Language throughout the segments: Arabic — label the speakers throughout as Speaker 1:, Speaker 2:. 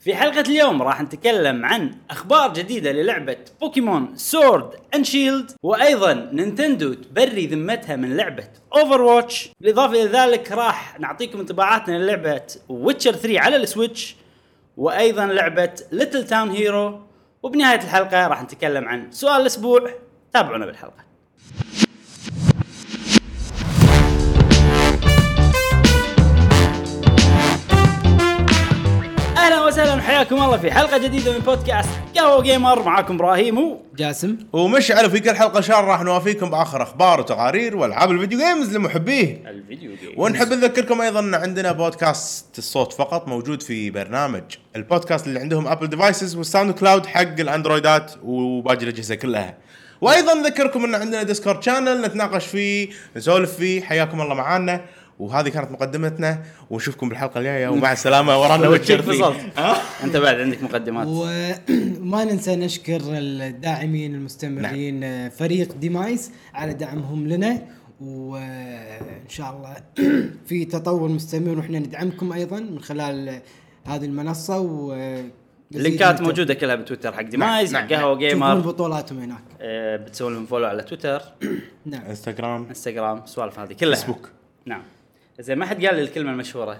Speaker 1: في حلقة اليوم راح نتكلم عن أخبار جديدة للعبة بوكيمون سورد أند شيلد وأيضا نينتندو تبري ذمتها من لعبة اوفر واتش بالإضافة إلى ذلك راح نعطيكم انطباعاتنا للعبة ويتشر 3 على السويتش وأيضا لعبة ليتل تاون هيرو وبنهاية الحلقة راح نتكلم عن سؤال الأسبوع تابعونا بالحلقة اهلا وسهلا وحياكم الله في حلقه جديده من بودكاست قهوه جيمر معاكم ابراهيم و-
Speaker 2: جاسم
Speaker 3: ومشعل في كل حلقه ان شاء الله راح نوافيكم باخر اخبار وتقارير والعاب الفيديو جيمز لمحبيه
Speaker 1: الفيديو جيم
Speaker 3: ونحب نذكركم ايضا ان عندنا بودكاست الصوت فقط موجود في برنامج البودكاست اللي عندهم ابل ديفايسز والساوند كلاود حق الاندرويدات وباقي الاجهزه كلها وايضا نذكركم ان عندنا ديسكورد شانل نتناقش فيه نسولف فيه حياكم الله معانا وهذه كانت مقدمتنا ونشوفكم بالحلقه الجايه ومع السلامه ورانا ويتشر
Speaker 1: فصلت
Speaker 3: 3.
Speaker 1: انت بعد عندك مقدمات
Speaker 2: وما ننسى نشكر الداعمين المستمرين آه، فريق ديمايس على دعمهم لنا وان شاء الله في تطور مستمر واحنا ندعمكم ايضا من خلال آه، هذه المنصه و آه،
Speaker 1: اللينكات موجوده كلها بتويتر حق ديمايز
Speaker 3: نعم،
Speaker 1: حق
Speaker 3: نعم.
Speaker 1: قهوه
Speaker 2: تشوفون
Speaker 1: جيمر
Speaker 2: بطولاتهم هناك
Speaker 1: آه، بتسوون لهم فولو على تويتر
Speaker 2: نعم
Speaker 3: انستغرام
Speaker 1: انستغرام سوالف هذه كلها
Speaker 3: فيسبوك.
Speaker 1: نعم زين ما حد قال لي الكلمه المشهوره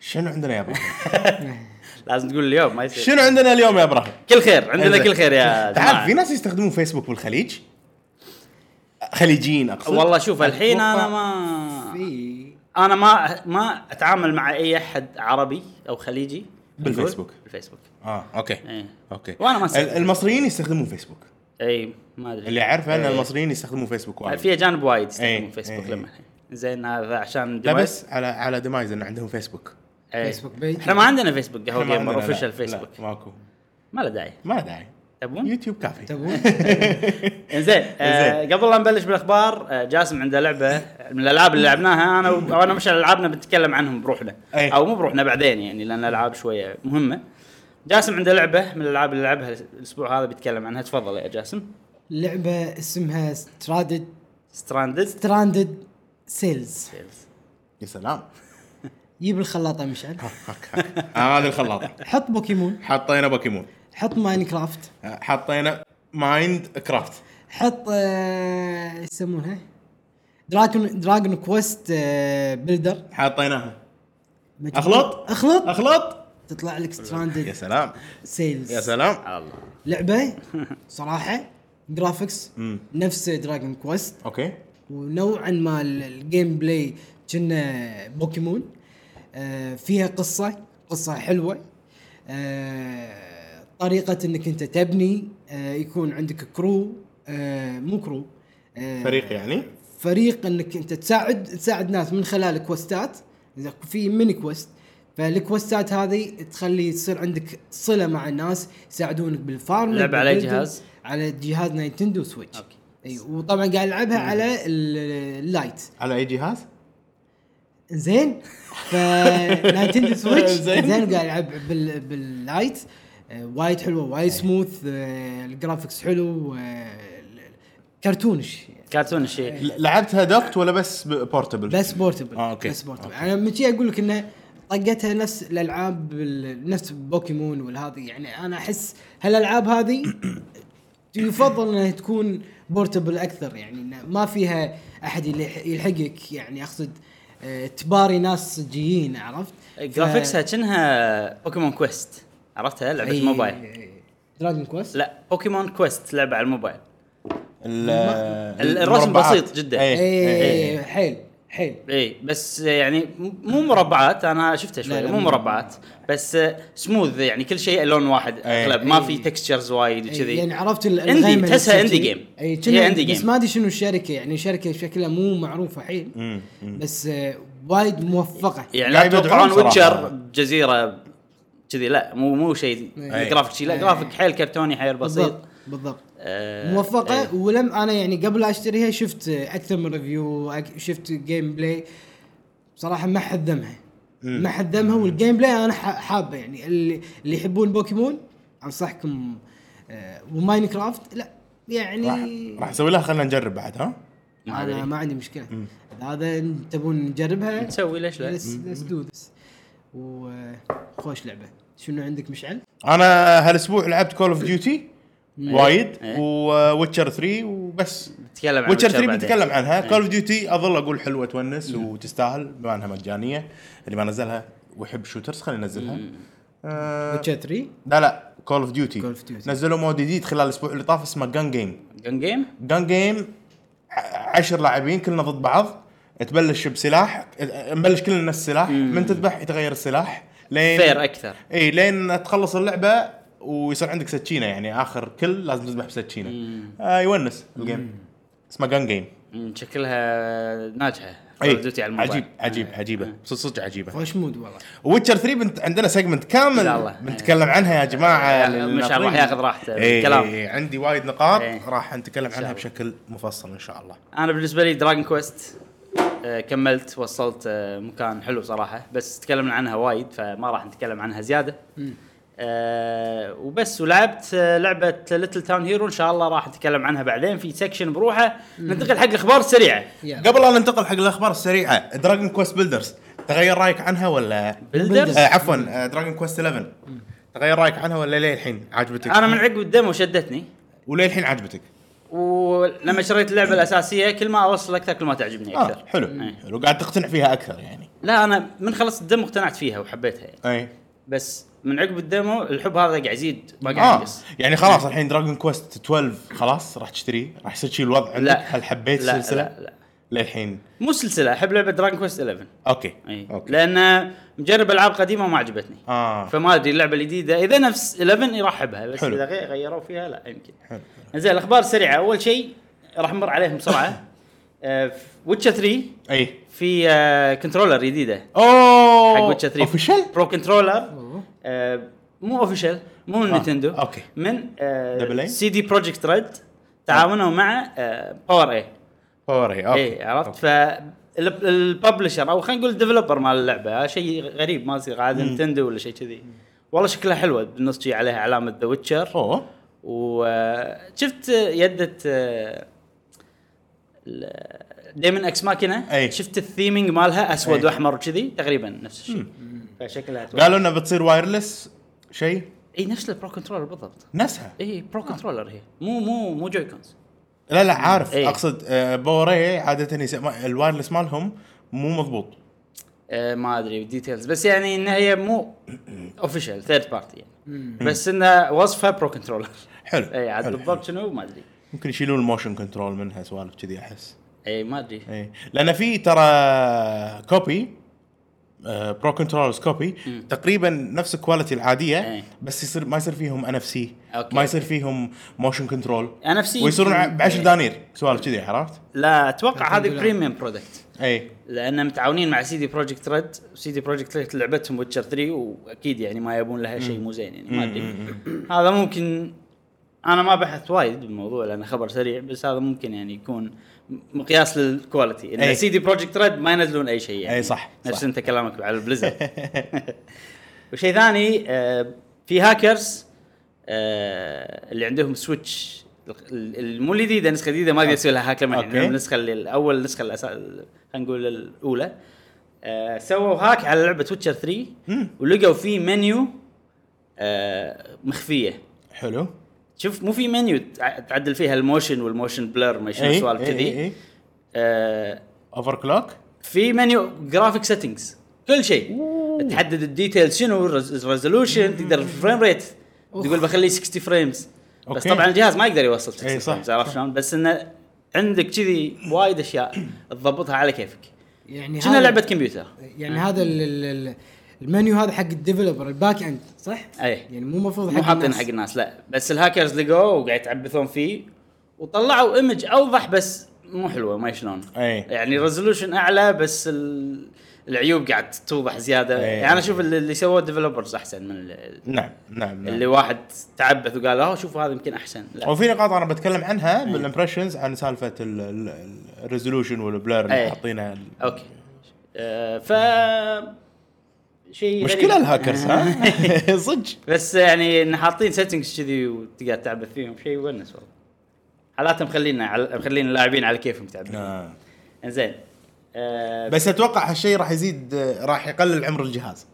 Speaker 3: شنو عندنا يا ابراهيم؟
Speaker 1: لازم تقول اليوم ما يصير
Speaker 3: شنو عندنا اليوم يا ابراهيم؟
Speaker 1: كل خير عندنا
Speaker 3: انزين.
Speaker 1: كل خير يا
Speaker 3: تعال في
Speaker 1: جماعه
Speaker 3: ناس يستخدمون فيسبوك بالخليج خليجيين اقصد
Speaker 1: والله شوف الحين انا
Speaker 2: أتوقع
Speaker 1: ما
Speaker 2: في
Speaker 1: انا ما ما اتعامل مع اي احد عربي او خليجي نقول.
Speaker 3: بالفيسبوك.
Speaker 1: بالفيسبوك
Speaker 3: اه اوكي
Speaker 1: ايه
Speaker 3: اوكي
Speaker 1: وأنا ما
Speaker 3: ال-
Speaker 1: أستخدم.
Speaker 3: المصريين يستخدمون فيسبوك
Speaker 1: اي ما ادري
Speaker 3: اللي اعرفه ان
Speaker 1: إيه.
Speaker 3: المصريين يستخدمون فيسبوك وايد
Speaker 1: في جانب وايد يستخدمون
Speaker 3: إيه،
Speaker 1: فيسبوك
Speaker 3: إيه،
Speaker 1: لما الحين زين هذا عشان
Speaker 3: لا
Speaker 1: ديفايس
Speaker 3: بس على على ديمايز ان عندهم فيسبوك
Speaker 2: فيسبوك بيج.
Speaker 1: احنا إيه. ما عندنا فيسبوك قهوه
Speaker 3: إحنا ما
Speaker 1: جيمر
Speaker 3: عندنا- لا،
Speaker 1: اوفيشال
Speaker 3: لا،
Speaker 1: فيسبوك
Speaker 3: ماكو
Speaker 1: ما له داعي
Speaker 3: ما داعي
Speaker 1: تبون؟
Speaker 3: يوتيوب كافي
Speaker 2: تبون
Speaker 1: انزين آه،
Speaker 3: إنزين.
Speaker 1: قبل لا نبلش بالاخبار آه، جاسم عنده لعبه من الالعاب اللي لعبناها انا و- وانا مش العابنا بنتكلم عنهم بروحنا
Speaker 3: إيه.
Speaker 1: او مو بروحنا بعدين يعني لان الالعاب شويه مهمه جاسم عنده لعبه من الالعاب اللي لعبها الاسبوع هذا بيتكلم عنها تفضل يا جاسم
Speaker 2: لعبه اسمها سترادد
Speaker 1: ستراندد
Speaker 2: ستراندد سيلز
Speaker 3: يا سلام
Speaker 2: جيب الخلاطه مشعل
Speaker 3: هاك هاك آه، هذه الخلاطه
Speaker 2: حط بوكيمون
Speaker 3: حطينا بوكيمون
Speaker 2: حط ماينكرافت
Speaker 3: آه، حطينا مايند كرافت
Speaker 2: حط آه، ايش يسمونها؟ دراجون دراجون كويست آه، بلدر
Speaker 3: حطيناها
Speaker 2: مجموعة-
Speaker 3: اخلط
Speaker 2: اخلط
Speaker 3: اخلط
Speaker 2: تطلع لك
Speaker 3: يا
Speaker 2: ستراندد
Speaker 3: سلام
Speaker 2: سيلز
Speaker 3: يا سلام
Speaker 1: على الله
Speaker 2: لعبه صراحه جرافكس
Speaker 3: مم.
Speaker 2: نفس دراجون كويست
Speaker 3: اوكي
Speaker 2: ونوعا ما ال- الجيم بلاي كنا بوكيمون آه، فيها قصه قصه حلوه آه، طريقه انك انت تبني آه، يكون عندك كرو آه، مو كرو آه،
Speaker 3: فريق يعني
Speaker 2: فريق انك انت تساعد تساعد ناس من خلال كوستات اذا في ميني كوست فالكوستات هذه تخلي تصير عندك صله مع الناس يساعدونك بالفارم
Speaker 1: لعبة على أي
Speaker 2: بالبيلدينج،
Speaker 1: جهاز؟
Speaker 2: على جهاز نينتندو سويتش
Speaker 1: أوكي.
Speaker 2: اي وطبعا قاعد العبها على ال- اللايت
Speaker 3: على اي جهاز؟
Speaker 2: زين ف نينتندو سويتش
Speaker 3: زين.
Speaker 2: زين وقاعد العب بال... باللايت آه، وايد حلوه وايد سموث آه، الجرافكس حلو آه، كرتونش
Speaker 1: كرتون الشيء
Speaker 3: ل- لعبتها دوكت ولا بس ب- بورتبل؟
Speaker 2: بس بورتبل
Speaker 3: آه، أوكي.
Speaker 2: بس بورتبل انا متي اقول لك انه طقتها نفس الالعاب ال- نفس بوكيمون والهذه يعني انا احس هالالعاب هذه يفضل انها تكون بورتبل اكثر يعني إنه ما فيها احد يلح- يلحقك يعني اقصد آه، تباري ناس صجيين عرفت؟ ف-
Speaker 3: إيه،
Speaker 2: إيه،
Speaker 1: جرافيكسها كأنها بوكيمون كويست عرفتها لعبه
Speaker 2: أي-
Speaker 1: موبايل
Speaker 2: دراجون كويست؟
Speaker 1: لا بوكيمون كويست لعبه على الموبايل
Speaker 3: ال-
Speaker 1: الرسم
Speaker 3: المربعات.
Speaker 1: بسيط جداً.
Speaker 3: إيه، إيه.
Speaker 2: اي حيل حيل
Speaker 1: اي بس يعني م- مو مربعات انا شفتها شوي
Speaker 2: لا، لا،
Speaker 1: مو
Speaker 2: مو
Speaker 1: مربعات بس آه، سموث يعني كل شيء لون واحد
Speaker 3: إيه.
Speaker 1: اغلب ما
Speaker 2: إيه.
Speaker 1: في تكستشرز وايد وكذي
Speaker 2: يعني عرفت ال-
Speaker 1: عندي،
Speaker 2: الغيمة اللي
Speaker 1: تحسها
Speaker 2: تصير
Speaker 1: عندي
Speaker 2: فيه.
Speaker 1: game.
Speaker 2: اي
Speaker 1: هي
Speaker 2: كنا-
Speaker 1: عندي
Speaker 2: بس
Speaker 1: game.
Speaker 2: ما ادري شنو الشركه يعني شركه شكلها مو معروفه حيل بس آه، وايد موفقه
Speaker 1: يعني لا
Speaker 3: قاعد يدعون
Speaker 1: تتوقعون
Speaker 3: صراحة.
Speaker 1: ويتشر جزيره كذي لا مو مو شيء
Speaker 2: إيه.
Speaker 1: جرافيك شيء لا
Speaker 2: إيه.
Speaker 1: جرافيك حيل كرتوني حيل بسيط
Speaker 2: بالضبط بالضبط
Speaker 1: آه،
Speaker 2: موفقه
Speaker 1: إيه.
Speaker 2: ولم انا يعني قبل لا اشتريها شفت آه، اكثر من ريفيو أك- شفت جيم بلاي بصراحه ما حد ذمها ما حد ذمها والجيم بلاي انا ح- حابه يعني اللي اللي يحبون بوكيمون انصحكم آه، وماينكرافت لا يعني
Speaker 3: راح- راح اسوي لها خلينا نجرب بعد ها؟
Speaker 1: ما أدري.
Speaker 2: انا ما عندي مشكله هذا إن تبون نجربها
Speaker 1: نسوي ليش لا
Speaker 2: ليتس ليتس دو ذس وخوش لعبه آه، شنو عندك مشعل؟
Speaker 3: انا هالاسبوع لعبت كول اوف ديوتي وايد
Speaker 1: إيه.
Speaker 3: وويتشر 3 وبس
Speaker 1: نتكلم عن
Speaker 3: ويتشر 3
Speaker 1: بعدين.
Speaker 3: بنتكلم عنها كول اوف ديوتي اظل اقول حلوه تونس وتستاهل بما انها مجانيه اللي ما نزلها ويحب شوترز خلينا ننزلها آه،
Speaker 2: ويتشر 3
Speaker 3: لا لا كول اوف ديوتي
Speaker 2: Call of Duty.
Speaker 3: نزلوا مود جديد خلال الاسبوع اللي طاف اسمه جان جيم
Speaker 1: جن جيم
Speaker 3: جان جيم عشر لاعبين كلنا ضد بعض تبلش بسلاح نبلش كلنا نفس السلاح من تذبح يتغير السلاح لين
Speaker 1: فير اكثر
Speaker 3: اي لين تخلص اللعبه ويصير عندك سكينه يعني اخر كل لازم تذبح بسكينه آه يونس الجيم اسمه جان جيم
Speaker 1: مم، شكلها ناجحه
Speaker 3: اي
Speaker 1: Call of Duty على الموبايل
Speaker 3: عجيب عجيب عجيبه صدق صدق عجيبه
Speaker 2: خوش مود والله
Speaker 3: ويتشر 3 بنت عندنا سيجمنت كامل
Speaker 1: لا والله.
Speaker 3: بنتكلم عنها يا جماعه
Speaker 1: يعني مش راح ياخذ راحته
Speaker 3: الكلام
Speaker 1: بالكلام.
Speaker 3: اي عندي وايد نقاط
Speaker 1: إيه.
Speaker 3: راح نتكلم عنها
Speaker 1: الله.
Speaker 3: بشكل مفصل ان شاء الله
Speaker 1: انا بالنسبه لي دراجون كويست آه، كملت وصلت آه، مكان حلو صراحه بس تكلمنا عنها وايد فما راح نتكلم عنها زياده أه وبس ولعبت آه، لعبه ليتل تاون هيرو ان شاء الله راح نتكلم عنها بعدين في سكشن بروحه ننتقل حق الاخبار السريعه
Speaker 2: يلا
Speaker 3: قبل ان ننتقل حق الاخبار السريعه دراجون كويست بيلدرز تغير رايك عنها ولا
Speaker 1: بلدرز
Speaker 3: آه عفوا آه دراجون كويست 11 تغير رايك عنها ولا ليه الحين عجبتك؟
Speaker 1: انا من عقب الدمو شدتني
Speaker 3: وليه الحين عجبتك؟
Speaker 1: ولما شريت اللعبه الاساسيه كل ما اوصل اكثر كل ما تعجبني اكثر
Speaker 3: آه
Speaker 1: إيه.
Speaker 3: حلو حلو قاعد تقتنع فيها اكثر يعني إيه.
Speaker 1: لا انا من خلصت الدمو اقتنعت فيها وحبيتها يعني.
Speaker 3: اي
Speaker 1: بس من عقب الدمو الحب هذا قاعد يزيد ما قاعد
Speaker 3: اه
Speaker 1: ينقص
Speaker 3: يعني خلاص الحين دراجون كويست 12 خلاص راح تشتريه راح يصير شي الوضع عندك
Speaker 1: لا.
Speaker 3: هل حبيت
Speaker 1: لا،
Speaker 3: السلسله؟
Speaker 1: لا، لا.
Speaker 3: للحين
Speaker 1: مو سلسله احب لعبه دراجون كويست 11
Speaker 3: اوكي
Speaker 1: اي
Speaker 3: اوكي
Speaker 1: لان مجرب العاب قديمه وما عجبتني
Speaker 3: اه
Speaker 1: فما ادري اللعبه الجديده اذا نفس 11 يرحبها بس
Speaker 3: حلو.
Speaker 1: اذا غي- غيروا فيها لا يمكن زين الاخبار سريعه اول شيء راح نمر عليهم آه، بسرعه ويتشر 3
Speaker 3: اي
Speaker 1: في آه، كنترولر جديده
Speaker 3: اوه
Speaker 1: حق ويتشر 3
Speaker 3: اوفيشال
Speaker 1: برو كنترولر
Speaker 2: أوه.
Speaker 1: آه، مو اوفيشال مو من
Speaker 3: آه،
Speaker 1: نينتندو
Speaker 3: أوكي.
Speaker 1: من آه،
Speaker 3: دبل إيه؟
Speaker 1: سي دي بروجكت ريد تعاونوا مع آه، باور اي
Speaker 3: اوري اوكي
Speaker 1: اي إيه، عرفت
Speaker 3: أوكي.
Speaker 1: ف الببلشر او خلينا نقول الديفلوبر مال اللعبه شيء غريب ما يصير عاده نينتندو ولا شيء كذي والله شكلها حلوه بالنص شي عليها علامه ذا ويتشر
Speaker 3: اوه
Speaker 1: وشفت آه، يدة آه، دايمن اكس ماكينه
Speaker 3: أي.
Speaker 1: شفت الثيمينج مالها اسود
Speaker 3: أي.
Speaker 1: واحمر وكذي تقريبا نفس الشيء فشكلها أتوقع-
Speaker 3: قالوا انها بتصير وايرلس شيء
Speaker 1: اي نفس البرو كنترولر بالضبط
Speaker 3: نفسها
Speaker 1: اي برو كنترولر هي آه. مو مو مو جوي كونز
Speaker 3: لا لا عارف
Speaker 1: إيه.
Speaker 3: اقصد آه، باوري عاده يس- ما- الوايرلس مالهم مو مضبوط
Speaker 1: آه ما ادري ديتيلز بس يعني انها هي مو اوفيشال ثيرد بارتي يعني بس انها وصفها برو كنترولر
Speaker 3: حلو
Speaker 1: اي إيه، عاد
Speaker 3: حلو،
Speaker 1: بالضبط شنو ما ادري
Speaker 3: حلو. ممكن يشيلون الموشن كنترول منها سوالف كذي احس
Speaker 1: اي إيه، ما ادري
Speaker 3: اي لان في ترى كوبي برو كنترولرز كوبي تقريبا نفس الكواليتي العاديه
Speaker 1: إيه.
Speaker 3: بس يصير ما يصير فيهم ان اف سي
Speaker 1: أوكي.
Speaker 3: ما يصير فيهم موشن كنترول
Speaker 1: انا نفسي
Speaker 3: ويصيرون
Speaker 1: يمكن- إيه.
Speaker 3: ب 10 دنانير سوالف كذي عرفت؟ إيه.
Speaker 1: لا اتوقع
Speaker 2: الحمد
Speaker 1: هذه
Speaker 2: لله.
Speaker 1: بريميوم برودكت
Speaker 3: اي
Speaker 1: لان متعاونين مع سيدي بروجكت ريد سيدي بروجكت ريد لعبتهم ويتشر 3 واكيد يعني ما يبون لها شيء مو زين يعني ما ادري هذا ممكن انا ما بحثت وايد بالموضوع لانه خبر سريع بس هذا ممكن يعني يكون مقياس للكواليتي ان
Speaker 3: أي.
Speaker 1: سيدي بروجكت ريد ما ينزلون اي شيء يعني
Speaker 3: أي إيه. صح،
Speaker 1: نفس
Speaker 3: صح.
Speaker 1: انت كلامك على البليزر وشيء ثاني آه، في هاكرز آه، اللي عندهم سويتش ال- ال- مو الجديده النسخه الجديده ما اقدر اسوي لها هاك لما
Speaker 3: أوكي.
Speaker 1: يعني النسخه اللي- الاول النسخه الأسا... ال- خلينا نقول الاولى آه، سووا هاك على لعبه ويتشر 3 ولقوا في منيو آه، مخفيه
Speaker 3: حلو
Speaker 1: شوف مو في منيو تع- تعدل فيها الموشن والموشن بلر ما شنو
Speaker 3: إي،
Speaker 1: سوالف
Speaker 3: إي، إي،
Speaker 1: كذي
Speaker 3: إي.
Speaker 1: آه،
Speaker 3: اوفر كلوك
Speaker 1: في منيو جرافيك سيتنجز كل شيء تحدد الديتيل شنو الريزولوشن تقدر الفريم ريت تقول بخليه 60 فريمز بس
Speaker 3: أوكي.
Speaker 1: طبعا الجهاز ما يقدر يوصل 60
Speaker 3: إي صح،
Speaker 1: فريمز عرفت
Speaker 3: صح.
Speaker 1: شلون بس انه عندك كذي وايد اشياء تضبطها على كيفك
Speaker 2: يعني
Speaker 1: كنا
Speaker 2: هذا-
Speaker 1: لعبه كمبيوتر
Speaker 2: يعني هذا ال- ال- ال- المنيو هذا حق الديفلوبر الباك اند صح؟
Speaker 1: أي.
Speaker 2: يعني مو المفروض
Speaker 1: مو
Speaker 2: حق
Speaker 1: حاطين
Speaker 2: الناس
Speaker 1: حق الناس لا بس الهاكرز لقوه وقاعد يتعبثون فيه وطلعوا ايمج اوضح بس مو حلوه ما شلون
Speaker 3: أي.
Speaker 1: يعني ريزولوشن اعلى بس ال... العيوب قاعد توضح زياده
Speaker 3: أي.
Speaker 1: يعني انا اشوف اللي اللي سووه الديفلوبرز احسن من ال-
Speaker 3: نعم نعم, نعم.
Speaker 1: اللي واحد تعبث وقال اه شوف هذا يمكن احسن لا
Speaker 3: وفي نقاط انا بتكلم عنها بالامبريشنز عن سالفه ال- ال- الريزولوشن والبلر
Speaker 1: إيه.
Speaker 3: اللي حاطينها
Speaker 1: اوكي آه ف شيء
Speaker 3: مشكله
Speaker 1: غريب.
Speaker 3: الهاكرز ها صدق
Speaker 1: بس يعني إن حاطين سيتنجز كذي وتقدر تعبث فيهم شيء ونس والله حالات مخلينا على مخلين اللاعبين على كيفهم تعبث
Speaker 3: آه.
Speaker 1: انزين آه
Speaker 3: بس اتوقع هالشيء راح يزيد راح يقلل عمر الجهاز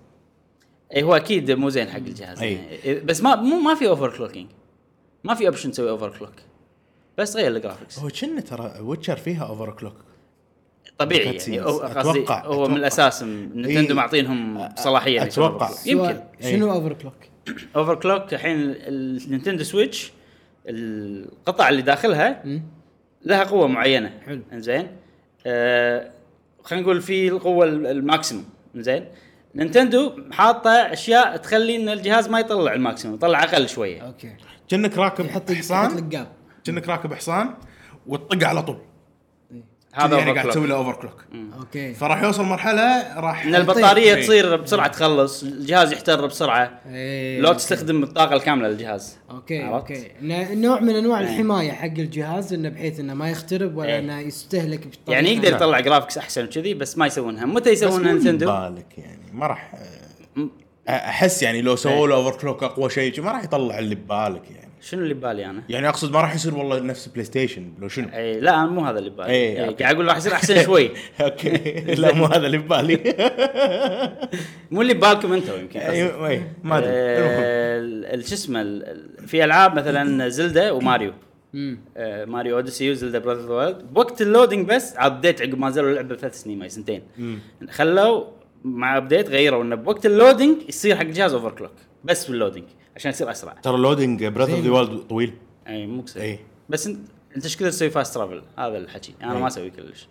Speaker 1: اي إيه، هو اكيد مو زين حق الجهاز
Speaker 3: أي.
Speaker 1: يعني. بس ما مو ما في اوفر كلوكينج ما في اوبشن تسوي اوفر كلوك بس غير الجرافكس
Speaker 3: هو كنا ترى ويتشر فيها اوفر كلوك
Speaker 1: طبيعي
Speaker 3: cutscenes.
Speaker 1: يعني هو- قصدي
Speaker 3: أتوقع-
Speaker 1: هو من
Speaker 3: أتوقع.
Speaker 1: الاساس نتندو
Speaker 3: إي.
Speaker 1: معطينهم صلاحيه إنه يسوي
Speaker 3: أتوقع.
Speaker 1: overclock. يمكن
Speaker 2: سؤال، شنو اوفر كلوك؟
Speaker 1: اوفر كلوك الحين النينتندو سويتش القطع اللي داخلها
Speaker 2: مم.
Speaker 1: لها قوه معينه
Speaker 2: حلو.
Speaker 1: انزين آه خلينا نقول في القوه ال- الماكسيموم انزين نينتندو حاطه اشياء تخلي ان الجهاز ما يطلع الماكسيموم يطلع اقل شويه
Speaker 2: اوكي
Speaker 3: كانك راكب
Speaker 2: يحط يحط
Speaker 3: حصان
Speaker 2: لك جاب
Speaker 3: كانك راكب حصان وتطق على طول
Speaker 1: هذا
Speaker 3: يعني
Speaker 1: اوفر
Speaker 3: قاعد تسوي
Speaker 1: كلوك
Speaker 3: له اوفر كلوك
Speaker 2: اوكي
Speaker 3: فراح يوصل مرحله راح إيه.
Speaker 1: ان البطاريه
Speaker 3: إي.
Speaker 1: تصير بسرعه تخلص الجهاز يحتر بسرعه
Speaker 2: إيه،
Speaker 1: لو
Speaker 2: أوكي. آه،
Speaker 1: تستخدم الطاقه الكامله للجهاز
Speaker 2: اوكي
Speaker 1: عرفت؟
Speaker 2: اوكي إنه نوع من انواع الحمايه حق الجهاز انه بحيث انه ما يخترب ولا
Speaker 1: إيه.
Speaker 2: انه يستهلك بطريقه
Speaker 1: يعني يقدر
Speaker 3: نعم.
Speaker 1: يطلع جرافكس احسن كذي بس ما يسوونها متى
Speaker 3: بس
Speaker 1: يسوونها
Speaker 3: مو
Speaker 1: نينتندو
Speaker 3: بالك يعني ما راح آه، احس يعني لو سووا له اوفر كلوك اقوى شيء ما راح يطلع اللي ببالك يعني
Speaker 1: شنو اللي ببالي انا؟
Speaker 3: يعني اقصد ما راح يصير والله نفس بلاي ستيشن لو شنو
Speaker 1: اي لا أنا مو هذا اللي ببالي
Speaker 3: إي،
Speaker 1: إي،
Speaker 3: إيه، أوكي.
Speaker 1: قاعد اقول راح يصير احسن شوي
Speaker 3: اوكي لا مو هذا اللي ببالي
Speaker 1: مو اللي ببالكم انتم يمكن قصدي.
Speaker 3: أيوة، أي، ما ادري المهم.
Speaker 1: آه، ال- ال- شو اسمه ال- ال- في العاب مثلا زلدا وماريو آه، ماريو اوديسي وزلدا براذر اوف ذا وايلد بوقت اللودينج بس عبديت عقب ما نزلوا اللعبه ثلاث سنين ما سنتين خلوا مع ابديت غيروا انه بوقت اللودينج يصير حق الجهاز اوفر كلوك بس باللودينج عشان يصير اسرع
Speaker 3: ترى لودنج براذر اوف ذا وايلد طويل
Speaker 1: اي مو كسر
Speaker 3: اي
Speaker 1: بس انت انت ايش كثر تسوي فاست ترافل هذا الحكي انا
Speaker 3: إي.
Speaker 1: ما اسوي كلش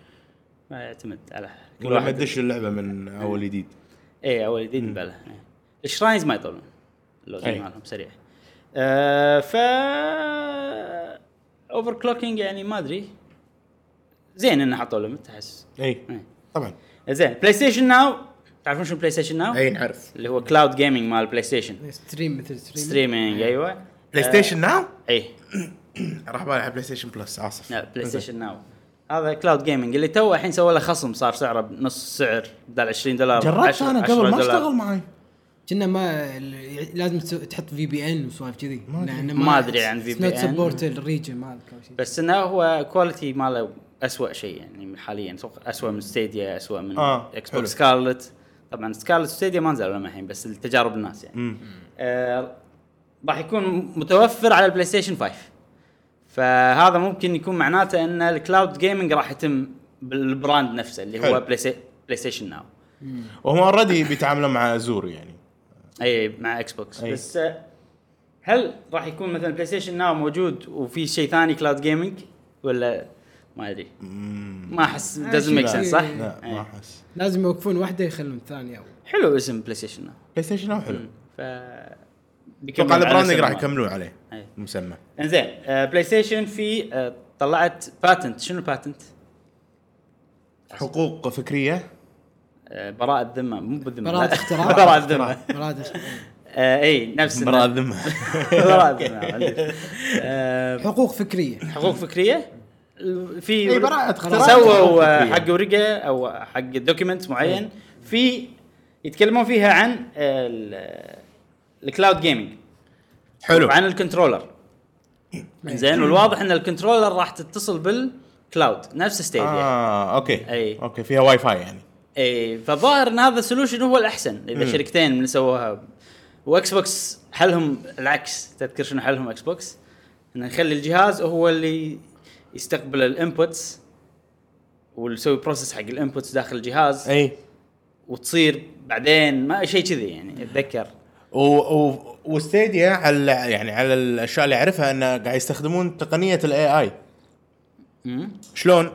Speaker 1: ما يعتمد على كل
Speaker 3: لما
Speaker 1: واحد
Speaker 3: تدش اللعبه من اول جديد
Speaker 1: اي اول جديد بلا إي. إيه. الشراينز ما يطولون اللودينج
Speaker 3: إي.
Speaker 1: مالهم سريع آه ف اوفر كلوكينج يعني ما ادري زين انه حطوا ليمت احس
Speaker 3: اي
Speaker 1: إي.
Speaker 3: طبعا
Speaker 1: زين بلاي ستيشن ناو تعرفون شو بلاي ستيشن ناو؟
Speaker 3: اي نعرف
Speaker 1: اللي هو كلاود جيمنج مال بلاي ستيشن
Speaker 2: ستريم مثل ستريم
Speaker 1: ستريمينج ايوه
Speaker 3: بلاي ستيشن ناو
Speaker 1: اي
Speaker 3: راح بالي على بلاي ستيشن بلس اسف
Speaker 1: إيه، لا، بلاي ستيشن ناو هذا كلاود جيمنج اللي تو الحين سوى له خصم صار سعره بنص السعر بدل 20 دولار
Speaker 3: جربت
Speaker 1: 10
Speaker 3: انا
Speaker 1: 10
Speaker 3: قبل ما
Speaker 1: دولار.
Speaker 3: اشتغل معي
Speaker 2: كنا ما ال- لازم تسو- تحط في بي ان وسوالف كذي ما,
Speaker 1: ما أدري عن VPN.
Speaker 2: نوت سبورت الريجن مالك او شيء
Speaker 1: بس انه هو كواليتي ماله اسوء شيء يعني حاليا أتوقع اسوء من ستيديا اسوء من
Speaker 3: آه،
Speaker 1: اكس
Speaker 3: حلو.
Speaker 1: بوكس سكارلت طبعا سكارلت ستيديا ما نزلوا لهم الحين بس التجارب الناس يعني
Speaker 3: مم.
Speaker 1: آه راح يكون متوفر على البلاي ستيشن 5 فهذا ممكن يكون معناته ان الكلاود جيمنج راح يتم بالبراند نفسه اللي هو
Speaker 3: حلو.
Speaker 1: بلاي, سي- بلاي ستيشن ناو
Speaker 3: وهم اوريدي بيتعاملوا مع زور يعني
Speaker 1: اي مع اكس بوكس
Speaker 3: أي.
Speaker 1: بس آه، هل راح يكون مثلا بلاي ستيشن ناو موجود وفي شيء ثاني كلاود جيمنج ولا ما ادري ما احس
Speaker 3: آه،
Speaker 1: doesn't
Speaker 2: شيء
Speaker 1: make sense
Speaker 2: لا.
Speaker 1: صح؟
Speaker 3: لا
Speaker 1: أي.
Speaker 3: ما احس
Speaker 2: لازم يوقفون واحده يخلون الثانيه او
Speaker 1: حلو اسم بلاي ستيشن ناو
Speaker 3: بلاي ستيشن ناو حلو
Speaker 1: ف بيكمل
Speaker 3: اتوقع
Speaker 1: على
Speaker 3: البراندنج
Speaker 1: اسم
Speaker 3: راح
Speaker 1: ما- إيه.
Speaker 3: يكملون عليه
Speaker 1: أي.
Speaker 3: مسمى
Speaker 1: انزين آه، بلاي ستيشن في آه، طلعت باتنت شنو باتنت؟
Speaker 3: حقوق فكريه
Speaker 1: آه، براءة ذمة مو بالذمة
Speaker 2: براءة
Speaker 1: لا،
Speaker 2: اختراع.
Speaker 1: براءة ذمة
Speaker 2: مراد إيش-
Speaker 1: آه، اي نفس إنه-
Speaker 3: براءة ذمه
Speaker 1: براءة ذمة عندك. آه،
Speaker 2: حقوق فكريه
Speaker 1: حقوق فكريه ال- في
Speaker 2: إيه،
Speaker 3: إي، براءة اختراع.
Speaker 1: سووا
Speaker 3: براءة
Speaker 1: آه،
Speaker 3: فكرية.
Speaker 1: حق ورقه او حق دوكيمنت معين في يتكلمون فيها عن الكلاود جيمنج
Speaker 3: حلو آه،
Speaker 1: وعن الكنترولر زين والواضح ان الكنترولر راح تتصل بالكلاود نفس ستيديا آه.
Speaker 3: اه اوكي
Speaker 1: أي.
Speaker 3: اوكي فيها واي فاي يعني
Speaker 1: اي فظاهر ان هذا سولوشن هو الاحسن اذا شركتين من سووها واكس بوكس حلهم العكس تذكر شنو حلهم اكس بوكس؟ انه نخلي الجهاز هو اللي يستقبل الانبوتس ويسوي بروسس حق الانبوتس داخل الجهاز
Speaker 3: اي
Speaker 1: وتصير بعدين ما شيء كذي يعني اتذكر
Speaker 3: و... و... وستيديا على يعني على الاشياء اللي اعرفها انه قاعد يستخدمون تقنيه الاي اي
Speaker 1: مم.
Speaker 3: شلون؟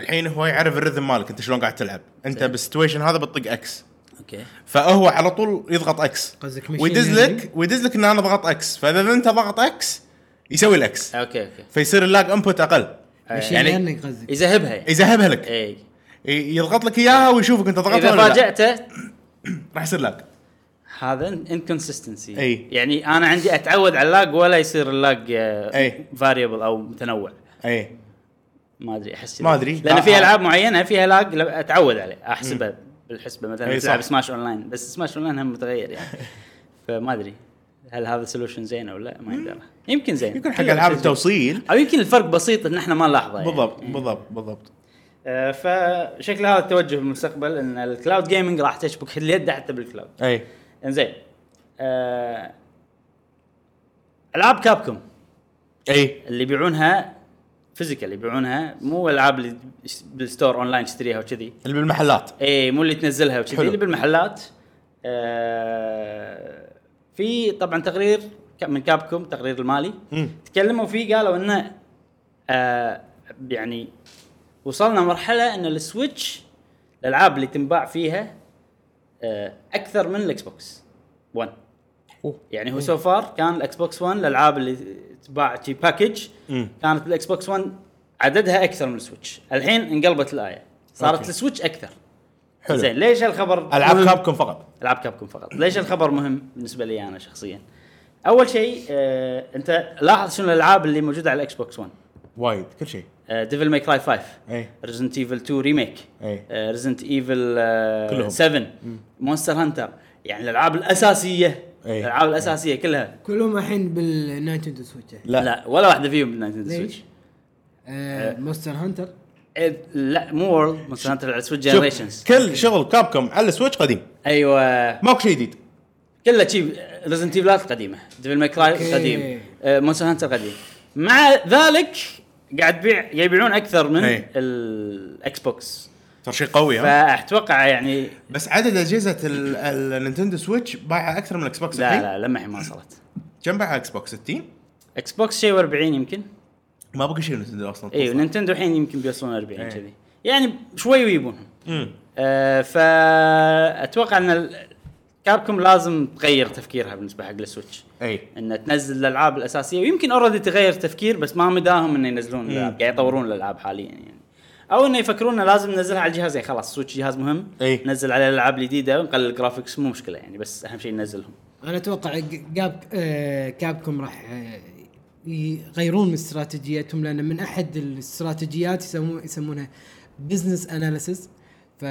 Speaker 3: الحين هو يعرف الرذم مالك انت شلون قاعد تلعب انت بالسيتويشن هذا بتطق اكس
Speaker 1: اوكي
Speaker 3: فهو على طول يضغط اكس
Speaker 2: قصدك machine
Speaker 3: ويدز
Speaker 2: learning؟
Speaker 3: لك ويدز لك ان انا ضغط اكس فاذا انت ضغط اكس يسوي الاكس
Speaker 1: اوكي اوكي
Speaker 3: فيصير اللاج انبوت اقل
Speaker 2: ماشي
Speaker 3: يعني-
Speaker 2: يعني قصدك
Speaker 1: يذهبها يعني
Speaker 3: يذهبها لك
Speaker 1: اي
Speaker 3: ي- يضغط لك اياها ويشوفك انت ضغطت
Speaker 1: اذا
Speaker 3: ولا لا
Speaker 1: فاجأته
Speaker 3: راح يصير لاج
Speaker 1: هذا انكونسستنسي
Speaker 3: أي.
Speaker 1: يعني انا عندي اتعود على اللاج ولا يصير اللاج
Speaker 3: أي.
Speaker 1: فاريبل او متنوع
Speaker 3: اي
Speaker 1: ما ادري احس
Speaker 3: ما أدري.
Speaker 1: لان
Speaker 3: آه،
Speaker 1: في
Speaker 3: آه.
Speaker 1: العاب معينه فيها لاج لا- اتعود عليه احسبه بالحسبه مثلا
Speaker 3: أي،
Speaker 1: تلعب
Speaker 3: صح.
Speaker 1: سماش اونلاين بس سماش اونلاين هم متغير يعني فما ادري هل هذا سولوشن زين او لا ما يدرى يمكن زين
Speaker 3: يكون حق
Speaker 1: كله
Speaker 3: العاب
Speaker 1: زين.
Speaker 3: التوصيل
Speaker 1: او يمكن الفرق بسيط ان احنا ما نلاحظه يعني.
Speaker 3: بالضبط بالضبط بالضبط
Speaker 1: آه، فشكل هذا التوجه بالمستقبل ان الكلاود جيمنج راح تشبك اليد حتى بالكلاود
Speaker 3: اي
Speaker 1: انزين آه... العاب كابكم
Speaker 3: اي
Speaker 1: اللي يبيعونها فيزيكال يبيعونها مو العاب اللي بالستور اونلاين تشتريها وكذي
Speaker 3: اللي بالمحلات
Speaker 1: اي مو اللي تنزلها وكذي
Speaker 3: حلو.
Speaker 1: اللي بالمحلات آه في طبعا تقرير ك- من كابكم تقرير المالي
Speaker 3: مم.
Speaker 1: تكلموا فيه قالوا انه آه يعني وصلنا مرحله ان السويتش الالعاب اللي تنباع فيها آه اكثر من الاكس بوكس 1
Speaker 3: أوه.
Speaker 1: يعني هو سو فار كان الاكس بوكس 1 الالعاب اللي تباع شي باكج
Speaker 3: مم.
Speaker 1: كانت بالاكس بوكس 1 عددها اكثر من السويتش الحين انقلبت الايه صارت
Speaker 3: أوكي.
Speaker 1: السويتش اكثر
Speaker 3: حلو.
Speaker 1: زين ليش هالخبر
Speaker 3: العاب
Speaker 1: مهم؟
Speaker 3: كابكم فقط
Speaker 1: العاب كابكم فقط ليش الخبر مهم بالنسبه لي انا شخصيا اول شيء آه، انت لاحظ شنو الالعاب اللي موجوده على آه، الاكس بوكس 1
Speaker 3: وايد كل شيء إيه.
Speaker 1: ديفل ماي كراي 5
Speaker 3: اي
Speaker 1: ريزنت ايفل 2 ريميك
Speaker 3: أي.
Speaker 1: ريزنت ايفل
Speaker 3: إيه. كلهم.
Speaker 1: 7 مونستر هانتر يعني الالعاب الاساسيه
Speaker 3: أي.
Speaker 1: الالعاب الاساسيه كلها
Speaker 2: كلهم الحين بالنايتندو سويتش
Speaker 3: لا.
Speaker 1: لا ولا واحده فيهم بالنايتندو سويتش
Speaker 2: ليش؟ آه، مونستر هانتر
Speaker 1: إيه، لا مو وورلد مونستر هانتر على سويتش
Speaker 3: شوف،
Speaker 1: جنريشنز
Speaker 3: كل شغل كابكم على السويتش قديم
Speaker 1: ايوه
Speaker 3: ماكو شيء جديد
Speaker 1: كله شيء ريزنت ايفلات قديمه ديفل ماي كراي
Speaker 2: أوكي.
Speaker 1: قديم مونستر هانتر قديم مع ذلك قاعد تبيع يبيعون اكثر من
Speaker 3: أي.
Speaker 1: الاكس بوكس
Speaker 3: صار شيء قوي ها
Speaker 1: فاتوقع يعني
Speaker 3: بس عدد اجهزه ال- ال- النينتندو سويتش بايعه اكثر من الاكس بوكس
Speaker 1: لا
Speaker 3: الحين.
Speaker 1: لا لما الحين ما وصلت
Speaker 3: كم بايعه اكس بوكس 60
Speaker 1: اكس بوكس شيء 40 يمكن
Speaker 3: ما بقى شيء نينتندو اصلا
Speaker 1: اي ونينتندو الحين يمكن بيوصلون 40
Speaker 3: أي.
Speaker 1: كذي يعني شوي ويبونهم
Speaker 3: امم
Speaker 1: آه فاتوقع ان ال- كابكم لازم تغير تفكيرها بالنسبه حق السويتش
Speaker 3: اي
Speaker 1: ان تنزل الالعاب الاساسيه ويمكن اوريدي تغير تفكير بس ما مداهم انه ينزلون الالعاب قاعد يطورون الالعاب حاليا يعني او انه يفكرون انه لازم ننزلها على الجهاز يعني خلاص سويتش جهاز مهم
Speaker 3: إي.
Speaker 1: نزل عليه الالعاب الجديده ونقلل الجرافكس مو مشكله يعني بس اهم شيء ننزلهم
Speaker 2: انا اتوقع جاب كابكم راح آه، يغيرون من استراتيجيتهم لان من احد الاستراتيجيات يسمون يسمونها بزنس اناليسز ف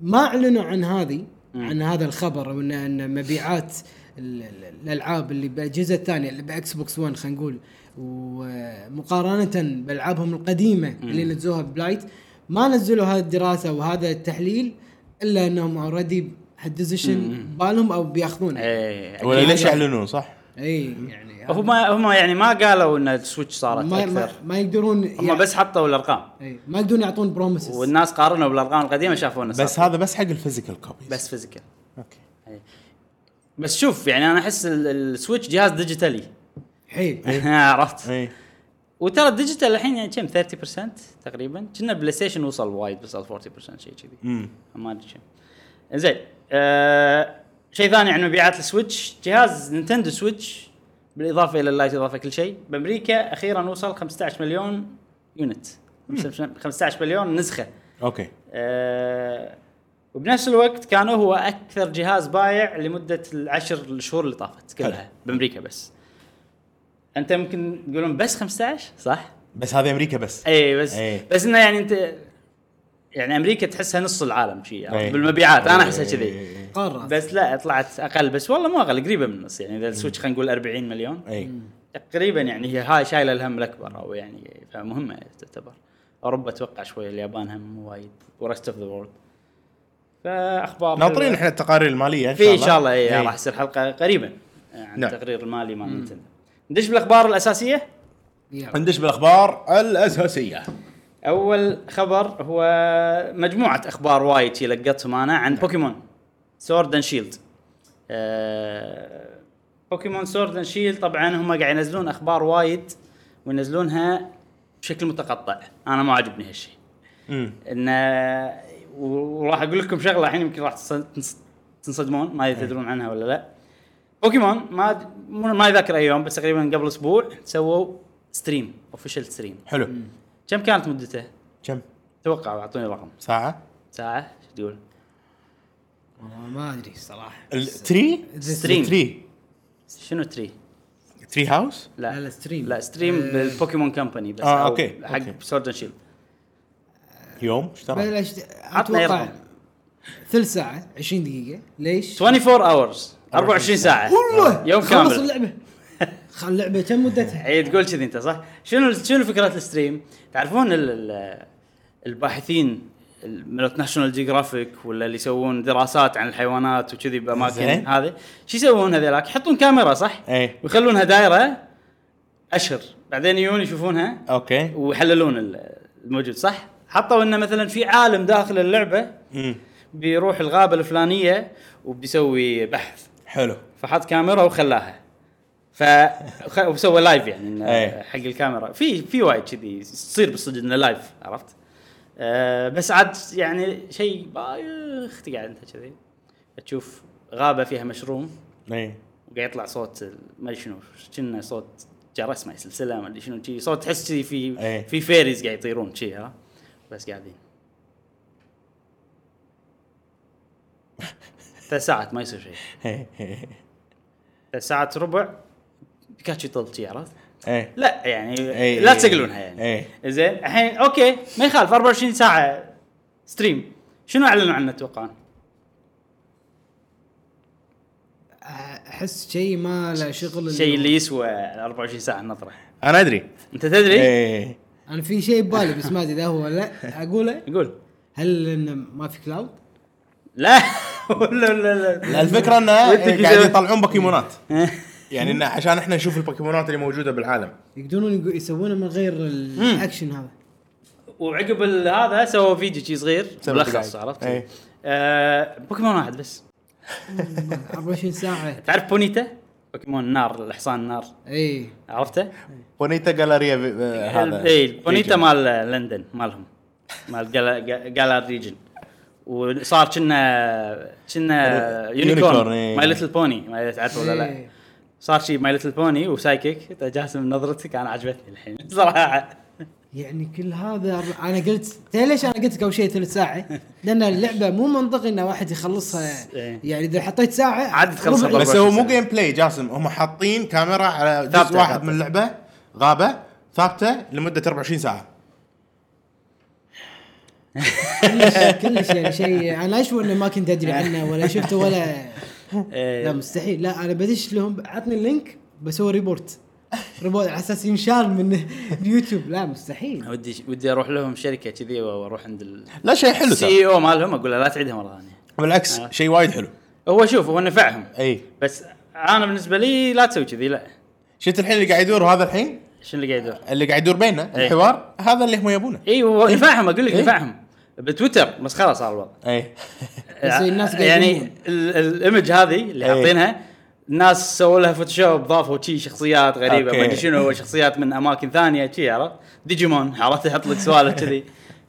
Speaker 2: ما اعلنوا عن هذه عن هذا الخبر وان ان مبيعات ال- ال- الالعاب اللي بالاجهزه الثانيه اللي باكس بوكس 1 خلينا نقول ومقارنه بالعابهم القديمه اللي نزلوها بلايت ما نزلوا هذه الدراسه وهذا التحليل الا انهم اوريدي بوزيشن بالهم او بياخذونه
Speaker 1: إيه، أكيد.
Speaker 3: ولا ليش يعني؟ يعلنون صح؟
Speaker 2: اي يعني
Speaker 1: هم هم يعني ما قالوا ان السويتش صارت
Speaker 2: ما,
Speaker 1: اكثر
Speaker 2: ما, ما يقدرون
Speaker 1: هم بس حطوا الارقام
Speaker 2: إي، ما يقدرون يعطون بروميسز
Speaker 1: والناس قارنوا بالارقام القديمه شافوا انه
Speaker 3: بس
Speaker 1: صار.
Speaker 3: هذا بس حق الفيزيكال كوبي
Speaker 1: بس فيزيكال
Speaker 3: اوكي
Speaker 1: بس شوف يعني انا احس ال- السويتش جهاز ديجيتالي
Speaker 2: حيل
Speaker 1: عرفت
Speaker 3: اي
Speaker 1: وترى الديجيتال الحين يعني كم 30% تقريبا كنا بلاي ستيشن وصل وايد بس 40% شيء كذي
Speaker 3: امم
Speaker 1: ما ادري كم زين آه شيء ثاني عن مبيعات السويتش جهاز نينتندو سويتش بالاضافه الى اللايت اضافه كل شيء بامريكا اخيرا وصل 15 مليون يونت 15 مليون نسخه
Speaker 3: اوكي
Speaker 1: آه، وبنفس الوقت كان هو اكثر جهاز بايع لمده العشر الشهور اللي طافت كلها
Speaker 3: حلو.
Speaker 1: بامريكا بس انت ممكن تقولون بس 15 صح؟
Speaker 3: بس هذه امريكا بس
Speaker 1: اي بس
Speaker 3: إي.
Speaker 1: بس انه يعني انت يعني امريكا تحسها نص العالم شيء
Speaker 3: إي.
Speaker 1: بالمبيعات انا احسها
Speaker 3: إي،
Speaker 1: كذي
Speaker 3: إي، إي.
Speaker 2: قاره
Speaker 1: بس لا طلعت اقل بس والله مو اقل قريبه من النص يعني اذا السويتش خلينا نقول 40 مليون
Speaker 3: اي
Speaker 1: تقريبا يعني هي هاي شايله الهم الاكبر او يعني فمهمه تعتبر اوروبا اتوقع شوي اليابان هم وايد ورست اوف ذا وورلد فاخبار
Speaker 3: ناطرين
Speaker 1: حلوة.
Speaker 3: احنا التقارير الماليه ان شاء
Speaker 1: في
Speaker 3: الله
Speaker 1: ان شاء الله
Speaker 3: إي.
Speaker 1: اي راح تصير حلقه قريبا عن
Speaker 3: نعم.
Speaker 1: التقرير المالي مال نينتندو ندش بالاخبار الاساسيه
Speaker 2: يلا.
Speaker 3: ندش بالاخبار الاساسيه
Speaker 1: اول خبر هو مجموعه اخبار وايد شي لقيتهم انا عن بوكيمون سورد اند شيلد آه، بوكيمون سورد اند شيلد طبعا هم قاعد ينزلون اخبار وايد وينزلونها بشكل متقطع انا ما عجبني هالشيء
Speaker 3: امم
Speaker 1: انه و- وراح اقول لكم شغله الحين يمكن راح تص- تنص- تنصدمون ما أدري تدرون عنها ولا لا بوكيمون ما أد- مو- ما يذكر اي يوم بس تقريبا قبل اسبوع سووا ستريم اوفيشال ستريم
Speaker 3: حلو
Speaker 1: كم كانت مدته؟
Speaker 3: كم
Speaker 1: توقعوا اعطوني رقم
Speaker 3: ساعه
Speaker 1: ساعه شو تقول؟
Speaker 2: والله ما ادري صراحه
Speaker 3: التري
Speaker 1: ستريم.
Speaker 3: تري
Speaker 1: شنو تري؟
Speaker 3: تري هاوس
Speaker 1: لا
Speaker 2: لا، لا، ستريم.
Speaker 1: لا ستريم
Speaker 2: آه.
Speaker 1: بالبوكيمون كمباني بس
Speaker 3: آه،
Speaker 1: أو
Speaker 3: أوكي، أوكي.
Speaker 1: حق سورد اند شيلد
Speaker 3: يوم ايش ترى
Speaker 2: بلاش
Speaker 1: عطنا أي
Speaker 2: اتوقع
Speaker 1: رقم.
Speaker 2: ثلث ساعه 20 دقيقه ليش؟
Speaker 1: 24 اورز 24 ساعه
Speaker 2: والله
Speaker 1: يوم
Speaker 2: خلص
Speaker 1: كامل
Speaker 2: اللعبه خل اللعبه كم مدتها؟
Speaker 1: اي تقول كذي انت صح؟ شنو شنو فكره الستريم؟ تعرفون ال- ال- الباحثين مالت ناشونال جيوغرافيك ولا اللي يسوون دراسات عن الحيوانات وكذي باماكن
Speaker 3: زين. إيه.
Speaker 1: هذه شو يسوون هذولاك؟ يحطون كاميرا صح؟
Speaker 3: اي
Speaker 1: ويخلونها دايره اشهر بعدين يجون يشوفونها
Speaker 3: اوكي
Speaker 1: ويحللون ال- الموجود صح؟ حطوا انه مثلا في عالم داخل اللعبه
Speaker 3: امم
Speaker 1: بيروح الغابه الفلانيه وبيسوي بحث
Speaker 3: حلو
Speaker 1: فحط كاميرا وخلاها ف خ- وسوى لايف يعني إنه
Speaker 3: إيه.
Speaker 1: حق الكاميرا في في وايد كذي تصير بالصدق انه لايف عرفت؟ أه بس عاد يعني شيء بايخ تقعد انت كذي تشوف غابه فيها مشروم
Speaker 3: اي
Speaker 1: وقاعد يطلع صوت ال- ما ادري شنو كنا صوت جرس ما سلسله ما ادري شنو شي صوت تحس شي في
Speaker 3: إيه.
Speaker 1: في فيريز قاعد يطيرون شي ها بس قاعدين ثلاث ساعات ما يصير شيء ثلاث ساعات ربع بيكاتشو يطل شي عرفت؟
Speaker 3: اي
Speaker 1: لا يعني
Speaker 3: إيه.
Speaker 1: لا تسجلونها يعني
Speaker 3: إيه.
Speaker 1: زين الحين اوكي ما يخالف 24 ساعه ستريم شنو اعلنوا عنه تتوقعون؟
Speaker 2: احس شيء ما له شغل
Speaker 1: شيء اللي يسوى 24 ساعه النظره
Speaker 3: انا ادري
Speaker 1: انت تدري؟
Speaker 3: اي
Speaker 2: انا في شيء ببالي بس ما ادري اذا هو ولا لا اقوله
Speaker 1: قول
Speaker 2: هل انه ما في كلاود؟
Speaker 1: لا ولا لا لا
Speaker 3: الفكره انه
Speaker 1: وأنت كذا-
Speaker 3: قاعد يطلعون بوكيمونات يعني انه عشان احنا نشوف البوكيمونات اللي موجوده بالعالم
Speaker 2: يقدرون يقو- يسوونه من غير الاكشن هذا
Speaker 1: وعقب ال- هذا سووا فيديو شي صغير
Speaker 3: سبع
Speaker 1: ملخص
Speaker 3: دقايق.
Speaker 1: عرفت؟
Speaker 3: إيه.
Speaker 1: آه، بوكيمون واحد بس
Speaker 2: 24 ساعه
Speaker 1: تعرف بونيتا؟ بوكيمون نار الحصان نار
Speaker 2: اي
Speaker 1: عرفته؟
Speaker 3: بونيتا جاليريا آه، هذا
Speaker 1: اي بونيتا مال لندن مالهم مال جالا ريجن وصار كنا كنا يونيكورن
Speaker 3: إيه.
Speaker 1: ماي ليتل بوني ما أدري تعرفه ولا لا
Speaker 2: إيه.
Speaker 1: صار شي ماي ليتل بوني وسايكيك انت جاسم نظرتك انا عجبتني الحين صراحه
Speaker 2: يعني كل هذا انا قلت تدري ليش انا قلت لك اول شيء ثلث ساعه؟ لان اللعبه مو منطقي ان واحد يخلصها
Speaker 1: إيه.
Speaker 2: يعني اذا حطيت ساعه
Speaker 1: عاد تخلصها
Speaker 2: ربع. يعني
Speaker 1: بالوقت.
Speaker 3: بس هو مو جيم بلاي جاسم هم حاطين كاميرا على
Speaker 1: ثابتة،
Speaker 3: جزء واحد
Speaker 1: ثابتة.
Speaker 3: من اللعبه غابه ثابته لمده 24 ساعه
Speaker 2: كلش كلش يعني شيء انا اشوف انه ما كنت ادري عنه ولا شفته ولا
Speaker 1: إيه.
Speaker 2: لا مستحيل لا انا بدش لهم عطني اللينك بسوي ريبورت ريبورت على اساس ينشال من اليوتيوب لا مستحيل
Speaker 1: ودي ودي اروح لهم شركه كذي واروح عند ال
Speaker 3: لا شيء حلو ترى
Speaker 1: سي آه. او مالهم اقول له لا تعيدها مره ثانيه
Speaker 3: بالعكس شيء وايد حلو
Speaker 1: هو شوف هو نفعهم
Speaker 3: اي
Speaker 1: بس انا بالنسبه لي لا تسوي كذي لا
Speaker 3: شفت الحين اللي قاعد يدور هذا الحين
Speaker 1: شنو اللي قاعد يدور
Speaker 3: اللي قاعد يدور بيننا
Speaker 1: إيه.
Speaker 3: الحوار هذا اللي هم يبونه
Speaker 1: اي هو نفعهم اقول لك
Speaker 3: إيه.
Speaker 1: نفعهم بتويتر مسخره صار الوضع
Speaker 3: اي
Speaker 2: بس الناس قاعدين
Speaker 1: يعني
Speaker 2: يمون.
Speaker 1: ال- الايمج هذه اللي
Speaker 3: إيه.
Speaker 1: حاطينها الناس سووا لها فوتوشوب ضافوا شي شخصيات غريبه
Speaker 3: أوكي.
Speaker 1: ما ادري شنو شخصيات من اماكن ثانيه شي عرفت ديجيمون عرفت يحط لك سوالف كذي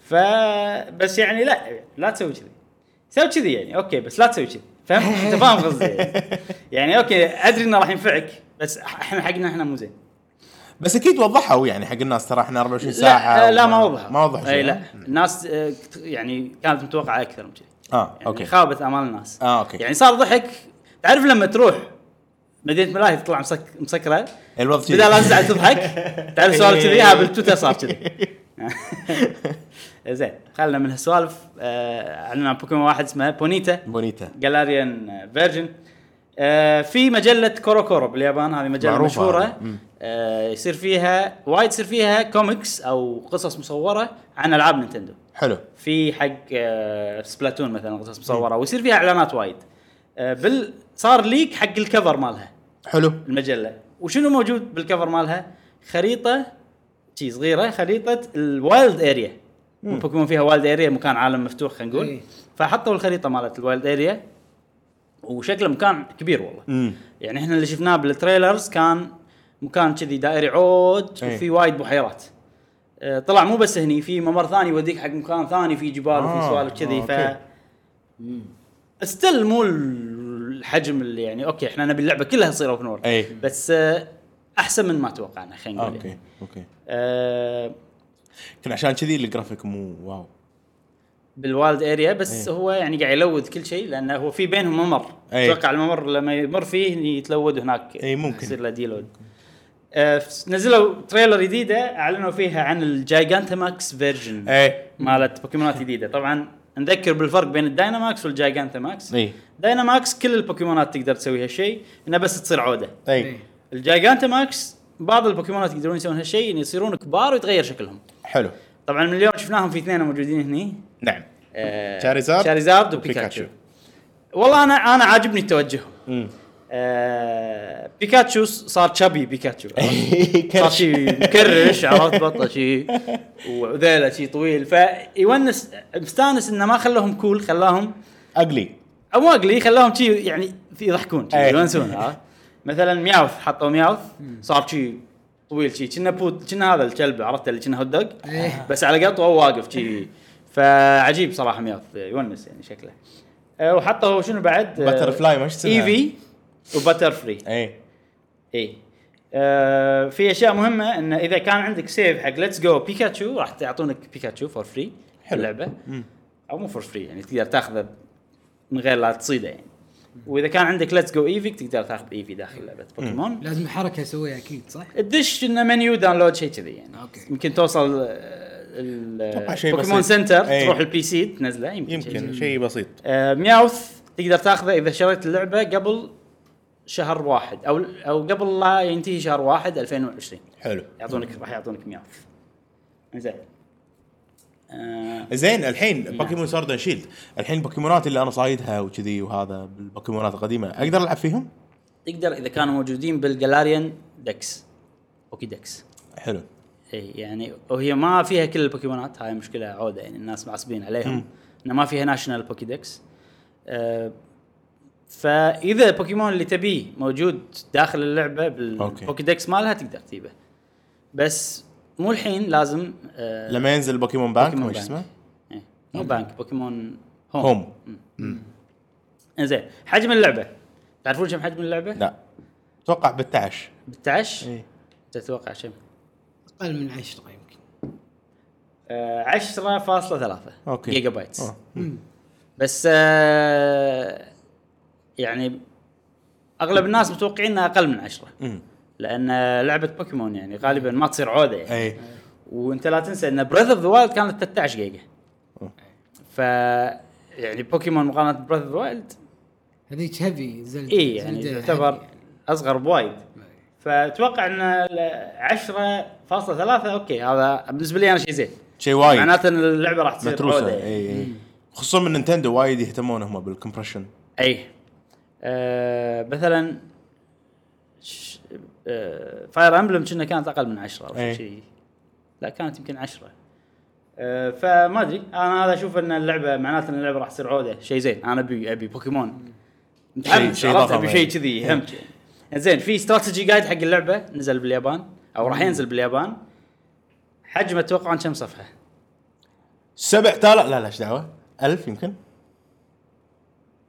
Speaker 1: ف بس يعني لا لا تسوي كذي سوي كذي يعني اوكي بس لا تسوي كذي فهمت انت فاهم قصدي يعني. يعني اوكي ادري انه راح ينفعك بس احنا حقنا احنا مو زين
Speaker 3: بس اكيد وضحوا يعني حق الناس ترى احنا 24 ساعه
Speaker 1: لا, آه، لا
Speaker 3: وما-
Speaker 1: ما وضح
Speaker 3: ما وضحوا
Speaker 1: اي
Speaker 3: شيء
Speaker 1: لا الناس آه، كت- يعني كانت متوقعه اكثر من كذي
Speaker 3: اه
Speaker 1: يعني
Speaker 3: اوكي
Speaker 1: خابت امال الناس
Speaker 3: اه اوكي
Speaker 1: يعني صار ضحك تعرف لما تروح مدينه ملاهي تطلع مسك... مسكره
Speaker 3: الوضع
Speaker 1: بدل لا تزعل تضحك تعرف سوالف كذي ها بالتويتر صار كذي زين خلنا من هالسوالف آه، عندنا بوكيمون واحد اسمه بونيتا
Speaker 3: بونيتا
Speaker 1: جالاريان فيرجن آه، في مجلة كورو كورو باليابان هذه مجلة
Speaker 3: معروفة
Speaker 1: مشهورة
Speaker 3: هذه. مم.
Speaker 1: آه، يصير فيها وايد يصير فيها كوميكس او قصص مصورة عن العاب نينتندو
Speaker 3: حلو
Speaker 1: في حق آه، سبلاتون مثلا قصص مصورة ويصير فيها اعلانات وايد آه، بال صار ليك حق الكفر مالها
Speaker 3: حلو
Speaker 1: المجلة وشنو موجود بالكفر مالها خريطة شي صغيرة خريطة الوايلد اريا بوكيمون فيها وايلد اريا مكان عالم مفتوح خلينا نقول
Speaker 2: إيه.
Speaker 1: فحطوا الخريطة مالت الوايلد اريا وشكله مكان كبير والله
Speaker 3: امم
Speaker 1: يعني احنا اللي شفناه بالتريلرز كان مكان كذي دائري عود
Speaker 3: إيه.
Speaker 1: وفي وايد بحيرات آه، طلع مو بس هني في ممر ثاني يوديك حق مكان ثاني في جبال وفي
Speaker 3: آه،
Speaker 1: سوالف
Speaker 3: آه،
Speaker 1: كذي ف
Speaker 3: أوكي.
Speaker 1: استل مو الحجم اللي يعني اوكي احنا نبي اللعبه كلها تصير اوبن وورد
Speaker 3: إيه.
Speaker 1: بس آه، احسن من ما توقعنا خلينا نقول يعني.
Speaker 3: اوكي اوكي
Speaker 1: آه
Speaker 3: يمكن عشان كذي الجرافيك مو واو
Speaker 1: بالوايلد اريا بس
Speaker 3: إيه.
Speaker 1: هو يعني قاعد يلوذ كل شيء لانه هو في بينهم ممر
Speaker 3: إيه.
Speaker 1: اتوقع الممر لما يمر فيه يتلود هناك
Speaker 3: إيه، ممكن.
Speaker 1: يصير له ديلود آه نزلوا تريلر جديده اعلنوا فيها عن الجايجانتاماكس فيرجن
Speaker 3: اي
Speaker 1: مالت بوكيمونات جديده طبعا نذكر بالفرق بين الدايناماكس والجايجانتاماكس
Speaker 3: اي
Speaker 1: دايناماكس كل البوكيمونات تقدر تسوي هالشيء انه بس تصير عوده
Speaker 3: اي
Speaker 2: إيه.
Speaker 1: الجايجانتاماكس بعض البوكيمونات يقدرون يسوون هالشيء ان يصيرون كبار ويتغير شكلهم
Speaker 3: حلو
Speaker 1: طبعا من اليوم شفناهم في اثنين موجودين هني
Speaker 3: نعم
Speaker 1: آه،
Speaker 3: شاريزارد
Speaker 1: شاريزارد
Speaker 3: وبيكاتشو.
Speaker 1: وبيكاتشو والله انا انا عاجبني توجههم
Speaker 3: مم.
Speaker 1: آه، بيكاتشو صار تشابي بيكاتشو صار شي مكرش عرفت بطه شي وذيله شي طويل فيونس مستانس انه ما خلاهم كول خلاهم
Speaker 3: اقلي
Speaker 1: او مو اقلي خلاهم شي يعني في يضحكون شي
Speaker 3: أي.
Speaker 1: يونسون
Speaker 3: آه.
Speaker 1: عرفت؟ مثلا مياوث حطوا مياوث صار شي طويل شي كنا بود كنا هذا الكلب عرفت اللي كنا هوت دوغ
Speaker 2: إيه.
Speaker 1: بس على قطوه واقف شي فعجيب صراحه مياوث يونس يعني شكله آه، وحطوا شنو بعد
Speaker 3: Butterfly، ما شو اسمها؟
Speaker 1: ايفي وبتر فري
Speaker 3: اي
Speaker 1: اي آه في اشياء مهمه انه اذا كان عندك سيف حق ليتس جو بيكاتشو راح تعطونك بيكاتشو فور فري
Speaker 3: حلو.
Speaker 1: اللعبه او مو فور فري يعني تقدر تاخذه من غير لا تصيده يعني واذا كان عندك ليتس جو ايفي تقدر تاخذ ايفي داخل لعبه بوكيمون
Speaker 2: لازم حركه اسويها اكيد صح؟
Speaker 1: تدش انه منيو داونلود شيء كذي يعني
Speaker 2: أوكي.
Speaker 1: يمكن توصل
Speaker 3: أتوقع شيء
Speaker 1: البوكيمون
Speaker 3: بسيط.
Speaker 1: سنتر
Speaker 3: أي.
Speaker 1: تروح البي سي تنزله يمكن, شيء
Speaker 3: يمكن شيء بسيط
Speaker 1: آه، مياوث تقدر تاخذه اذا شريت اللعبه قبل شهر واحد او او قبل لا ينتهي شهر واحد 2020
Speaker 3: حلو
Speaker 1: يعطونك راح يعطونك مياوث زين آه
Speaker 3: زين الحين بوكيمون سورد اند شيلد الحين البوكيمونات اللي انا صايدها وكذي وهذا البوكيمونات القديمه اقدر العب فيهم؟
Speaker 1: تقدر اذا كانوا موجودين بالجالاريان دكس اوكي دكس
Speaker 3: حلو
Speaker 1: اي يعني وهي ما فيها كل البوكيمونات هاي مشكله عوده يعني الناس معصبين عليهم انه ما فيها ناشونال بوكيدكس آه فاذا البوكيمون اللي تبيه موجود داخل اللعبه
Speaker 3: أوكي.
Speaker 1: بالبوكيدكس مالها تقدر تجيبه بس مو الحين لازم آه
Speaker 3: لما ينزل بوكيمون بانك
Speaker 1: بوكيمون
Speaker 3: ما شو اسمه؟
Speaker 1: إيه. مو بانك بوكيمون هوم
Speaker 3: هوم
Speaker 1: زين حجم اللعبه تعرفون كم حجم اللعبه؟
Speaker 3: لا إيه. اتوقع ب 11
Speaker 1: 16
Speaker 3: اي
Speaker 1: تتوقع كم؟
Speaker 2: اقل من 10 يمكن
Speaker 1: آه 10.3
Speaker 3: أوكي.
Speaker 1: جيجا بايتس
Speaker 3: أوه.
Speaker 1: بس آه يعني اغلب الناس متوقعين انها اقل من عشرة
Speaker 3: مم.
Speaker 1: لان لعبه بوكيمون يعني غالبا ما تصير عوده يعني
Speaker 3: اي
Speaker 1: وانت لا تنسى ان بريث اوف ذا وايلد كانت 13 جيجا
Speaker 3: أوه.
Speaker 1: ف يعني بوكيمون مقارنه بريث اوف ذا وايلد
Speaker 2: هذيك هيفي زلده
Speaker 1: اي يعني
Speaker 2: زلدة
Speaker 1: تعتبر
Speaker 2: heavy
Speaker 1: اصغر بوايد فاتوقع ان ال 10.3 اوكي هذا بالنسبه لي انا شيء زين
Speaker 3: شيء وايد إيه.
Speaker 1: معناته ان اللعبه راح تصير
Speaker 3: متروسه
Speaker 1: عوده يعني.
Speaker 3: اي اي خصوصا من نينتندو وايد يهتمون هم بالكمبرشن
Speaker 1: اي آه مثلا ش... آه فاير امبلم كنا كانت اقل من 10 او
Speaker 3: أي.
Speaker 1: شيء لا كانت يمكن 10 آه فما ادري انا هذا اشوف ان اللعبه معناته ان اللعبه راح تصير عوده شيء زين انا ابي ابي بوكيمون متحمس
Speaker 3: شيء
Speaker 1: عرفت
Speaker 3: ضخم، إيه.
Speaker 1: ابي
Speaker 3: أي.
Speaker 1: شيء كذي همت يعني. زين في استراتيجي جايد حق اللعبه نزل باليابان او راح ينزل باليابان حجمه اتوقع كم صفحه
Speaker 3: 7000 لا لا ايش دعوه 1000 يمكن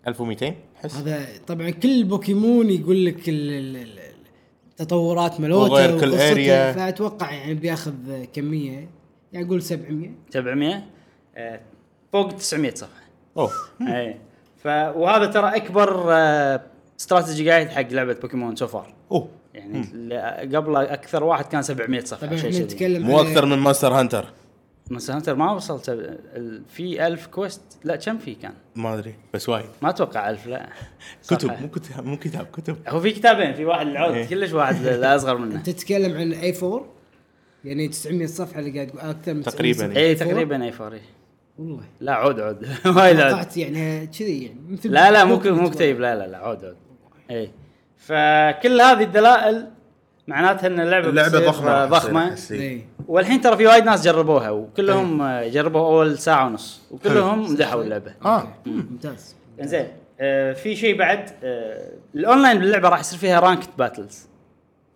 Speaker 3: 1200 احس
Speaker 2: هذا طبعا كل بوكيمون يقول لك ال- ال- ال- ال- التطورات ملوته
Speaker 3: وغير كل
Speaker 2: وقصته،
Speaker 3: area.
Speaker 2: فاتوقع يعني بياخذ كميه يعني اقول 700
Speaker 1: 700 آه فوق 900 صفحه
Speaker 3: اوه
Speaker 1: اي إيه. ف وهذا ترى اكبر آه، استراتيجي قاعد حق لعبه بوكيمون سو فار
Speaker 3: اوه
Speaker 1: يعني ل- قبل اكثر واحد كان 700 صفحه
Speaker 2: طبعا
Speaker 1: شيء
Speaker 2: احنا
Speaker 1: شذي.
Speaker 2: طيب، نتكلم
Speaker 3: مو
Speaker 2: على-
Speaker 3: اكثر من ماستر هانتر
Speaker 1: مونستر هانتر ما وصل سب... ال- في 1000 كويست لا كم في كان؟
Speaker 3: ما ادري بس وايد
Speaker 1: ما اتوقع 1000 لا
Speaker 3: كتب
Speaker 1: صفحة.
Speaker 3: مو كتاب مو كتاب كتب
Speaker 1: هو في كتابين في واحد العود
Speaker 3: إيه.
Speaker 1: كلش واحد لا اصغر منه
Speaker 2: تتكلم عن اي 4 يعني 900 صفحه اللي قاعد تقول اكثر من 900
Speaker 3: تقريباً.
Speaker 2: صفحة.
Speaker 1: اي تقريبا اي فوري
Speaker 2: والله
Speaker 1: إيه. لا عود عود وايد عود
Speaker 2: توقعت يعني كذي يعني مثل
Speaker 1: لا لا مو
Speaker 2: ممكن
Speaker 1: مو
Speaker 2: تتوقع.
Speaker 1: كتيب لا لا لا عود عود اي فكل هذه الدلائل معناتها ان اللعبه بتصير، آه، ضخمه
Speaker 2: إيه.
Speaker 1: والحين ترى في وايد ناس جربوها وكلهم آه، جربوا اول ساعه ونص وكلهم مدحوا اللعبه
Speaker 3: اه
Speaker 2: ممتاز
Speaker 1: زين آه، في شيء بعد آه، الاونلاين باللعبه راح يصير فيها رانكت باتلز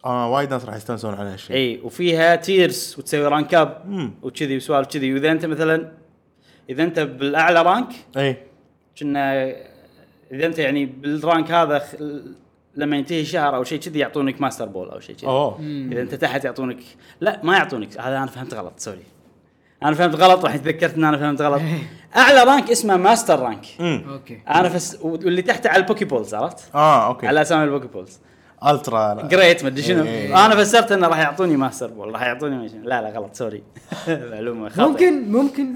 Speaker 3: اه وايد ناس راح يستانسون على هالشيء
Speaker 1: اي وفيها تيرز وتسوي رانك اب
Speaker 3: مم.
Speaker 1: وكذي وسوالف كذي واذا انت مثلا اذا انت بالاعلى رانك
Speaker 3: اي
Speaker 1: كنا اذا انت يعني بالرانك هذا خ... لما ينتهي شهر او شيء كذي يعطونك ماستر بول او شيء كذي
Speaker 3: اوه
Speaker 1: اذا انت تحت يعطونك لا ما يعطونك هذا انا فهمت غلط سوري انا فهمت غلط راح تذكرت ان انا فهمت غلط
Speaker 2: إيه.
Speaker 1: اعلى رانك اسمه ماستر رانك
Speaker 3: امم
Speaker 2: اوكي
Speaker 1: انا فس... واللي تحته على البوكي بولز عرفت؟
Speaker 3: اه اوكي
Speaker 1: على اسامي البوكي بولز
Speaker 3: الترا
Speaker 1: جريت مدري شنو
Speaker 3: إيه.
Speaker 1: انا فسرت انه راح يعطوني ماستر بول راح يعطوني ما شنو. لا لا غلط سوري معلومه خاطئه
Speaker 2: ممكن ممكن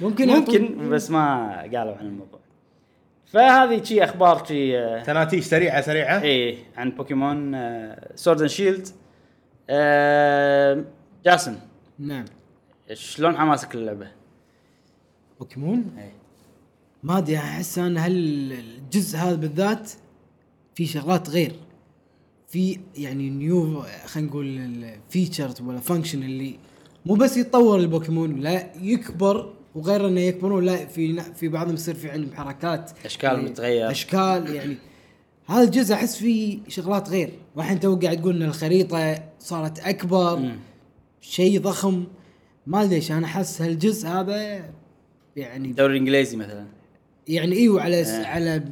Speaker 2: ممكن يعطون-
Speaker 1: ممكن بس ما قالوا عن الموضوع فهذه شي اخبار شي آه،
Speaker 3: تناتيش سريعه سريعه
Speaker 1: ايه عن بوكيمون آه، سورد اند شيلد جاسم
Speaker 2: نعم
Speaker 1: آه، شلون حماسك للعبه؟
Speaker 2: بوكيمون
Speaker 1: إيه.
Speaker 2: ما ادري احس انا هل الجزء هذا بالذات في شغلات غير في يعني نيو خلينا نقول الفيتشرز ولا فانكشن اللي مو بس يتطور البوكيمون لا يكبر وغير انه يكبرون لا في نا- في بعضهم يصير في عندهم حركات
Speaker 1: أشكال
Speaker 2: يعني
Speaker 1: متغير.
Speaker 2: اشكال يعني هذا الجزء احس فيه شغلات غير والحين تو قاعد تقول ان الخريطه صارت اكبر شيء ضخم ما ادري ليش انا احس هالجزء هذا يعني
Speaker 1: الدوري الانجليزي مثلا
Speaker 2: يعني ايوه على س... على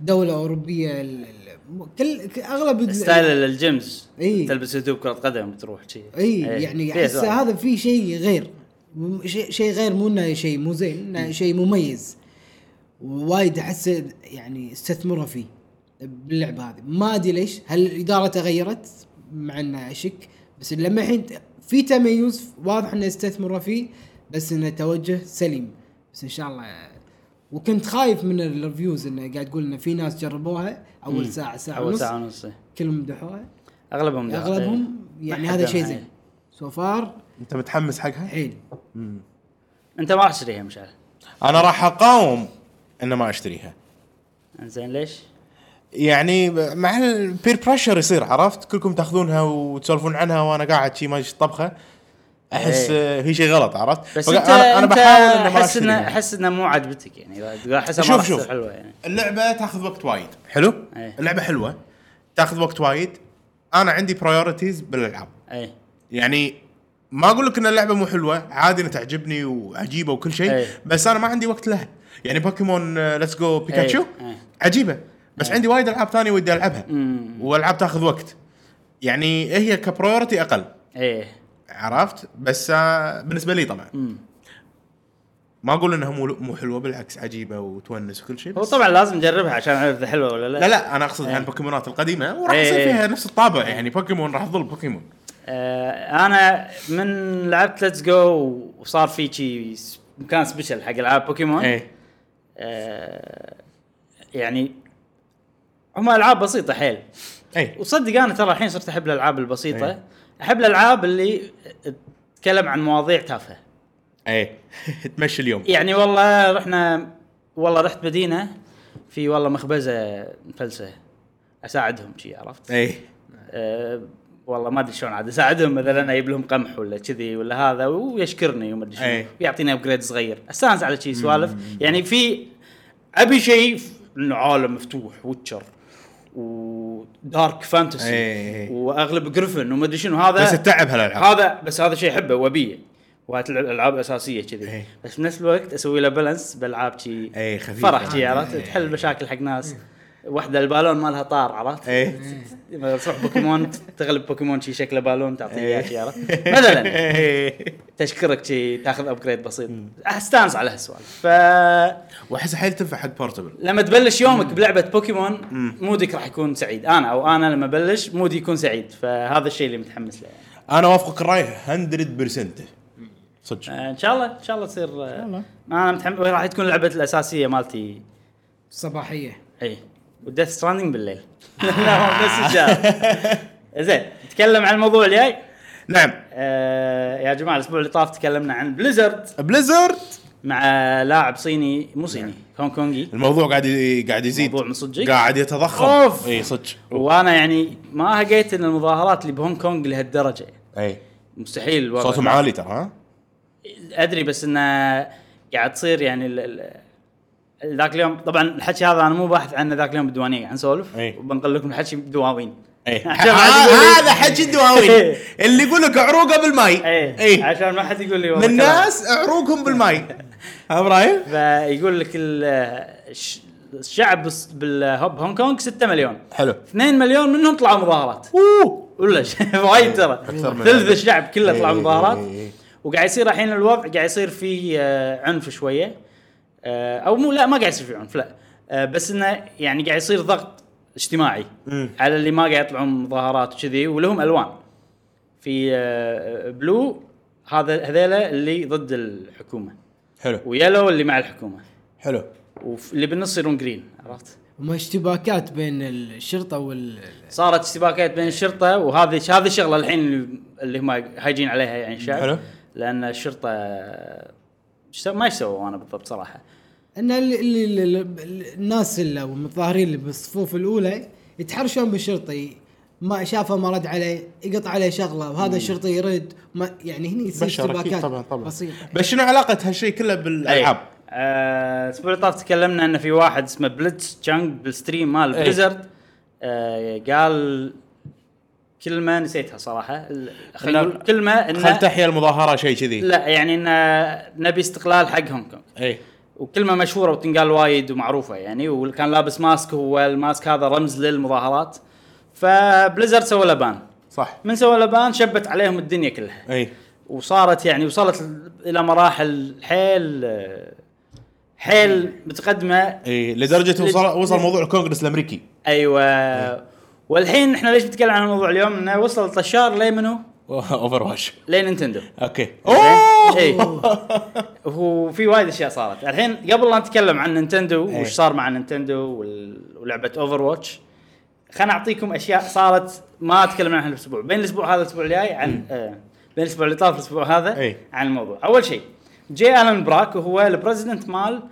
Speaker 2: دوله اوروبيه ال... ال... كل ك- اغلب ال-
Speaker 1: ستايل الجيمز
Speaker 2: إي.
Speaker 1: تلبس هدوم كره قدم تروح شي
Speaker 2: اي يعني
Speaker 1: إيه، فيها
Speaker 2: احس
Speaker 1: سوالف.
Speaker 2: هذا في شيء غير م- شيء شيء غير مو انه شيء مو زين انه شيء مميز وايد احس يعني استثمروا فيه باللعبه هذه ما ادري ليش هل الاداره تغيرت مع انه اشك بس لما الحين ت- في تميز واضح انه استثمروا فيه بس انه توجه سليم بس ان شاء الله وكنت خايف من الريفيوز انه قاعد تقول انه في ناس جربوها اول ساعه ساعه
Speaker 1: اول
Speaker 2: ونص
Speaker 1: ساعه ونص إي.
Speaker 2: كلهم مدحوها
Speaker 1: اغلبهم لا.
Speaker 2: اغلبهم يعني
Speaker 1: ما حد
Speaker 2: هذا شيء
Speaker 1: معي.
Speaker 2: زين سو فار
Speaker 3: انت متحمس حقها؟
Speaker 2: حيل
Speaker 1: انت ما راح تشتريها مشعل
Speaker 3: انا راح اقاوم ان ما اشتريها
Speaker 1: زين ليش؟
Speaker 3: يعني ب- مع البير بريشر يصير عرفت كلكم تاخذونها وتسولفون عنها وانا قاعد شي ما طبخه احس
Speaker 1: إيه.
Speaker 3: آه، في شيء غلط عرفت
Speaker 1: بس
Speaker 3: فق-
Speaker 1: انت
Speaker 3: انا انا
Speaker 1: انت
Speaker 3: بحاول ان ما
Speaker 1: احس انه
Speaker 3: اشتريها
Speaker 1: احس انه مو عاجبتك يعني إذا احسها ما
Speaker 3: شوف
Speaker 1: راح تصير
Speaker 3: شوف.
Speaker 1: حلوه يعني
Speaker 3: اللعبه تاخذ وقت وايد حلو
Speaker 1: إيه.
Speaker 3: اللعبه حلوه تاخذ وقت وايد انا عندي برايورتيز بالالعاب
Speaker 1: اي
Speaker 3: يعني ما اقول لك ان اللعبه مو حلوه عادي انها تعجبني وعجيبه وكل شيء
Speaker 1: إيه.
Speaker 3: بس انا ما عندي وقت لها يعني بوكيمون ليتس جو بيكاتشو
Speaker 1: إيه.
Speaker 3: عجيبه بس عندي وايد العاب ثانيه ودي العبها
Speaker 1: أمم.
Speaker 3: والعاب تاخذ وقت يعني هي كبرايورتي اقل
Speaker 1: اي
Speaker 3: عرفت بس آه، بالنسبه لي طبعا ما اقول انها مو مو حلوه بالعكس عجيبه وتونس وكل شيء
Speaker 1: هو
Speaker 3: بس
Speaker 1: طبعا لازم نجربها عشان اعرف اذا حلوه ولا لا
Speaker 3: لا لا انا اقصد عن بوكيمونات القديمه وراح يصير
Speaker 1: إيه.
Speaker 3: فيها نفس الطابع يعني بوكيمون راح تظل بوكيمون
Speaker 1: آه انا من لعبت ليتس جو وصار في شي س- مكان سبيشل حق العاب بوكيمون
Speaker 3: ايه
Speaker 1: آه يعني هم العاب بسيطه حيل
Speaker 3: ايه
Speaker 1: وصدق انا ترى الحين صرت احب الالعاب البسيطه
Speaker 3: إيه.
Speaker 1: احب الالعاب اللي تتكلم عن مواضيع تافهه
Speaker 3: ايه تمشي اليوم
Speaker 1: يعني والله رحنا والله رحت مدينه في والله مخبزه مفلسه اساعدهم شي عرفت
Speaker 3: ايه
Speaker 1: أه والله ما ادري شلون عاد اساعدهم مثلا اجيب لهم قمح ولا كذي ولا هذا ويشكرني وما ادري شنو
Speaker 3: أي.
Speaker 1: ويعطيني ابجريد صغير استانس على شي سوالف يعني في ابي شيء ف- انه عالم مفتوح ويتشر ودارك
Speaker 3: أي،
Speaker 1: فانتسي
Speaker 3: أي.
Speaker 1: واغلب جريفن وما ادري شنو هذا
Speaker 3: إيه، بس تتعب هالالعاب
Speaker 1: هذا بس هذا شيء احبه وابيه وهات الالعاب اساسيه كذي
Speaker 3: إيه.
Speaker 1: بس بنفس الوقت اسوي له بالانس بالعاب شي
Speaker 3: إيه، خفيفة.
Speaker 1: فرح شي عرفت
Speaker 3: إيه.
Speaker 1: تحل مشاكل حق ناس واحده البالون مالها طار عرفت
Speaker 3: ايه
Speaker 1: لما تروح بوكيمون تغلب بوكيمون شي شكله بالون تعطيه اياه شي عرفت مثلا
Speaker 3: مثلا
Speaker 1: تشكرك شي تاخذ ابجريد بسيط استانس على هالسوالف ف
Speaker 3: واحس حيل تنفع حق بورتبل
Speaker 1: لما تبلش يومك بلعبه بوكيمون مودك راح يكون سعيد انا او انا لما بلش مودي يكون سعيد فهذا الشيء اللي متحمس له يعني.
Speaker 3: انا وافقك الراي 100% صدق
Speaker 1: آه، ان شاء الله ان شاء الله تصير آه، انا متحمس راح تكون لعبه الاساسيه مالتي
Speaker 2: صباحيه
Speaker 1: اي وديث ستراندنج بالليل لا هو بس ان شاء الله زين نتكلم عن الموضوع الجاي
Speaker 3: نعم
Speaker 1: آه يا جماعه الاسبوع اللي طاف تكلمنا عن بليزرد
Speaker 3: بليزرد
Speaker 1: مع لاعب صيني مو
Speaker 3: نعم.
Speaker 1: صيني هونغ كونغي
Speaker 3: الموضوع قاعد ي- قاعد يزيد
Speaker 1: الموضوع من صدقك؟
Speaker 3: قاعد يتضخم
Speaker 1: أوف.
Speaker 3: اي صدق
Speaker 1: وانا يعني ما هقيت ان المظاهرات اللي بهونغ كونغ لهالدرجه
Speaker 3: اي
Speaker 1: مستحيل الوضع.
Speaker 3: صوتهم عالي إيه. ترى ها
Speaker 1: ادري بس انه قاعد تصير يعني ال- ال- ذاك اليوم طبعا الحكي هذا انا مو باحث عنه ذاك اليوم بالديوانيه قاعد نسولف
Speaker 3: إي.
Speaker 1: وبنقل لكم الحكي بدواوين
Speaker 3: اي
Speaker 1: عشان ما حد يقول لي-
Speaker 3: إيه. هذا حكي الدواوين اللي يقول لك عروقه بالماي إيه.
Speaker 1: اي عشان ما حد يقول لي والله
Speaker 3: من ناس عروقهم بالماي ها ابراهيم
Speaker 1: كلام. فيقول لك ال- الش- الشعب بس- بالهوب هونغ كونغ 6 مليون
Speaker 3: حلو
Speaker 1: 2 مليون منهم طلعوا مظاهرات
Speaker 3: اوه
Speaker 1: ولا شيء وايد ترى
Speaker 3: إيه، أكثر من
Speaker 1: ثلث
Speaker 3: هذا. إيه،
Speaker 1: الشعب كله طلع
Speaker 3: إي،
Speaker 1: مظاهرات
Speaker 3: إي، إي، إي.
Speaker 1: وقاعد يصير الحين الوضع قاعد يصير فيه آه، عنف شويه آه، او مو لا ما قاعد يصير فيه عنف لا آه، بس انه يعني قاعد يصير ضغط اجتماعي
Speaker 3: مم.
Speaker 1: على اللي ما قاعد يطلعون مظاهرات وكذي ولهم الوان في آه، بلو هذا هذيلا اللي ضد الحكومه
Speaker 3: حلو
Speaker 1: ويلو اللي مع الحكومه
Speaker 3: حلو
Speaker 1: واللي بالنص يصيرون جرين عرفت؟
Speaker 2: وما اشتباكات بين الشرطه وال
Speaker 1: صارت اشتباكات بين الشرطه وهذه هذه الشغله الحين اللي- اللي هم هايجين عليها يعني الشعب
Speaker 3: حلو.
Speaker 1: لان الشرطه إيش سو- ما ايش سووا انا بالضبط صراحه
Speaker 2: ان اللي اللي اللي اللي- الناس اللي أو المتظاهرين اللي بالصفوف الاولى يتحرشون بالشرطي ما شافه ما رد عليه يقطع عليه شغله وهذا الشرطي يرد ما يعني هني يصير
Speaker 3: بشر أكيد،
Speaker 2: اشتباكات
Speaker 3: طبعا طبعا
Speaker 2: بسيطه
Speaker 3: بس شنو علاقه هالشيء كله بالالعاب؟
Speaker 1: آه، الاسبوع اللي طاف تكلمنا ان في واحد اسمه بلتس تشانج بالستريم مال
Speaker 3: أي.
Speaker 1: بليزرد آه قال كلمه نسيتها صراحه ال- خلينا
Speaker 3: إنه-
Speaker 1: نقول كلمه
Speaker 3: خل
Speaker 1: انه
Speaker 3: تحيا المظاهره شيء كذي
Speaker 1: لا يعني ان نبي استقلال حق هونغ كونغ
Speaker 3: اي
Speaker 1: وكلمه مشهوره وتنقال وايد ومعروفه يعني وكان لابس ماسك هو الماسك هذا رمز للمظاهرات فبليزرد سوى له بان
Speaker 3: صح
Speaker 1: من سوى له بان شبت عليهم الدنيا كلها
Speaker 3: اي
Speaker 1: وصارت يعني وصلت الى مراحل حيل حيل متقدمه
Speaker 3: اي لدرجه إيه. وصل وصل موضوع الكونغرس الامريكي
Speaker 1: ايوه والحين احنا ليش بنتكلم عن الموضوع اليوم انه وصل الطشار لمنو؟
Speaker 3: اوفر واتش
Speaker 1: لنينتندو
Speaker 3: اوكي
Speaker 1: إيه.
Speaker 3: اوه
Speaker 1: وفي وايد اشياء صارت الحين قبل لا نتكلم عن نينتندو
Speaker 3: إيه.
Speaker 1: وش صار مع نينتندو وال- ولعبه اوفر واتش خليني اعطيكم اشياء صارت ما تكلمنا عنها الاسبوع بين الاسبوع هذا الاسبوع الجاي عن آه بين الاسبوع اللي طاف الاسبوع هذا
Speaker 3: إيه.
Speaker 1: عن الموضوع اول شيء جي الان براك وهو البريزدنت مال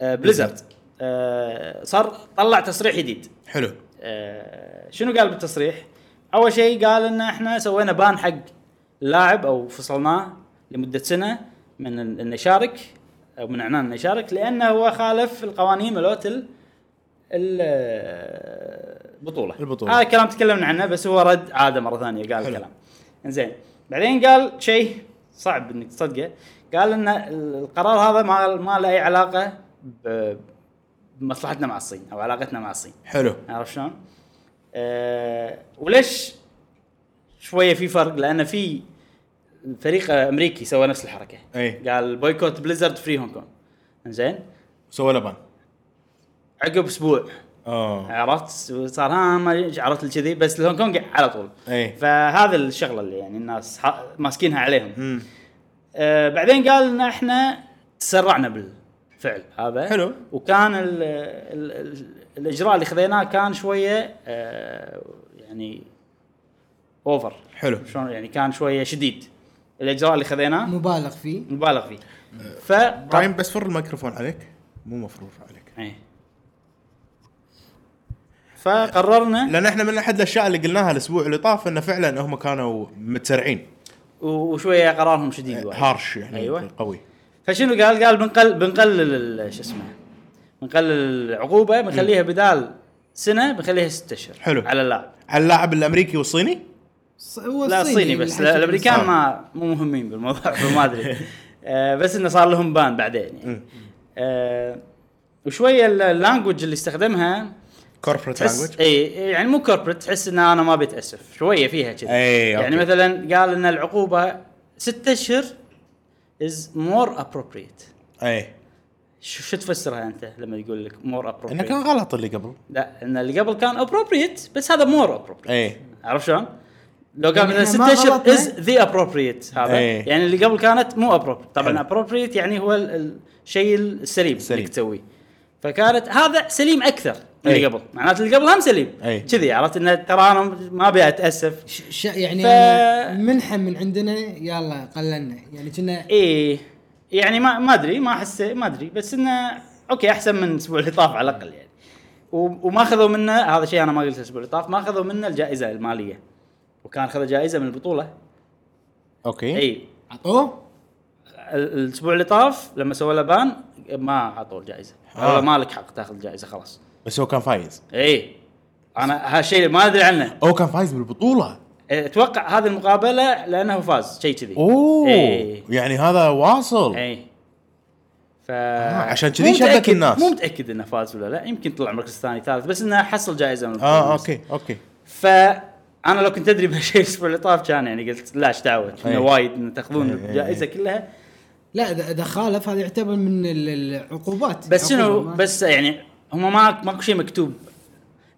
Speaker 1: آه بليزرد آه صار طلع تصريح جديد
Speaker 3: حلو
Speaker 1: آه، شنو قال بالتصريح؟ اول شيء قال ان احنا سوينا بان حق اللاعب او فصلناه لمده سنه من ال- انه يشارك او من اعلان انه يشارك لانه هو خالف القوانين مالت ال- ال- آه، البطوله
Speaker 3: البطولة.
Speaker 1: هذا كلام تكلمنا عنه بس هو رد عاده مره ثانيه قال
Speaker 3: حلو.
Speaker 1: الكلام انزين بعدين قال شيء صعب انك تصدقه قال ان ال- القرار هذا ما ما له اي علاقه ب- بمصلحتنا مع الصين او علاقتنا مع الصين
Speaker 3: حلو
Speaker 1: عرفت شلون؟ أه وليش شويه في فرق لان في فريق امريكي سوى نفس الحركه
Speaker 3: إيه.
Speaker 1: قال بويكوت بليزرد فري هونغ كونغ زين
Speaker 3: سوى لبن
Speaker 1: عقب اسبوع
Speaker 3: اه
Speaker 1: عرفت صار ها ما عرفت كذي بس الهونغ كونغ على طول
Speaker 3: اي
Speaker 1: فهذا الشغله اللي يعني الناس ح- ماسكينها عليهم
Speaker 3: أمم.
Speaker 1: أه بعدين قال ان احنا تسرعنا بالفعل هذا
Speaker 3: حلو.
Speaker 1: وكان ال ال ال الاجراء اللي خذيناه كان شويه أه يعني اوفر
Speaker 3: حلو
Speaker 1: شلون يعني كان شويه شديد الاجراء اللي خذيناه
Speaker 2: مبالغ فيه
Speaker 1: مبالغ فيه ف
Speaker 3: برايم بس فر الميكروفون عليك مو مفروض عليك
Speaker 1: إيه. فقررنا
Speaker 3: لان احنا من احد الاشياء اللي قلناها الاسبوع اللي طاف انه فعلا هم كانوا متسرعين
Speaker 1: و- وشويه قرارهم شديد وايد.
Speaker 3: هارش يعني
Speaker 1: أيوة.
Speaker 3: أيوة. قوي
Speaker 1: فشنو قال؟ قال بنقل بنقلل ال- شو اسمه بنقلل العقوبه بنخليها بدال سنه بنخليها ستة اشهر
Speaker 3: حلو.
Speaker 1: على اللاعب
Speaker 3: على اللاعب الامريكي والصيني
Speaker 2: ص- هو
Speaker 1: لا صيني بس لا، الامريكان
Speaker 3: صار.
Speaker 1: ما مو مهمين بالموضوع فما ادري آه، بس انه صار لهم بان بعدين يعني آه، وشويه ال- اللانجوج اللي استخدمها
Speaker 3: كوربريت
Speaker 1: تحس
Speaker 3: لانجوج
Speaker 1: اي يعني مو كوربريت تحس ان انا ما بتاسف شويه فيها كذا
Speaker 3: إي،
Speaker 1: يعني
Speaker 3: أوكي.
Speaker 1: مثلا قال ان العقوبه ستة اشهر از مور ابروبريت
Speaker 3: اي
Speaker 1: شو شو تفسرها انت لما يقول لك مور
Speaker 3: انه
Speaker 1: ابروبريت؟
Speaker 3: كان غلط اللي قبل
Speaker 1: لا ان اللي قبل كان ابروبريت بس هذا مور ابروبريت
Speaker 3: اي
Speaker 1: عرفت شلون؟ لو قال
Speaker 2: يعني
Speaker 1: مثلا
Speaker 2: إحنا ما إيه؟
Speaker 1: ستة اشهر
Speaker 2: غلطنا.
Speaker 1: از ذا ابروبريت هذا
Speaker 3: إيه.
Speaker 1: يعني اللي قبل كانت مو ابروبريت طبعا
Speaker 3: حلو.
Speaker 1: ابروبريت يعني هو ال- ال- الشيء السليم
Speaker 3: سليم.
Speaker 1: انك تسويه فكانت هذا سليم اكثر من اللي
Speaker 3: إيه.
Speaker 1: قبل معناته اللي قبل هم سليم
Speaker 3: إيه.
Speaker 1: كذي عرفت انه ترى انا ما ابي اتاسف
Speaker 2: ش- ش- يعني
Speaker 1: ف-
Speaker 2: ف... منحة من عندنا يلا قللنا يعني كنا
Speaker 1: ايه يعني ما ما ادري ما احس ما ادري بس انه اوكي احسن من الاسبوع اللي طاف على الاقل يعني و- وما اخذوا منه هذا شيء انا ما قلت الاسبوع اللي طاف ما اخذوا منه الجائزه الماليه وكان خذ جائزه من البطوله
Speaker 3: اوكي
Speaker 1: اي
Speaker 2: عطوه
Speaker 1: ال- الاسبوع اللي طاف لما سوى له بان ما اعطوه الجائزه
Speaker 3: آه.
Speaker 1: آه. ما لك حق تاخذ الجائزه خلاص
Speaker 3: بس هو كان فايز
Speaker 1: اي انا هالشيء ما ادري عنه
Speaker 3: هو كان فايز بالبطوله
Speaker 1: إيه. اتوقع هذه المقابله لانه فاز شيء كذي إيه.
Speaker 3: اوه
Speaker 1: اي
Speaker 3: يعني هذا واصل
Speaker 1: اي ف
Speaker 3: آه، عشان كذي
Speaker 1: مو
Speaker 3: شدت
Speaker 1: متأكد-
Speaker 3: الناس.
Speaker 1: مو متاكد انه فاز ولا لا يمكن طلع مركز ثاني ثالث بس انه حصل جائزه من
Speaker 3: اه
Speaker 1: البطولة.
Speaker 3: اوكي اوكي
Speaker 1: فانا لو كنت ادري بهالشيء الاسبوع اللي طاف كان يعني قلت لا ايش دعوه
Speaker 3: أي.
Speaker 1: إنه وايد انه تاخذون
Speaker 3: أي، أي، أي.
Speaker 1: الجائزه كلها
Speaker 2: لا اذا إذا خالف هذا يعتبر من ال- العقوبات
Speaker 1: بس شنو
Speaker 2: عقوبة، ما-
Speaker 1: بس يعني هم ما ماكو شيء مكتوب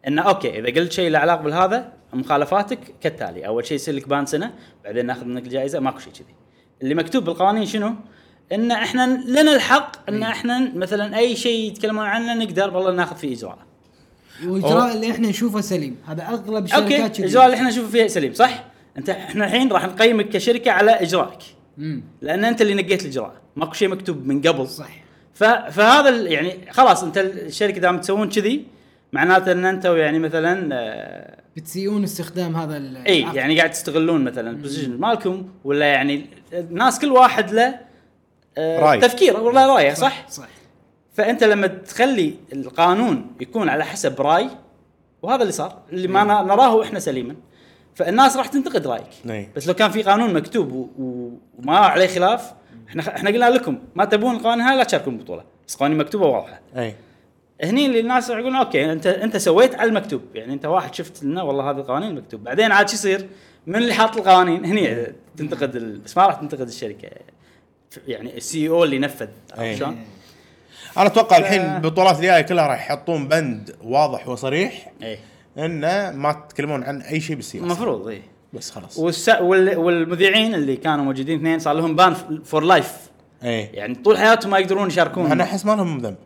Speaker 1: انه اوكي اذا قلت شيء له علاقه بالهذا مخالفاتك كالتالي اول شيء يصير لك بان سنه بعدين ناخذ منك الجائزه ماكو شيء كذي اللي مكتوب بالقوانين شنو؟ ان احنا لنا الحق ان احنا مثلا اي شيء يتكلمون عنه نقدر والله ناخذ فيه اجراء.
Speaker 3: أوه.
Speaker 2: واجراء اللي احنا نشوفه سليم هذا اغلب
Speaker 1: اوكي
Speaker 2: الشركات
Speaker 1: الاجراء اللي احنا نشوفه فيه سليم صح؟ انت احنا الحين راح نقيمك كشركه على اجرائك
Speaker 2: امم
Speaker 1: لان انت اللي نقيت الاجراء ماكو شيء مكتوب من قبل
Speaker 2: صح
Speaker 1: ف- فهذا ال- يعني خلاص انت الشركه دام تسوون كذي معناته ان انتم يعني مثلا آه،
Speaker 2: بتسيئون استخدام هذا ال-
Speaker 1: اي
Speaker 2: العقد.
Speaker 1: يعني قاعد تستغلون مثلا البوزيشن مالكم ولا يعني الناس كل واحد له آه،
Speaker 3: رأي.
Speaker 1: تفكير ولا رايه صح؟
Speaker 2: صح
Speaker 1: فانت لما تخلي القانون يكون على حسب راي وهذا اللي صار اللي ما نا- نراه احنا سليما فالناس راح تنتقد رايك
Speaker 3: إي.
Speaker 1: بس لو كان في قانون مكتوب و- و- وما عليه خلاف احنا احنا قلنا لكم ما تبون القوانين هاي لا تشاركون البطوله بس قوانين مكتوبه واضحه
Speaker 3: اي
Speaker 1: هني اللي الناس راح يقولون اوكي انت انت سويت على المكتوب يعني انت واحد شفت لنا والله هذه القوانين مكتوب بعدين عاد شو يصير من اللي حاط القوانين هني تنتقد ال... بس ما راح تنتقد الشركه يعني السي او اللي نفذ
Speaker 3: إي.
Speaker 1: عرفت شلون؟
Speaker 3: انا اتوقع
Speaker 1: ف-
Speaker 3: الحين البطولات الجايه كلها راح يحطون بند واضح وصريح
Speaker 1: ايه
Speaker 3: انه ما تتكلمون عن اي شيء بالسياسه
Speaker 1: المفروض ايه
Speaker 3: بس خلاص
Speaker 1: والس... وال... والمذيعين اللي كانوا موجودين اثنين صار لهم بان فور لايف
Speaker 3: اي
Speaker 1: يعني طول حياتهم ما يقدرون يشاركون
Speaker 3: انا احس إيه. ما لهم ذنب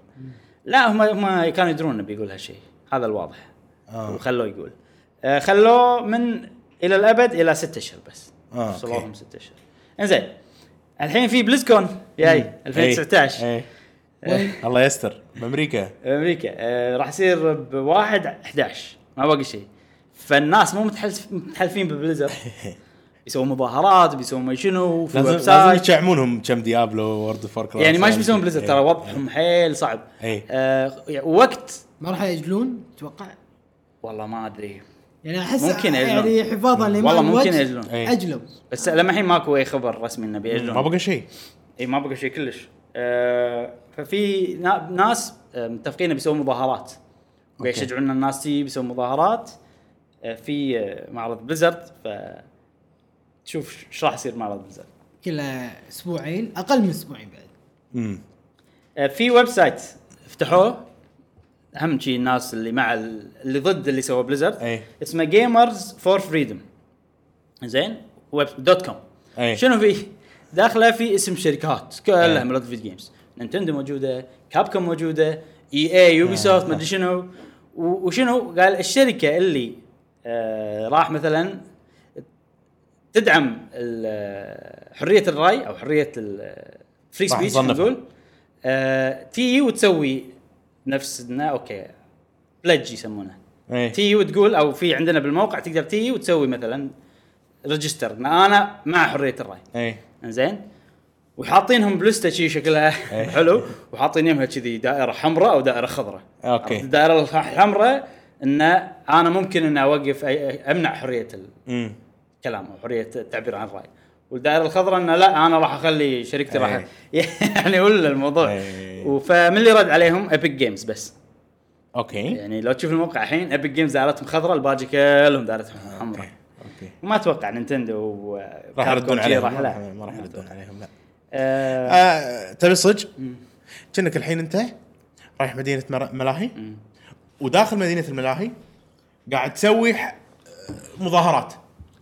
Speaker 1: لا هم هم كانوا يدرون انه بيقول هالشيء هذا الواضح
Speaker 3: آه.
Speaker 1: وخلوه يقول آه خلوه من الى الابد الى ستة اشهر بس
Speaker 3: آه،
Speaker 1: وصلوا
Speaker 3: أوكي.
Speaker 1: لهم ستة اشهر انزين الحين في بلزكون جاي
Speaker 3: إيه.
Speaker 1: إيه. 2019
Speaker 3: اي
Speaker 2: وين؟
Speaker 3: إيه. الله يستر بامريكا
Speaker 1: امريكا آه، راح يصير ب 1 11 ما باقي شيء فالناس مو متحلف متحلفين ببليزر يسوون مظاهرات بيسوون ما شنو في
Speaker 3: لازم
Speaker 1: ويب
Speaker 3: لازم
Speaker 1: سايت
Speaker 3: يشعمونهم كم ديابلو وورد اوف فور
Speaker 1: يعني ما ايش بيسوون بليزر ترى وضعهم حيل صعب
Speaker 3: إيه.
Speaker 1: آه يعني وقت
Speaker 2: ما راح ياجلون تتوقع؟
Speaker 1: والله ما ادري
Speaker 2: يعني احس
Speaker 1: ممكن يأجلون.
Speaker 2: يعني حفاظا لما
Speaker 1: والله ممكن يأجلون.
Speaker 3: إيه.
Speaker 2: اجلوا
Speaker 1: بس لما الحين ماكو اي خبر رسمي انه بيأجلون
Speaker 3: ما بقى شيء
Speaker 1: اي ما بقى شيء كلش آه ففي نا- ناس آه، متفقين بيسوون مظاهرات بيشجعون الناس تي بيسوون مظاهرات آه في آه، معرض بليزرد ف تشوف ايش راح يصير معرض بليزرد
Speaker 2: كلها اسبوعين اقل من اسبوعين بعد
Speaker 3: امم
Speaker 1: آه في ويب سايت فتحوه اهم شيء الناس اللي مع ال- اللي ضد اللي سووا بليزرد
Speaker 3: أي.
Speaker 1: اسمه جيمرز فور فريدم زين ويب دوت كوم
Speaker 3: أي.
Speaker 1: شنو فيه؟ داخله في اسم شركات كلها
Speaker 3: أي.
Speaker 1: ملوت فيديو جيمز نينتندو موجوده كابكوم موجوده E اي اي يوبي سوفت مدري شنو و- وشنو قال الشركه اللي آه راح مثلا تدعم ال- حريه الراي او حريه الفري
Speaker 3: راح
Speaker 1: سبيتش
Speaker 3: نصنفها.
Speaker 1: نقول آه تيجي وتسوي نفس إنه اوكي بلج يسمونه
Speaker 3: اي
Speaker 1: تيجي وتقول او في عندنا بالموقع تقدر تيجي وتسوي مثلا ريجستر ان انا مع حريه الراي
Speaker 3: اي
Speaker 1: انزين وحاطينهم بلسته شي شكلها
Speaker 3: إيه.
Speaker 1: حلو وحاطين يمها كذي دائره حمراء او دائره خضراء
Speaker 3: أوكي.
Speaker 1: عرفت؟ الدائره الحمراء ان انا ممكن ان اوقف أي- امنع حريه
Speaker 3: امم
Speaker 1: الكلام او حريه التعبير عن الراي والدائره الخضراء انه لا انا راح اخلي شركتي راح
Speaker 3: إيه.
Speaker 1: يعني ولا الموضوع
Speaker 3: أي.
Speaker 1: و- فمن اللي رد عليهم ابيك جيمز بس
Speaker 3: اوكي
Speaker 1: يعني لو تشوف الموقع الحين ابيك جيمز دائرتهم خضراء الباقي كلهم دائرتهم حمراء
Speaker 3: اوكي
Speaker 1: وما اتوقع نينتندو و
Speaker 3: إيه. راح يردون عليهم
Speaker 1: راح لا
Speaker 3: ما راح يردون عليهم لا
Speaker 1: آه،
Speaker 3: آه، تبي صدق؟ كأنك الحين انت رايح مدينه مر- ملاهي وداخل مدينه الملاهي قاعد تسوي ح- مظاهرات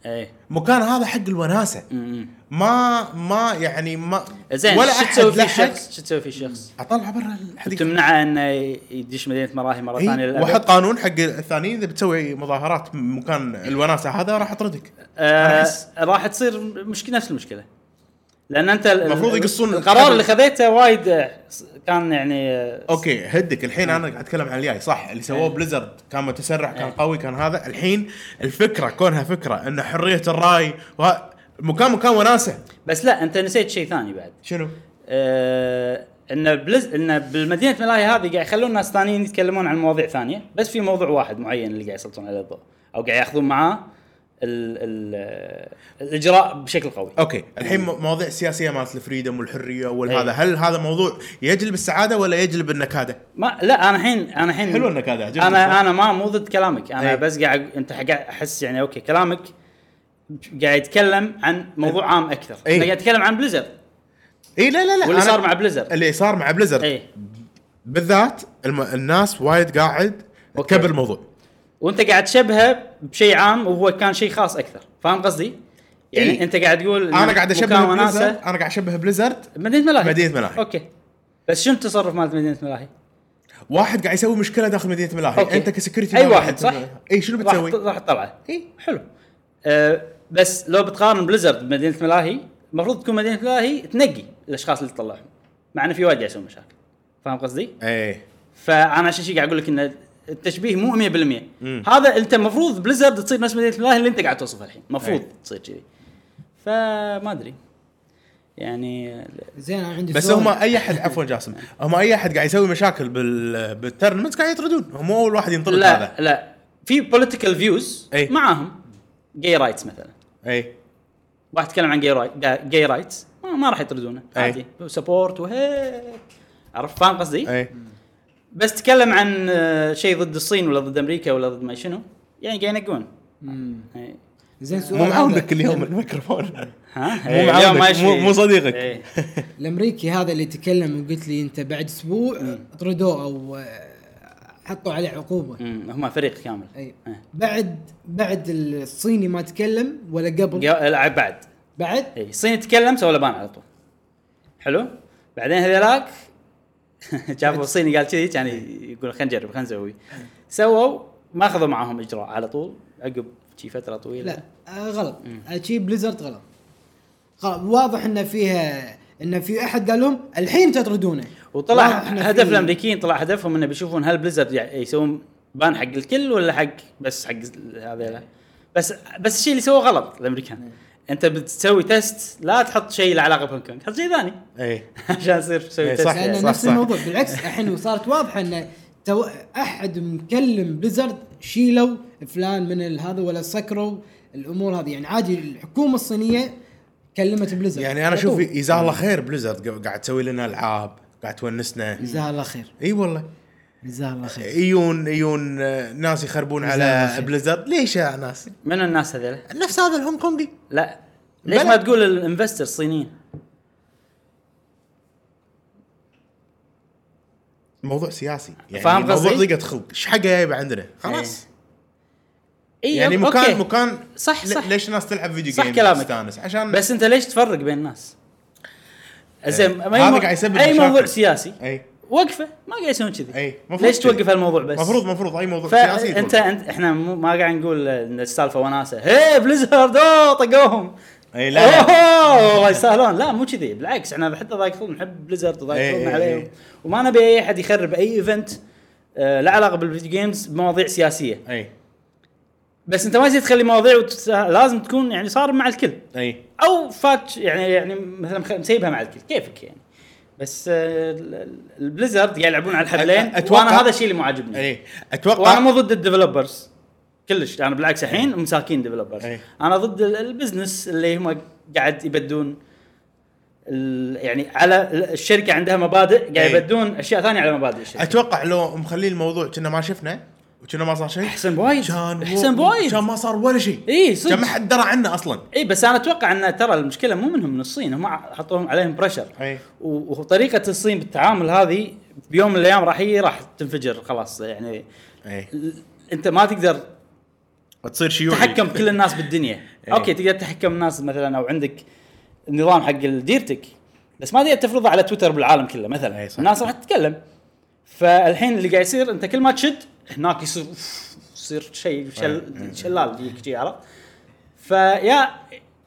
Speaker 1: ايه
Speaker 3: مكان هذا حق الوناسه
Speaker 1: أمم.
Speaker 3: ما ما يعني ما
Speaker 1: زين
Speaker 3: ولا
Speaker 1: شو تسوي
Speaker 3: احد
Speaker 1: في
Speaker 3: لحق
Speaker 1: شخص شو تسوي في شخص
Speaker 3: اطلع برا الحديقه
Speaker 1: تمنعه انه يدش مدينه مراهي مره ثانيه
Speaker 3: إيه،
Speaker 1: للأبد؟
Speaker 3: واحط قانون حق الثانيين اذا بتسوي مظاهرات مكان الوناسه هذا راح اطردك
Speaker 1: آه،
Speaker 3: أحس-
Speaker 1: راح تصير مشكله نفس المشكله لان انت ال-
Speaker 3: المفروض
Speaker 1: ال-
Speaker 3: يقصون
Speaker 1: القرار
Speaker 3: قبل-
Speaker 1: اللي خذيته وايد آه، كان يعني آه،
Speaker 3: اوكي هدك الحين انا قاعد اتكلم عن الجاي صح اللي سووه
Speaker 1: إيه.
Speaker 3: بليزرد كان متسرع كان
Speaker 1: إيه.
Speaker 3: قوي كان هذا الحين الفكره كونها فكره ان حريه الراي وه... مكان مكان وناسه
Speaker 1: بس لا انت نسيت شيء ثاني بعد
Speaker 3: شنو؟
Speaker 1: آه، ان بلز ان بالمدينه ملاهي هذه قاعد يخلون ناس ثانيين يتكلمون عن مواضيع ثانيه بس في موضوع واحد معين اللي قاعد يسلطون عليه الضوء او قاعد ياخذون معاه ال ال آه، الاجراء بشكل قوي
Speaker 3: اوكي الحين
Speaker 1: إيه.
Speaker 3: م- مواضيع السياسيه مالت الفريدم والحريه والهذا هل هذا موضوع يجلب السعاده ولا يجلب النكاده؟
Speaker 1: ما لا انا الحين انا الحين
Speaker 3: حلو النكاده عجبني
Speaker 1: انا انا ما مو ضد كلامك انا
Speaker 3: إيه.
Speaker 1: بس قاعد انت قاعد احس يعني اوكي كلامك قاعد يتكلم عن موضوع عام اكثر
Speaker 3: إيه.
Speaker 1: انا قاعد اتكلم عن بليزر
Speaker 3: اي لا لا لا
Speaker 1: واللي
Speaker 3: أنا-
Speaker 1: صار مع إيه. بليزر
Speaker 3: اللي صار مع بليزرد
Speaker 1: اي
Speaker 3: بالذات الم... الناس وايد قاعد
Speaker 1: أوكي.
Speaker 3: تكبر الموضوع
Speaker 1: وانت قاعد تشبهه بشيء عام وهو كان شيء خاص اكثر فاهم قصدي؟ يعني
Speaker 3: إيه.
Speaker 1: انت قاعد تقول
Speaker 3: انا قاعد اشبه
Speaker 1: مكان
Speaker 3: بليزرد
Speaker 1: وناسة.
Speaker 3: انا قاعد اشبه بليزرد
Speaker 1: مدينه ملاهي
Speaker 3: مدينة ملاهي.
Speaker 1: اوكي بس شنو التصرف مالت مدينه ملاهي؟
Speaker 3: واحد قاعد يسوي مشكله داخل مدينه ملاهي
Speaker 1: أوكي.
Speaker 3: انت كسكيورتي
Speaker 1: أي
Speaker 3: مالك
Speaker 1: واحد،
Speaker 3: أنت-
Speaker 1: صح؟
Speaker 3: اي شنو
Speaker 1: راح
Speaker 3: بتسوي؟
Speaker 1: راح تطلعه
Speaker 3: اي
Speaker 1: حلو أه بس لو بتقارن بليزرد بمدينه ملاهي المفروض تكون مدينه ملاهي تنقي الاشخاص اللي تطلعهم مع انه في وايد قاعد يسوون مشاكل فاهم قصدي؟
Speaker 3: ايه
Speaker 1: فانا عشان شي قاعد اقول لك ان التشبيه مو 100% هذا انت المفروض بليزرد تصير نفس مدينه الله اللي انت قاعد توصفها الحين المفروض
Speaker 3: أي.
Speaker 1: تصير كذي فما ادري يعني
Speaker 2: زين انا عندي
Speaker 3: بس
Speaker 2: سؤال.
Speaker 3: هم اي احد عفوا جاسم هم اي احد قاعد يسوي مشاكل بال بالترنمنت قاعد يطردون هم مو اول واحد ينطرد
Speaker 1: لا
Speaker 3: هذا
Speaker 1: لا في بوليتيكال فيوز
Speaker 3: أي.
Speaker 1: معاهم جاي رايتس مثلا
Speaker 3: اي
Speaker 1: راح يتكلم عن جاي رايت جاي رايتس ما, ما راح يطردونه
Speaker 3: أي.
Speaker 1: عادي سبورت وهي عرفت فاهم قصدي؟
Speaker 3: اي
Speaker 1: بس تكلم عن آه، شيء ضد الصين ولا ضد امريكا ولا ضد ما شنو يعني قاعد ينقون
Speaker 2: مم.
Speaker 1: أي.
Speaker 2: زين سؤال
Speaker 3: مو
Speaker 2: هذا.
Speaker 3: معاونك اليوم الميكروفون
Speaker 1: ها
Speaker 3: مو
Speaker 1: إيه،
Speaker 3: معاونك،
Speaker 1: اليوم ما
Speaker 3: مو-
Speaker 1: يشفي.
Speaker 3: مو صديقك.
Speaker 1: إيه.
Speaker 2: الامريكي هذا اللي تكلم وقلت لي انت بعد اسبوع طردوه او آه، حطوا عليه عقوبه
Speaker 1: أمم، هم فريق كامل
Speaker 2: اي
Speaker 1: إيه.
Speaker 2: بعد بعد الصيني ما تكلم ولا قبل
Speaker 1: جا- لعب بعد
Speaker 2: بعد
Speaker 1: اي الصين يتكلم سوى له بان على طول حلو بعدين هذولاك جابوا الصيني قال كذي كان يقول خلينا نجرب خلينا نسوي سووا ما اخذوا معاهم اجراء على طول عقب شي فتره
Speaker 3: إيه.
Speaker 1: طويله
Speaker 2: لا آه غلط آه، شي بليزرد غلط غلط واضح ان فيها ان في احد قال لهم الحين تطردونه
Speaker 1: وطلع
Speaker 2: واضح إن
Speaker 1: هدف
Speaker 2: في-
Speaker 1: الامريكيين طلع هدفهم انه بيشوفون هل بليزرد يعني يسوون بان حق الكل ولا حق بس حق هذيلا بس بس الشيء اللي سووه غلط الامريكان انت بتسوي تيست لا تحط شيء له علاقه بهونج كونج حط شيء ثاني
Speaker 3: اي
Speaker 1: عشان يصير تسوي
Speaker 3: إيه،
Speaker 1: تيست
Speaker 3: صح.
Speaker 1: يعني.
Speaker 2: لان
Speaker 3: صح،
Speaker 2: نفس
Speaker 3: صح.
Speaker 2: الموضوع بالعكس الحين صارت واضحه ان تو... احد مكلم بليزرد شيلوا فلان من ال- هذا ولا سكروا الامور هذه يعني عادي الحكومه الصينيه كلمت بليزرد
Speaker 3: يعني انا اشوف جزاه الله خير بليزرد قا- قاعد تسوي لنا العاب قاعد تونسنا
Speaker 2: جزاها الله خير
Speaker 3: اي والله
Speaker 2: جزاها الله خير
Speaker 3: يجون يجون آه، ناس يخربون
Speaker 2: جزاه
Speaker 3: على
Speaker 2: الله خير.
Speaker 3: بليزرد ليش يا ناس؟
Speaker 1: من الناس هذيلا
Speaker 3: نفس هذا الهونغ كونغي
Speaker 1: لا ليش
Speaker 3: بلى.
Speaker 1: ما تقول الانفستر الصينيين
Speaker 3: موضوع سياسي يعني
Speaker 1: فاهم
Speaker 3: موضوع
Speaker 1: قصدي؟
Speaker 3: ضيقه خلق ايش حقه جايبه عندنا خلاص
Speaker 1: اي
Speaker 3: يعني
Speaker 1: أوك-
Speaker 3: مكان
Speaker 1: إيه، أوكي.
Speaker 3: مكان
Speaker 1: صح،
Speaker 3: لي-
Speaker 1: صح.
Speaker 3: ليش الناس تلعب فيديو
Speaker 1: صح
Speaker 3: جيم
Speaker 1: كلامك.
Speaker 3: تستانس عشان
Speaker 1: بس انت ليش تفرق بين الناس؟ زين
Speaker 3: إيه.
Speaker 1: ما
Speaker 3: هذا
Speaker 1: يمو-
Speaker 3: قاعد يسبب
Speaker 1: اي
Speaker 3: مشاكل.
Speaker 1: موضوع سياسي
Speaker 3: اي
Speaker 1: وقفه ما قاعد يسوون كذي
Speaker 3: اي مفروض
Speaker 1: ليش
Speaker 3: كذي.
Speaker 1: توقف هالموضوع بس؟
Speaker 3: مفروض مفروض اي موضوع سياسي
Speaker 1: فانت انت احنا مو ما قاعد نقول ان السالفه وناسه هي بليزرد اوه طقوهم
Speaker 3: اي لا لا
Speaker 1: اوه الله يسهلون لا مو كذي بالعكس احنا حتى ضايق خلق نحب بليزرد وضايق
Speaker 3: إيه،
Speaker 1: خلقنا
Speaker 3: إيه،
Speaker 1: عليهم
Speaker 3: إيه.
Speaker 1: وما نبي اي احد يخرب اي ايفنت آه، له علاقه بالفيديو جيمز بمواضيع سياسيه
Speaker 3: اي
Speaker 1: بس انت ما يصير تخلي مواضيع وتس- لازم تكون يعني صارم مع الكل
Speaker 3: اي
Speaker 1: او فات يعني يعني مثلا مخ- مسيبها مع الكل كيفك يعني بس آه، ال- ال- البليزرد قاعد يلعبون على الحبلين
Speaker 3: أ- أ- أتوقع- إيه،
Speaker 1: وانا هذا الشيء اللي مو عاجبني
Speaker 3: اي
Speaker 1: وانا مو
Speaker 3: اتوقع
Speaker 1: ضد الديفلوبرز كلش انا بالعكس الحين مساكين ديفلوبرز
Speaker 3: إيه.
Speaker 1: انا ضد ال- البزنس اللي هم قاعد يبدون ال- يعني على ال- الشركه عندها مبادئ قاعد
Speaker 3: إيه.
Speaker 1: يبدون اشياء ثانيه على مبادئ الشركه
Speaker 3: اتوقع لو مخلين الموضوع كنا ما شفنا وكنا ما صار شيء
Speaker 1: احسن بوايد
Speaker 3: كان
Speaker 1: احسن بوايد
Speaker 3: كان ما صار ولا شيء
Speaker 1: اي إيه، صدق
Speaker 3: كان ما حد درى عنه اصلا
Speaker 1: اي بس انا اتوقع ان ترى المشكله مو منهم من الصين هم حطوهم عليهم بريشر
Speaker 3: أي.
Speaker 1: و- وطريقه الصين بالتعامل هذه بيوم من الايام راح هي راح تنفجر خلاص يعني
Speaker 3: اي
Speaker 1: ال- انت ما تقدر
Speaker 3: تصير شيوعي
Speaker 1: تحكم كل الناس بالدنيا
Speaker 3: إيه.
Speaker 1: اوكي تقدر تحكم الناس مثلا او عندك النظام حق ديرتك بس ما تقدر تفرضه على تويتر بالعالم كله مثلا
Speaker 3: إي إيه، صح.
Speaker 1: الناس راح تتكلم فالحين اللي قاعد يصير انت كل ما تشد هناك يصير أوف، يصير شيء شل
Speaker 3: إيه،
Speaker 1: شلال يجيك شي، عرفت فيا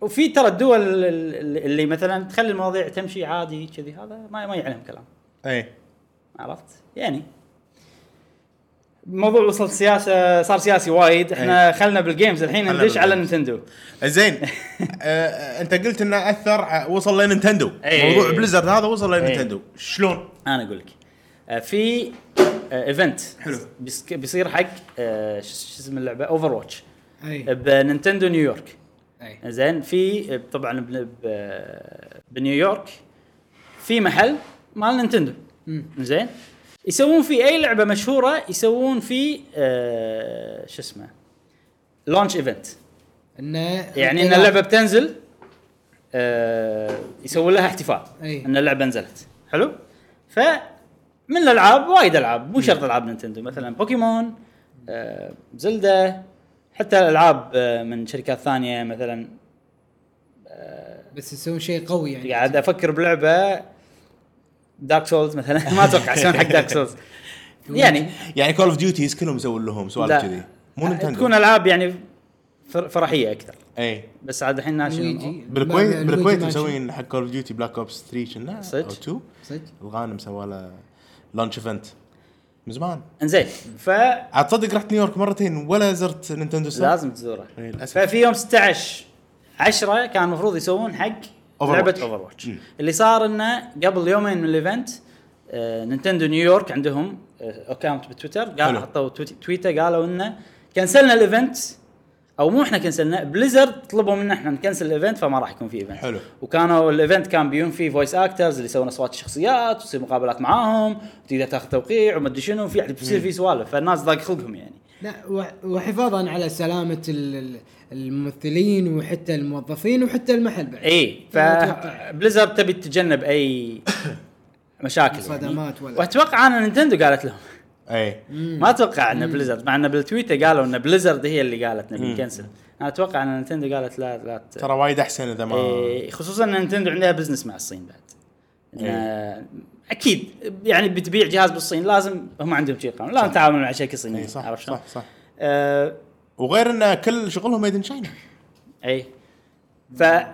Speaker 1: وفي ترى الدول ال- ال- اللي مثلا تخلي المواضيع تمشي عادي كذي هذا ما ما يعلم كلام
Speaker 3: اي
Speaker 1: عرفت يعني الموضوع وصل سياسه صار سياسي وايد احنا خلنا بالجيمز الحين
Speaker 3: إيه. خلنا
Speaker 1: ندش على
Speaker 3: بالجيمز.
Speaker 1: نينتندو
Speaker 3: زين آه، انت قلت انه اثر ع- وصل لنينتندو
Speaker 1: أي.
Speaker 3: موضوع بليزرد هذا وصل
Speaker 1: أي.
Speaker 3: لنينتندو شلون؟
Speaker 1: انا اقول لك آه، في آه، ايفنت
Speaker 3: حلو.
Speaker 1: بيس- بيصير حق آه، شو شو اسم اللعبه اوفر واتش
Speaker 2: اي
Speaker 1: بنينتندو نيويورك
Speaker 2: اي
Speaker 1: زين في طبعا بن- ب- بنيويورك في محل مال نينتندو
Speaker 2: مم.
Speaker 1: زين يسوون فيه اي لعبه مشهوره يسوون فيه آه، شو اسمه لونش ايفنت
Speaker 2: انه
Speaker 1: يعني
Speaker 2: نعم.
Speaker 1: ان اللعبه بتنزل آه يسوون لها احتفال
Speaker 2: أي.
Speaker 1: ان اللعبه نزلت حلو ف من الالعاب وايد العاب مو شرط العاب نينتندو مثلا بوكيمون آه زلدا حتى الالعاب آه من شركات ثانيه مثلا
Speaker 2: بس يسوون شيء قوي يعني
Speaker 1: قاعد افكر بلعبه دارك سولز مثلا ما اتوقع يسوون حق دارك سولز يعني
Speaker 3: يعني كول اوف ديوتيز كلهم يسوون لهم
Speaker 1: لا.
Speaker 3: سوالف كذي مو نينتندو
Speaker 1: تكون العاب يعني فر- فرحيه اكثر
Speaker 3: اي
Speaker 1: بس عاد الحين ناشونال
Speaker 2: لويجي-
Speaker 3: بالكويت
Speaker 2: لويجي
Speaker 3: بالكويت
Speaker 2: مانشن.
Speaker 3: مسوين حق كول اوف ديوتي بلاك اوبس 3 كنا او
Speaker 1: صدق؟
Speaker 3: 2
Speaker 2: صدق
Speaker 3: الغانم سوى له لانش ايفنت من زمان
Speaker 1: انزين ف
Speaker 3: عاد تصدق رحت نيويورك مرتين ولا زرت نينتندو ستور
Speaker 1: لازم تزوره
Speaker 3: إيه، للأسف.
Speaker 1: ففي يوم 16 10 كان المفروض يسوون حق
Speaker 3: Overwatch.
Speaker 1: لعبه اوفر واتش اللي صار انه قبل يومين من الايفنت آه، نينتندو نيويورك عندهم آه، اكونت بتويتر
Speaker 3: حلو.
Speaker 1: قالوا حطوا تويت- تويتر قالوا انه كنسلنا الايفنت او مو احنا كنسلنا بليزرد طلبوا منا احنا نكنسل الايفنت فما راح يكون في ايفنت
Speaker 3: حلو.
Speaker 1: وكانوا الايفنت كان بيون فيه فويس اكترز اللي يسوون اصوات الشخصيات وتصير مقابلات معاهم وتقدر تاخذ توقيع ومدري شنو في بيصير في سوالف فالناس ضاق خلقهم يعني
Speaker 2: لا وح- وحفاظا على سلامه ال- ال- الممثلين وحتى الموظفين وحتى المحل بعد
Speaker 1: اي ف
Speaker 2: أنا أتوقع.
Speaker 1: بليزرد تبي تتجنب اي مشاكل يعني.
Speaker 2: صدمات ولا-
Speaker 1: واتوقع انا نينتندو قالت لهم
Speaker 3: اي
Speaker 1: ما اتوقع ان بليزرد مع ان بالتويتر قالوا ان بليزرد هي اللي قالت نبي نكنسل انا اتوقع ان نينتندو قالت لا لا ت...
Speaker 3: ترى وايد احسن اذا ما
Speaker 1: إيه، خصوصا ان نينتندو عندها بزنس مع الصين بعد إن- اكيد يعني بتبيع جهاز بالصين لازم هم عندهم شيء قانون لازم تعامل مع شركه صينيه
Speaker 3: إيه، صح
Speaker 1: عرفت شلون؟
Speaker 3: صح صح
Speaker 1: آه،
Speaker 3: وغير ان كل شغلهم ميد ان شاينا
Speaker 1: اي فتقدر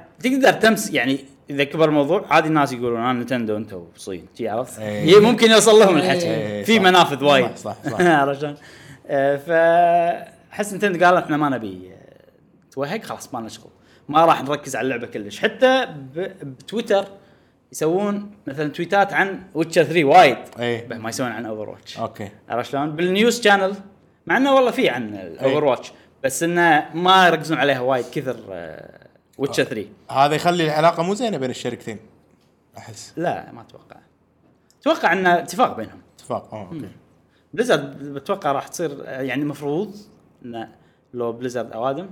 Speaker 1: إيه. تمس يعني اذا كبر الموضوع عادي الناس يقولون انا نتندو انتم الصين شي عرفت؟
Speaker 3: إي.
Speaker 1: هي ممكن يوصل لهم الحكي
Speaker 3: إي،
Speaker 1: في
Speaker 3: إيه. صح.
Speaker 1: منافذ وايد
Speaker 3: صح، صح.
Speaker 1: عرفت شلون؟ آه، فاحس نتندو قالوا احنا ما نبي آه، توهق خلاص ما لنا شغل ما راح نركز على اللعبه كلش حتى ب- بتويتر يسوون مثلا تويتات عن ويتشر 3 وايد
Speaker 3: إي.
Speaker 1: بعد ما يسوون عن اوفر واتش
Speaker 3: اوكي
Speaker 1: عرفت شلون؟ بالنيوز شانل مع انه والله في عن الاوفر واتش بس انه ما يركزون عليها وايد كثر آه، ويتشر 3
Speaker 3: هذا يخلي العلاقه مو زينه بين الشركتين احس
Speaker 1: لا ما اتوقع اتوقع ان اتفاق بينهم
Speaker 3: اتفاق اه اوكي
Speaker 1: بليزرد بتوقع راح تصير آه، يعني المفروض انه لو بليزرد اوادم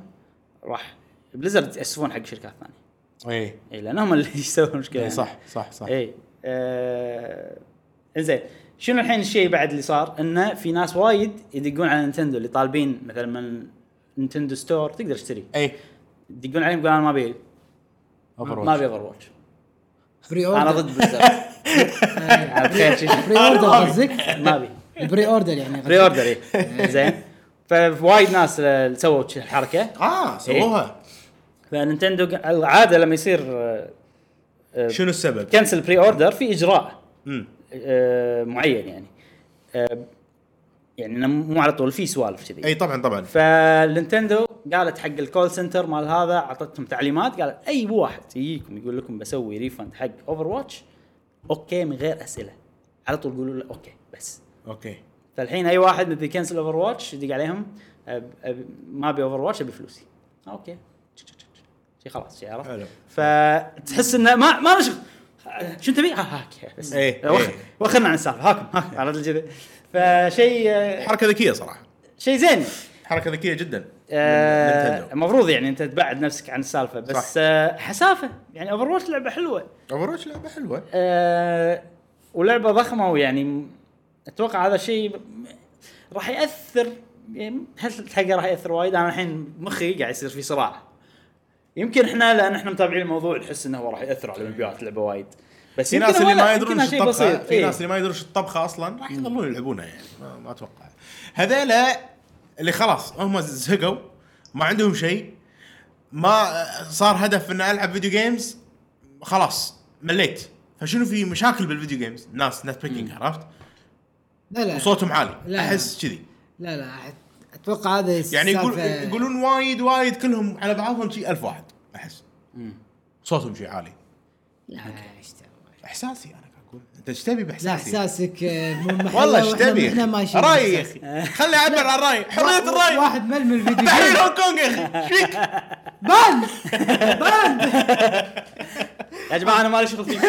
Speaker 1: راح بليزرد ياسفون حق شركات ثانيه
Speaker 3: اي
Speaker 1: اي لان هم اللي يسوون مشكله
Speaker 3: إي،
Speaker 1: يعني.
Speaker 3: إيه. صح صح صح
Speaker 1: اي آه... زين شنو الحين الشيء بعد اللي صار انه في ناس وايد يدقون على نينتندو اللي طالبين مثلا من نينتندو ستور تقدر تشتري
Speaker 3: اي
Speaker 1: يدقون عليهم يقولون انا ما ابي
Speaker 3: Overwatch.
Speaker 1: ما ابي اوفر واتش
Speaker 2: بري اوردر
Speaker 1: انا ضد بالزبط على خير شيء
Speaker 2: بري اوردر قصدك؟
Speaker 1: ما ابي
Speaker 2: بري اوردر يعني
Speaker 1: بري اوردر إي. زين فوايد ناس آه، سووا ش- الحركه
Speaker 3: اه سووها
Speaker 1: فنينتندو ق- العاده لما يصير آه،
Speaker 3: شنو السبب؟
Speaker 1: كنسل بري اوردر في اجراء
Speaker 3: امم
Speaker 1: آه، معين يعني آه، يعني إنه مو على طول في سوالف كذي
Speaker 3: اي طبعا طبعا
Speaker 1: فالنتندو قالت حق الكول سنتر مال هذا اعطتهم تعليمات قالت اي واحد يجيكم يقول لكم بسوي ريفند حق اوفر واتش اوكي من غير اسئله على طول قولوا له اوكي بس
Speaker 3: اوكي
Speaker 1: فالحين اي واحد بده يكنسل اوفر واتش يدق عليهم أب أب ما ابي اوفر واتش ابي فلوسي آه، اوكي شي خلاص شي عرفت
Speaker 3: حلو.
Speaker 1: فتحس انه ما ما له شغل شو تبي؟ ها هاك بس
Speaker 3: إيه،
Speaker 1: وخ-
Speaker 3: إيه.
Speaker 1: وخرنا عن السالفه هاكم هاكم عرفت كذي فشيء آه،
Speaker 3: حركه ذكيه صراحه
Speaker 1: شيء زين
Speaker 3: حركه ذكيه جدا
Speaker 1: آه،
Speaker 3: نينتندو.
Speaker 1: المفروض يعني انت تبعد نفسك عن السالفه بس
Speaker 3: صح.
Speaker 1: آه، حسافه يعني اوفر واتش لعبه حلوه
Speaker 3: اوفر لعبه حلوه
Speaker 1: آه، ولعبه ضخمه ويعني م- اتوقع هذا الشيء م- راح ياثر يعني هل تلحقه راح ياثر وايد انا الحين مخي قاعد يصير في صراع يمكن احنا لان احنا متابعين الموضوع نحس انه هو راح ياثر على المبيعات اللعبه وايد بس
Speaker 3: في
Speaker 1: يمكن
Speaker 3: ناس
Speaker 1: هو
Speaker 3: اللي
Speaker 1: لا،
Speaker 3: ما
Speaker 1: يمكن
Speaker 3: يدرون
Speaker 1: هذا
Speaker 3: شو
Speaker 1: شيء
Speaker 3: الطبخه
Speaker 1: بسيط. إيه.
Speaker 3: في ناس اللي ما يدرون شو الطبخه اصلا راح يظلون يلعبونها يعني ما, ما اتوقع هذيلا اللي خلاص هم زهقوا ما عندهم شيء ما صار هدف ان العب فيديو جيمز خلاص مليت فشنو في مشاكل بالفيديو جيمز ناس نت بيكينج عرفت
Speaker 2: لا لا
Speaker 3: وصوتهم عالي
Speaker 2: لا.
Speaker 3: احس كذي
Speaker 2: لا لا اتوقع هذا
Speaker 3: يعني يقول
Speaker 2: السالفة-
Speaker 3: يقولون وايد وايد كلهم على بعضهم شي ألف واحد احس صوتهم شي عالي
Speaker 2: لا إيش تبغى؟
Speaker 3: احساسي انا قاعد اقول انت ايش تبي
Speaker 2: لا
Speaker 3: باحساسي؟
Speaker 2: احساسك آه، مو محله
Speaker 3: والله ايش
Speaker 2: وإحنا-
Speaker 3: تبي؟
Speaker 2: احنا ماشيين
Speaker 3: رايي يا
Speaker 2: بإحساسك.
Speaker 3: اخي خلي اعبر عن رايي حريه
Speaker 2: وا-
Speaker 3: الراي
Speaker 2: واحد ململ فيديو
Speaker 3: تحرير
Speaker 2: جيم
Speaker 3: هونغ كونغ يا اخي ايش فيك؟
Speaker 2: بان
Speaker 1: يا جماعه انا مالي شغل فيك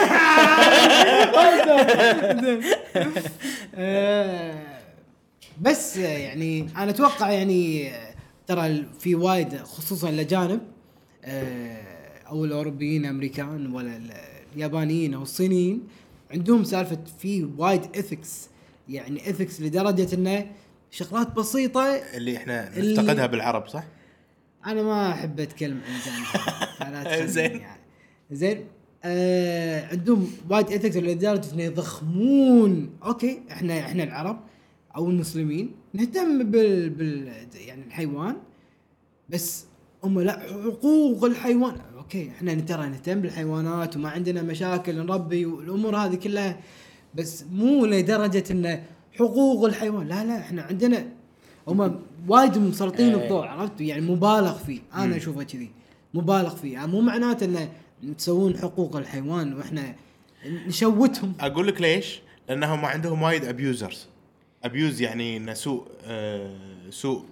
Speaker 2: آه، بس آه، يعني انا اتوقع يعني آه، ترى ال- في وايد خصوصا الاجانب آه، او الاوروبيين الامريكان ولا ال- اليابانيين او الصينيين عندهم سالفه في وايد اثكس يعني اثكس لدرجه انه شغلات بسيطه
Speaker 3: اللي احنا
Speaker 2: اللي-
Speaker 3: نفتقدها بالعرب صح؟
Speaker 2: انا ما احب اتكلم عن زين فلا تخليني
Speaker 3: زين.
Speaker 2: يعني. زين آه عندهم وايد اثكس لدرجه انه يضخمون اوكي احنا احنا العرب او المسلمين نهتم بال, بال يعني الحيوان بس هم لا حقوق الحيوان اوكي احنا ترى نهتم بالحيوانات وما عندنا مشاكل نربي والامور هذه كلها بس مو لدرجه انه حقوق الحيوان لا لا احنا عندنا هم وايد مسلطين
Speaker 1: إيه.
Speaker 2: الضوء عرفت يعني مبالغ فيه انا اشوفه كذي مبالغ فيه يعني مو معناته انه تسوون حقوق الحيوان واحنا نشوتهم
Speaker 3: اقول لك ليش؟ لانهم عندهم وايد ابيوزرز ابيوز يعني انه سوء آه، سوء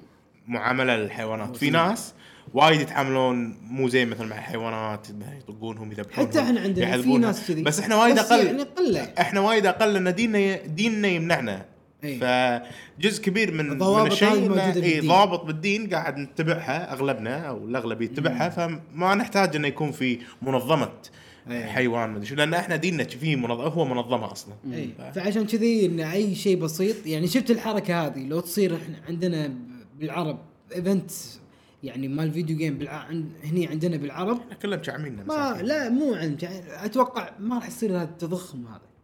Speaker 3: معامله للحيوانات في ناس وايد يتعاملون مو زي مثل مع الحيوانات إنه يطقونهم يذبحونهم
Speaker 2: حتى احنا عندنا في
Speaker 3: يعذبونهم.
Speaker 2: ناس كذي.
Speaker 3: بس احنا وايد
Speaker 2: بس
Speaker 3: اقل
Speaker 2: يعني قلة.
Speaker 3: احنا وايد اقل لان ديننا ديننا يمنعنا
Speaker 2: إيه.
Speaker 3: فجزء كبير من
Speaker 2: الضوابط
Speaker 3: من الشيء
Speaker 2: هاي
Speaker 3: إنه-
Speaker 2: موجودة
Speaker 3: إيه،
Speaker 2: بالدين.
Speaker 3: ضوابط بالدين قاعد نتبعها اغلبنا او الاغلبيه يتبعها
Speaker 2: إيه.
Speaker 3: فما نحتاج انه يكون في منظمه
Speaker 2: أي.
Speaker 3: حيوان مدري شو لان احنا ديننا فيه منظمه هو منظمه اصلا
Speaker 2: اي
Speaker 3: ف-
Speaker 2: إيه. فعشان كذي ان اي شيء بسيط يعني شفت الحركه هذه لو تصير احنا عندنا ب- بالعرب ايفنت يعني مال فيديو جيم بالع... عن... هني عندنا بالعرب
Speaker 3: احنا كلنا مشعمينا
Speaker 2: ما
Speaker 3: مساكين.
Speaker 2: لا مو عن يعني اتوقع ما راح يصير هذا التضخم هذا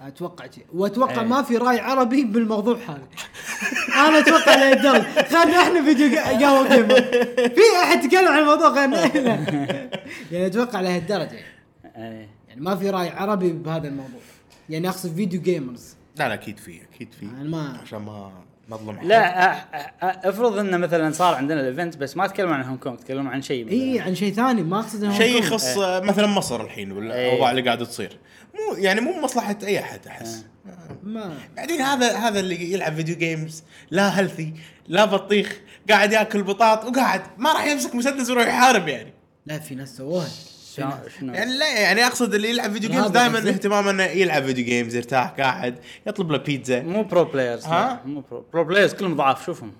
Speaker 2: اتوقع كذي واتوقع
Speaker 1: إيه.
Speaker 2: ما في راي عربي بالموضوع هذا انا اتوقع لا يدل خلينا احنا فيديو جا- قهوه جيمر في احد تكلم عن الموضوع خلينا يعني اتوقع لهالدرجه يعني.
Speaker 1: إيه.
Speaker 2: يعني ما في راي عربي بهذا الموضوع يعني اقصد فيديو جيمرز
Speaker 3: لا لا اكيد في اكيد في
Speaker 2: أنا ما-
Speaker 3: عشان ما نظلم حد.
Speaker 1: لا أ- أ- أ- افرض انه مثلا صار عندنا الايفنت بس ما تكلموا عن هونج كونغ تكلموا عن شيء مثلاً.
Speaker 3: إيه.
Speaker 2: اي عن إيه، يعني شيء ثاني ما اقصد إنه
Speaker 3: شيء
Speaker 2: هونغ كونغ.
Speaker 3: يخص آه، مثلا مصر الحين
Speaker 1: إيه.
Speaker 3: والاوضاع اللي قاعده تصير مو يعني مو مصلحه اي احد
Speaker 2: إيه.
Speaker 3: احس
Speaker 2: ما
Speaker 3: بعدين هذا هذا اللي يلعب فيديو جيمز لا هيلثي لا بطيخ قاعد ياكل بطاط وقاعد ما راح يمسك مسدس ويروح يحارب يعني
Speaker 2: لا في ناس سووها
Speaker 1: شلون- شنو
Speaker 3: يعني لا يعني اقصد اللي يلعب فيديو جيمز
Speaker 2: هذا
Speaker 3: دائما
Speaker 2: قصدي.
Speaker 3: اهتمامه انه يلعب فيديو جيمز يرتاح قاعد يطلب له بيتزا
Speaker 1: مو برو بلايرز
Speaker 3: ها؟
Speaker 1: لا، مو برو, برو بلايرز كلهم ضعاف شوفهم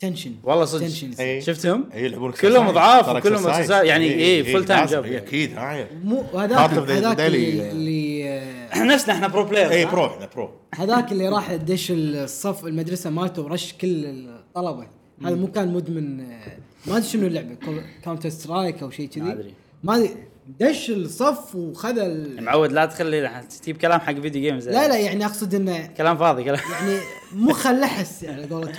Speaker 2: تنشن
Speaker 1: والله صدق
Speaker 2: تنشن
Speaker 3: إيه.
Speaker 1: شفتهم؟
Speaker 3: أي يلعبون
Speaker 1: كلهم
Speaker 3: exercise.
Speaker 1: ضعاف
Speaker 3: ترى
Speaker 1: وكلهم
Speaker 3: exercise.
Speaker 1: exercise. يعني إيه، full time
Speaker 3: لازم.
Speaker 1: job
Speaker 3: إيه،
Speaker 1: يعني.
Speaker 3: اكيد هاي
Speaker 2: مو هذاك
Speaker 3: Part of the
Speaker 2: هذاك اللي,
Speaker 3: daily- إيه.
Speaker 2: اللي آه،
Speaker 1: احنا نفسنا احنا برو بلايرز
Speaker 3: اي
Speaker 1: ها؟
Speaker 3: برو احنا برو
Speaker 2: هذاك اللي راح دش الصف المدرسه مالته ورش كل الطلبه هذا مو كان مدمن آه، ما ادري شنو اللعبه كاونتر سترايك او شيء كذي
Speaker 1: ما أدري.
Speaker 2: ما أدري. دش الصف وخذ ال...
Speaker 1: معود لا تخلي تجيب كلام حق فيديو جيمز
Speaker 2: لا لا يعني اقصد انه
Speaker 1: كلام فاضي كلام
Speaker 2: يعني مخه لحس على قولتهم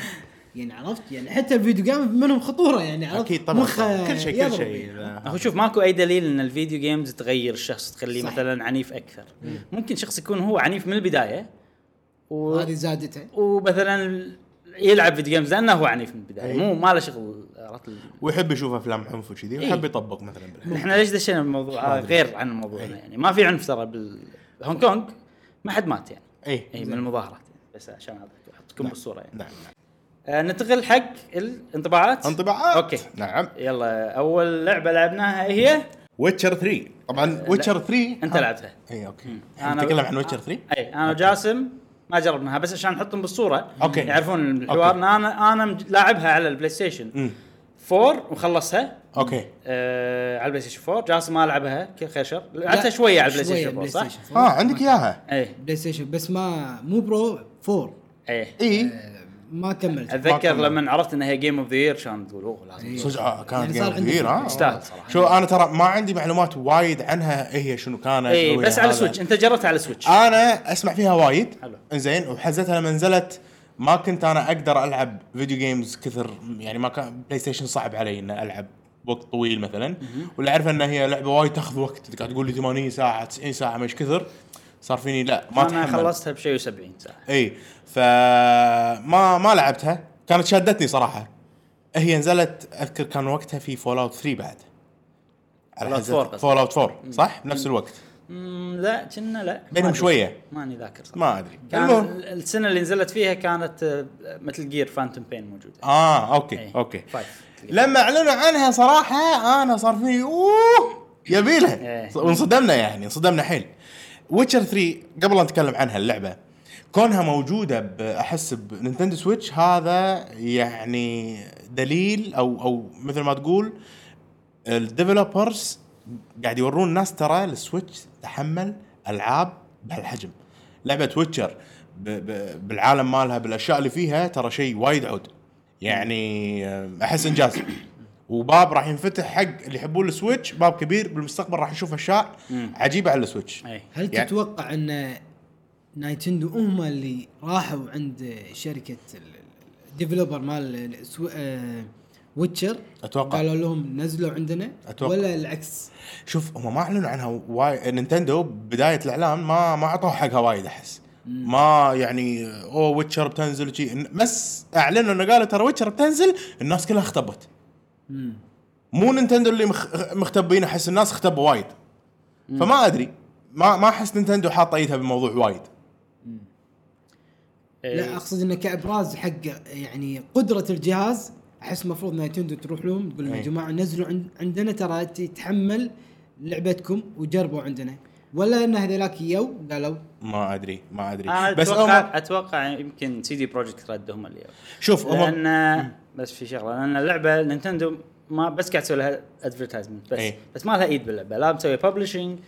Speaker 2: يعني عرفت يعني حتى الفيديو جيم منهم خطوره يعني عرفت
Speaker 3: اكيد طبعا
Speaker 2: مخه
Speaker 3: كل شيء كل
Speaker 2: يضرب
Speaker 3: شيء
Speaker 2: يعني.
Speaker 3: لا.
Speaker 1: هو شوف ماكو اي دليل ان الفيديو جيمز تغير الشخص تخليه
Speaker 2: صح.
Speaker 1: مثلا عنيف اكثر ممكن شخص يكون هو عنيف من البدايه و...
Speaker 2: هذه زادته
Speaker 1: ومثلا يلعب فيديو جيمز لانه هو عنيف من البدايه
Speaker 3: إيه.
Speaker 1: مو ما له شغل عرفت ال-
Speaker 3: ويحب يشوف افلام عنف وكذي
Speaker 1: إيه.
Speaker 3: ويحب يطبق مثلا بالحياة.
Speaker 1: احنا ليش دشينا بالموضوع هذا غير عن الموضوع هنا يعني ما في عنف ترى بالهونج كونج ما حد مات يعني
Speaker 3: اي
Speaker 1: اي من المظاهرات يعني. بس عشان أعطيك- احطكم بالصوره يعني
Speaker 3: إيه. نعم نعم.
Speaker 1: آه ننتقل حق الانطباعات
Speaker 3: انطباعات
Speaker 1: اوكي
Speaker 3: نعم
Speaker 1: يلا اول لعبه لعبناها هي
Speaker 3: ويتشر 3 طبعا ويتشر 3
Speaker 1: انت لعبتها
Speaker 3: اي اوكي
Speaker 1: أنا-
Speaker 3: إيه، نتكلم عن ويتشر 3
Speaker 1: اي انا وجاسم ما جربناها بس عشان نحطهم بالصوره
Speaker 3: أوكي.
Speaker 1: يعرفون الحوار
Speaker 3: أوكي.
Speaker 1: انا انا مج- لاعبها على البلاي ستيشن
Speaker 3: أمم.
Speaker 1: 4 ومخلصها
Speaker 3: اوكي
Speaker 1: آه على البلاي ستيشن 4 جاسم ما لعبها كل خير شر لعبتها
Speaker 2: لا،
Speaker 1: شويه على البلاي ستيشن 4
Speaker 2: بلاي
Speaker 1: صح؟ إيه،
Speaker 2: ستيشن فور.
Speaker 3: اه عندك اياها
Speaker 1: اي
Speaker 2: بلاي ستيشن بس ما مو برو فور
Speaker 1: اي
Speaker 3: اي
Speaker 2: آه، ما كملت
Speaker 1: اتذكر
Speaker 3: كمل.
Speaker 1: لما عرفت انها جيم اوف ذا يير كان تقول اوه لازم
Speaker 2: إيه.
Speaker 3: صدق آه، كانت
Speaker 2: يعني
Speaker 3: جيم
Speaker 2: صار عندك
Speaker 3: كبير ها
Speaker 1: تستاهل صراحة.
Speaker 3: شو انا ترى ما عندي معلومات وايد عنها إيه هي شنو كانت
Speaker 1: اي
Speaker 3: شو هي
Speaker 1: بس على
Speaker 3: هذا. آه،
Speaker 1: سويتش انت جربتها على سويتش
Speaker 3: انا اسمع فيها وايد
Speaker 1: حلو.
Speaker 3: انزين وحزتها لما نزلت ما كنت انا اقدر العب فيديو جيمز كثر يعني ما كان بلاي ستيشن صعب علي ان العب وقت طويل مثلا واللي اعرفه ان هي لعبه وايد تاخذ وقت قاعد تقول لي 80 ساعه 90 ساعه مش كثر صار فيني لا ما
Speaker 1: انا
Speaker 3: تحمل
Speaker 1: خلصتها بشيء و70 ساعه
Speaker 3: اي فما ما لعبتها كانت شادتني صراحه هي نزلت اذكر كان وقتها في فول اوت 3 بعد
Speaker 1: Fallout 4 قصدك.
Speaker 3: فول اوت 4 صح بنفس الوقت
Speaker 1: مم، لا كنا لا ما
Speaker 3: بينهم
Speaker 1: أدري.
Speaker 3: شوية.
Speaker 1: ماني ذاكر صراحه
Speaker 3: ما ادري
Speaker 1: كان
Speaker 3: المهم.
Speaker 1: السنه اللي نزلت فيها كانت آه، مثل جير فانتوم بين موجوده
Speaker 3: اه اوكي
Speaker 1: إيه.
Speaker 3: اوكي
Speaker 1: فايف.
Speaker 3: لما اعلنوا عنها صراحه انا صار فيني اوه يبيلها
Speaker 1: إيه.
Speaker 3: وانصدمنا يعني انصدمنا حيل ويتشر 3 قبل لا نتكلم عنها اللعبه كونها موجوده ب- احس بنينتندو سويتش هذا يعني دليل او او مثل ما تقول الديفلوبرز قاعد يورون الناس ترى السويتش تحمل العاب بهالحجم لعبه ويتشر ب- ب- بالعالم مالها بالاشياء اللي فيها ترى شيء وايد عود يعني آه، احس انجاز وباب راح ينفتح حق اللي يحبون السويتش باب كبير بالمستقبل راح نشوف اشياء عجيبه على السويتش
Speaker 1: اي
Speaker 2: هل
Speaker 3: يعني-
Speaker 2: تتوقع ان نايتندو هم اللي راحوا عند شركه الديفلوبر مال السو- آه، ويتشر
Speaker 3: أتوقع.
Speaker 2: قالوا لهم نزلوا عندنا
Speaker 3: أتوقع.
Speaker 2: ولا العكس
Speaker 3: شوف هم ما اعلنوا عنها وايد نينتندو بدايه الاعلان ما ما اعطوها حقها وايد احس ما يعني اوه ويتشر بتنزل شي بس اعلنوا انه قالوا ترى ويتشر بتنزل الناس كلها اختبت مو نينتندو اللي مخ... مختبين احس الناس اختبوا وايد فما ادري ما ما احس نينتندو حاطه ايدها بالموضوع وايد
Speaker 1: إيه.
Speaker 3: إيه.
Speaker 2: لا اقصد انه كابراز حق يعني قدره الجهاز احس المفروض نايتندو تروح لهم تقول لهم يا
Speaker 3: أي.
Speaker 2: جماعه نزلوا عند عندنا ترى تتحمل لعبتكم وجربوا عندنا ولا ان هذولاك يو قالوا
Speaker 3: ما ادري ما
Speaker 1: انا
Speaker 3: ادري
Speaker 1: بس
Speaker 3: بس
Speaker 1: اتوقع
Speaker 3: هم
Speaker 1: أم... اتوقع يمكن سي دي بروجكت رد هم اللي
Speaker 3: شوف هم
Speaker 1: لان بس في شغله لان اللعبه نينتندو ما بس قاعد تسوي لها ادفرتايزمنت بس
Speaker 3: إيه.
Speaker 1: بس ما لها ايد باللعبه لا مسوي ببلشنج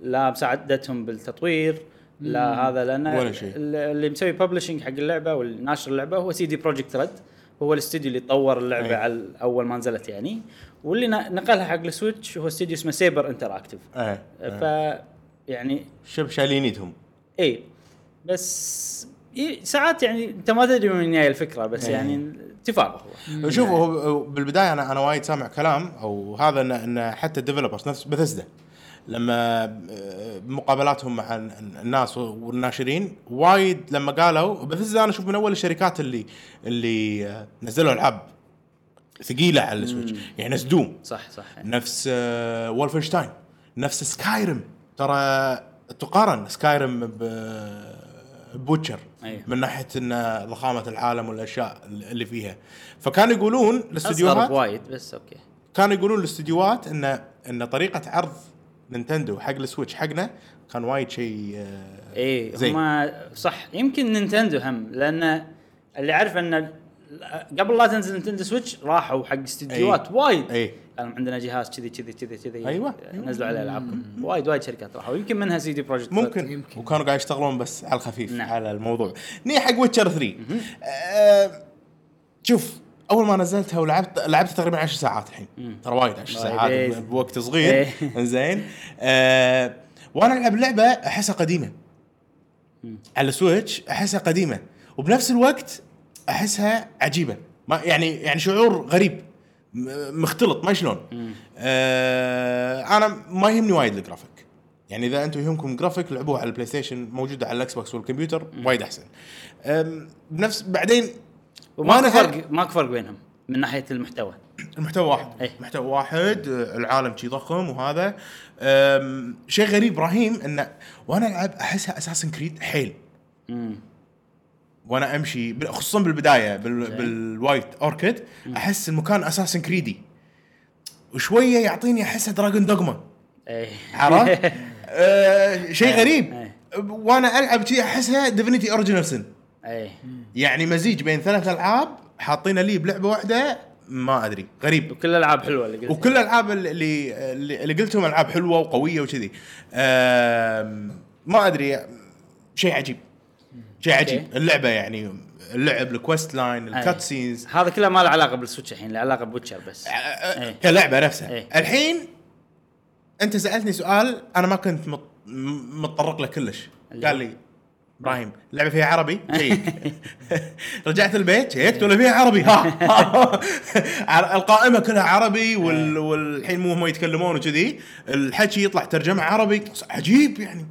Speaker 1: لا مساعدتهم بالتطوير لا هذا لان
Speaker 3: ولا شيء.
Speaker 1: اللي اللي مسوي ببلشنج حق اللعبه والناشر اللعبه هو سي دي بروجكت ريد هو الاستوديو اللي طور اللعبه
Speaker 3: إيه.
Speaker 1: على اول ما نزلت يعني واللي ن- نقلها حق السويتش هو استوديو اسمه سيبر انتراكتيف
Speaker 3: ايه
Speaker 1: ف
Speaker 3: إيه.
Speaker 1: يعني
Speaker 3: شوف شايلين ايدهم
Speaker 1: اي بس ي- ساعات يعني انت ما تدري من وين جايه الفكره
Speaker 3: إيه.
Speaker 1: بس يعني تفاضل هو
Speaker 3: شوف هو هو بالبدايه انا انا وايد سامع كلام او هذا ان ان حتى الديفلوبرز نفس بثزدا لما آه، مقابلاتهم مع ال- الناس والناشرين وايد لما قالوا بثزدا انا اشوف من اول الشركات اللي اللي آه، نزلوا العاب ثقيله على السويتش يعني نفس دوم
Speaker 1: صح صح
Speaker 3: نفس وولفنشتاين نفس سكايرم ترى تقارن آه، سكايرم بوتشر
Speaker 1: أيوه.
Speaker 3: من ناحيه ان ضخامه العالم والاشياء اللي فيها فكانوا يقولون
Speaker 1: اصغر
Speaker 3: الاستديوهات
Speaker 1: بوايد بس اوكي
Speaker 3: كانوا يقولون الاستديوهات ان ان طريقه عرض نينتندو حق السويتش حقنا كان وايد شيء آه،
Speaker 1: اي
Speaker 3: زين.
Speaker 1: هم صح يمكن نينتندو هم لان اللي عارف ان ال- قبل لا تنزل نينتندو سويتش راحوا حق استديوهات وايد
Speaker 3: أي.
Speaker 1: قال عندنا جهاز كذي كذي كذي كذي
Speaker 3: إيه. أيوة.
Speaker 1: نزلوا عليه العابكم وايد وايد شركات راحوا يمكن منها سي دي بروجكت
Speaker 3: ممكن.
Speaker 2: يمكن.
Speaker 3: وكانوا قاعد يشتغلون بس على الخفيف
Speaker 1: نعم.
Speaker 3: نعم. على الموضوع ني حق ويتشر 3 آه شوف اول ما نزلتها ولعبت لعبت تقريبا 10 ساعات الحين ترى وايد 10
Speaker 1: وايد،
Speaker 3: ساعات
Speaker 1: إيه.
Speaker 3: ب- بوقت صغير
Speaker 1: إيه.
Speaker 3: زين آه وانا العب لعبه احسها قديمه على السويتش احسها قديمه وبنفس الوقت احسها عجيبه ما يعني يعني شعور غريب م- مختلط ما شلون آه انا ما يهمني وايد الجرافيك يعني اذا انتم يهمكم جرافيك لعبوه على البلاي ستيشن موجوده على الاكس بوكس والكمبيوتر وايد احسن آم، بنفس بعدين
Speaker 1: وماكو
Speaker 3: وأنا
Speaker 1: فرق ماكو فرق بينهم من ناحيه المحتوى
Speaker 3: المحتوى واحد
Speaker 1: إيه.
Speaker 3: محتوى واحد آه، العالم شي ضخم وهذا آم، شيء غريب رهيب انه وانا العب احسها اساسن كريد حيل
Speaker 1: مم.
Speaker 3: وانا امشي بال- خصوصا بالبدايه بال
Speaker 1: إيه.
Speaker 3: بالوايت اوركيد احس المكان اساسن كريدي وشويه يعطيني احسها دراجون دوغما
Speaker 1: اي
Speaker 3: عرفت؟ آه شيء
Speaker 1: إيه،
Speaker 3: غريب
Speaker 1: إيه.
Speaker 3: وانا العب كذي احسها ديفينيتي اوريجينال سن
Speaker 1: اي
Speaker 3: يعني مزيج بين ثلاث العاب حاطينه لي بلعبه واحده ما ادري غريب
Speaker 1: وكل الالعاب حلوه اللي قلت
Speaker 3: وكل الالعاب اللي اللي اللي قلتهم العاب حلوه وقويه وكذي آم، ما ادري شيء عجيب شيء عجيب اللعبه يعني اللعب الكوست لاين
Speaker 1: أي.
Speaker 3: الكات سينز
Speaker 1: هذا كله ما له علاقه بالسويتش الحين له علاقه بوتشر بس
Speaker 3: آه،
Speaker 1: أي.
Speaker 3: كلعبه نفسها
Speaker 1: أي.
Speaker 3: الحين انت سالتني سؤال انا ما كنت مت- م- متطرق له كلش
Speaker 1: اللي
Speaker 3: قال لي ابراهيم اللعبه فيها عربي شيك رجعت البيت شيكت ولا فيها عربي ها ها. القائمه كلها عربي
Speaker 1: إيه.
Speaker 3: وال... والحين مو هم يتكلمون وكذي الحكي يطلع ترجمه عربي عجيب يعني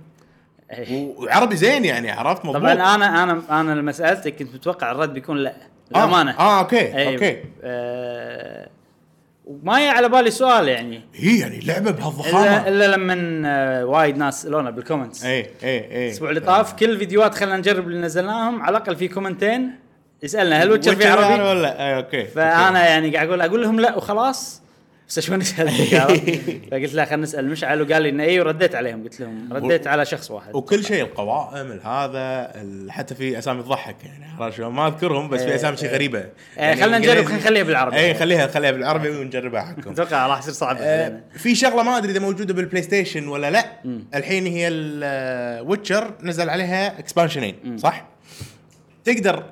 Speaker 1: إيه.
Speaker 3: وعربي زين يعني عرفت مضبوط
Speaker 1: طبعا انا انا انا لما سالتك كنت متوقع الرد بيكون لا للامانه
Speaker 3: اه, آه اوكي
Speaker 1: أي.
Speaker 3: اوكي
Speaker 1: آه وما هي على بالي سؤال يعني
Speaker 3: هي يعني لعبه
Speaker 1: الا
Speaker 3: بهالضخامه
Speaker 1: الا لما آه، وايد ناس سالونا بالكومنتس
Speaker 3: اي اي اي
Speaker 1: الاسبوع اللي طاف كل فيديوهات خلينا نجرب اللي نزلناهم على الاقل في كومنتين يسالنا هل ويتشر في عربي؟
Speaker 3: ولا اي اوكي أوكي.
Speaker 1: فانا يعني قاعد اقول اقول لهم لا وخلاص بس شلون اسال
Speaker 3: إيه.
Speaker 1: فقلت لا خلينا نسال مشعل وقال لي انه اي ورديت عليهم قلت لهم رديت على شخص واحد
Speaker 3: وكل شيء القوائم هذا ال- حتى في اسامي تضحك يعني عرفت شلون؟ ما اذكرهم بس في اسامي شيء غريبه يعني
Speaker 1: خلنا نجرب،
Speaker 3: إنجليزي-
Speaker 1: إيه، خلينا نخليها بالعربي.
Speaker 3: اي خليها خليها بالعربي ونجربها حقكم
Speaker 1: اتوقع راح يصير صعب
Speaker 3: آه،
Speaker 1: علينا
Speaker 3: في شغله ما ادري اذا موجوده بالبلاي ستيشن ولا لا الحين هي الويتشر نزل عليها اكسبانشنين صح؟ تقدر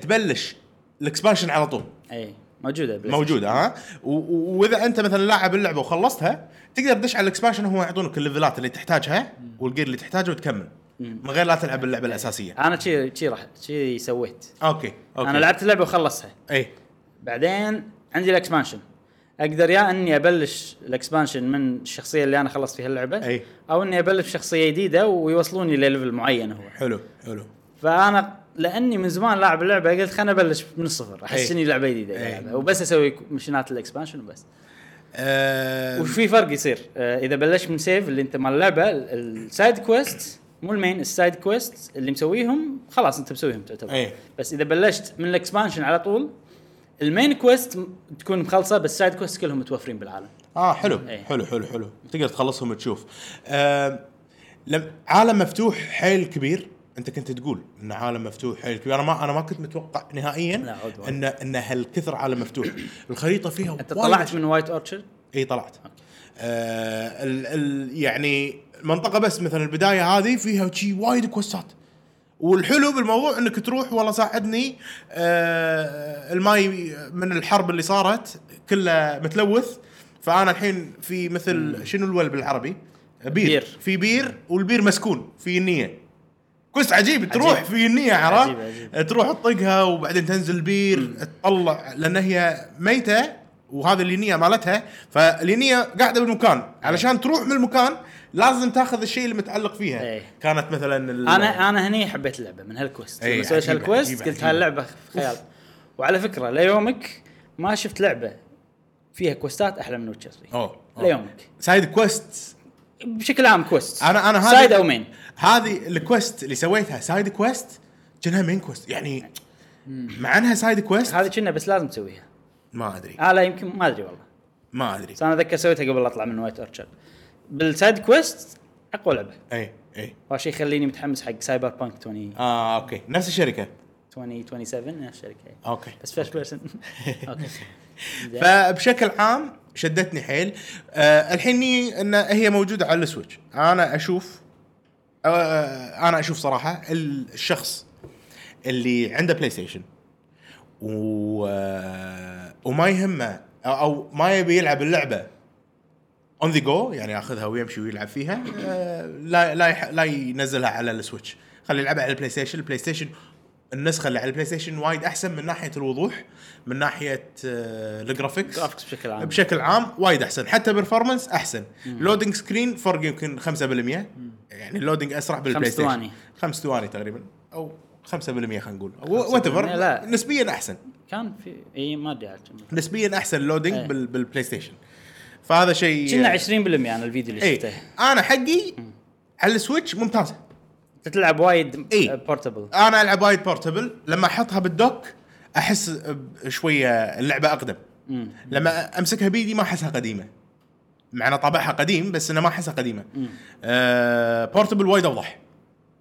Speaker 3: تبلش الاكسبانشن على طول
Speaker 1: اي موجوده بلاي
Speaker 3: موجوده ها و- و- واذا انت مثلا لاعب اللعبه وخلصتك تقدر تدش على الاكسبانشن وهم يعطونك الليفلات اللي تحتاجها والجير اللي تحتاجه وتكمل من غير لا تلعب اللعبه الاساسيه
Speaker 1: انا شي شي راح شي سويت
Speaker 3: اوكي اوكي إيه،
Speaker 1: انا لعبت اللعبه وخلصها
Speaker 3: اي
Speaker 1: بعدين عندي الاكسبانشن اقدر يا اني ابلش الاكسبانشن من الشخصيه اللي انا خلصت فيها اللعبه
Speaker 3: أي.
Speaker 1: او اني ابلش شخصيه جديده ويوصلوني لليفل معين هو
Speaker 3: حلو حلو
Speaker 1: فانا لاني من زمان لاعب اللعبه قلت خليني ابلش من الصفر احس
Speaker 3: أي.
Speaker 1: اني لعبه جديده
Speaker 3: أي.
Speaker 1: ألعبها، يعني. وبس اسوي مشينات الاكسبانشن وبس
Speaker 3: آه
Speaker 1: وفي فرق يصير آه، اذا بلشت من سيف اللي انت مال اللعبه ال- السايد كويست مو المين السايد كويست اللي مسويهم خلاص انت مسويهم تعتبر
Speaker 3: أي.
Speaker 1: بس اذا بلشت من الاكسبانشن على طول المين كويست م- تكون مخلصه بس السايد كويست كلهم متوفرين بالعالم
Speaker 3: اه حلو
Speaker 1: إيه.
Speaker 3: حلو حلو حلو تقدر تخلصهم تشوف آه لم عالم مفتوح حيل كبير انت كنت تقول ان عالم مفتوح حيل كبير انا ما انا ما كنت متوقع
Speaker 1: لا،
Speaker 3: نهائيا
Speaker 1: عود والله.
Speaker 3: ان ان هالكثر عالم مفتوح الخريطه فيها
Speaker 1: انت
Speaker 3: وايد إيه.
Speaker 1: طلعت من وايت اورشر
Speaker 3: اي طلعت آه ال ال يعني المنطقه بس مثلا البدايه هذه فيها شي وايد كوستات والحلو بالموضوع انك تروح والله ساعدني آه الماي من الحرب اللي صارت كله متلوث فانا الحين في مثل شنو الول بالعربي؟ بير,
Speaker 1: بير.
Speaker 3: بير. في بير والبير مسكون في النيه كوست عجيب تروح في النيه عرفت؟
Speaker 1: عجيب، عجيب.
Speaker 3: تروح تطقها وبعدين تنزل بير تطلع لان هي ميته وهذا الينيه مالتها فالينيه قاعده بالمكان علشان تروح من المكان لازم تاخذ الشيء اللي متعلق فيها
Speaker 1: إيه.
Speaker 3: كانت مثلا ال-
Speaker 1: انا انا هني حبيت اللعبه من هالكوست
Speaker 3: أي،
Speaker 1: لما سويت
Speaker 3: إيه، عجيبة،
Speaker 1: هالكوست
Speaker 3: عجيبة،
Speaker 1: قلت
Speaker 3: عجيبة.
Speaker 1: هاللعبه خيال وعلى فكره ليومك ما شفت لعبه فيها كوستات احلى من ويتشر 3
Speaker 3: أوه، أوه.
Speaker 1: ليومك
Speaker 3: سايد كويست
Speaker 1: بشكل عام كويست
Speaker 3: انا انا هذه
Speaker 1: سايد او مين
Speaker 3: هذه الكويست اللي سويتها سايد كويست كانها مين كويست يعني مع انها سايد كويست
Speaker 1: هذه كنا بس لازم تسويها
Speaker 3: ما ادري
Speaker 1: آه لا يمكن ما ادري والله
Speaker 3: ما ادري
Speaker 1: بس انا اتذكر سويتها قبل لا اطلع من وايت اورشر بالسايد كويست اقوى لعبه
Speaker 3: اي اي
Speaker 1: وهذا شيء يخليني متحمس حق سايبر بانك 20
Speaker 3: اه اوكي نفس الشركه
Speaker 1: 2027 نفس الشركه إيه.
Speaker 3: اوكي
Speaker 1: بس فيرست بيرسون اوكي زين.
Speaker 3: فبشكل عام شدتني حيل آه الحين هي- ان هي موجوده على السويتش انا اشوف آه انا اشوف صراحه الشخص اللي عنده بلاي ستيشن و آه، وما يهمه أو- او ما يبي يلعب اللعبه اون ذا جو يعني ياخذها ويمشي ويلعب فيها آه، لا لا يح- لا ينزلها على السويتش خلي يلعبها على البلاي ستيشن البلاي ستيشن النسخه اللي على البلاي ستيشن وايد احسن من ناحيه الوضوح من ناحيه آه، الجرافيكس
Speaker 1: جرافيكس بشكل عام.
Speaker 3: بشكل عام وايد احسن حتى برفورمانس احسن لودنج سكرين فرق يمكن 5% يعني اللودنج اسرع بالبلاي
Speaker 1: خمس
Speaker 3: ستيشن
Speaker 1: ثواني.
Speaker 3: خمس ثواني تقريبا او 5% خلينا نقول
Speaker 1: خمسة
Speaker 3: وات
Speaker 1: بالمية، لا.
Speaker 3: ايفر نسبيا احسن
Speaker 1: كان في اي ما ادري عاد كم.
Speaker 3: نسبيا احسن اللودنج
Speaker 1: إيه.
Speaker 3: بال بالبلاي ستيشن فهذا شيء
Speaker 1: كنا 20% انا الفيديو اللي
Speaker 3: اي
Speaker 1: شفته
Speaker 3: انا حقي على السويتش ممتازه
Speaker 1: انت تلعب وايد آه،
Speaker 3: إيه.
Speaker 1: بورتبل
Speaker 3: انا العب وايد بورتبل لما احطها بالدوك احس ب- شويه اللعبه اقدم لما امسكها بيدي ما احسها قديمه مع ان طابعها قديم بس انا ما احسها قديمه آه بورتبل وايد اوضح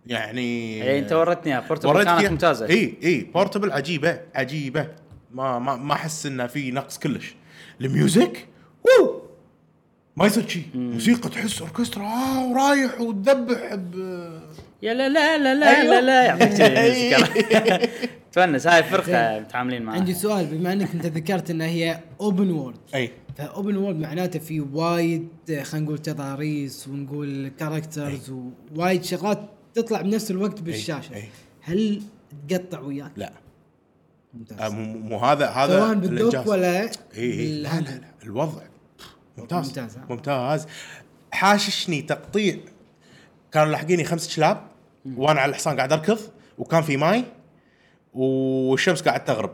Speaker 3: يعني
Speaker 1: اي انت ورتني اياها بورتبل
Speaker 3: وريتك
Speaker 1: كانت
Speaker 3: إياه.
Speaker 1: ممتازه
Speaker 3: اي اي بورتبل عجيبه عجيبه ما ما ما احس انه في نقص كلش الميوزك وو ما يصير شيء موسيقى تحس اوركسترا آه ورايح وتذبح ب
Speaker 1: يا لا لا لا لا لا لا يعطيك شي. تونس هاي فرقه متعاملين معاها
Speaker 2: عندي سؤال بما انك انت ذكرت انها هي اوبن وورد
Speaker 3: اي
Speaker 2: فاوبن وورد معناته في وايد آه، خلينا نقول تضاريس ونقول كاركترز
Speaker 3: إيه.
Speaker 2: ووايد شغلات تطلع بنفس الوقت بالشاشه
Speaker 3: أي.
Speaker 2: هل تقطع وياك؟
Speaker 3: لا آه،
Speaker 2: ممتاز
Speaker 3: مو مو هذا هذا
Speaker 2: سواء بالدوك
Speaker 3: الإنجاز. إيه،
Speaker 2: ولا
Speaker 3: اي اي لا لا
Speaker 2: بالهاندل.
Speaker 3: لا الوضع
Speaker 2: ممتاز،
Speaker 3: ممتاز ممتاز,
Speaker 2: ها.
Speaker 3: ممتاز. حاششني تقطيع كانوا لاحقيني خمس كلاب وانا على الحصان قاعد اركض وكان في ماي والشمس قاعد تغرب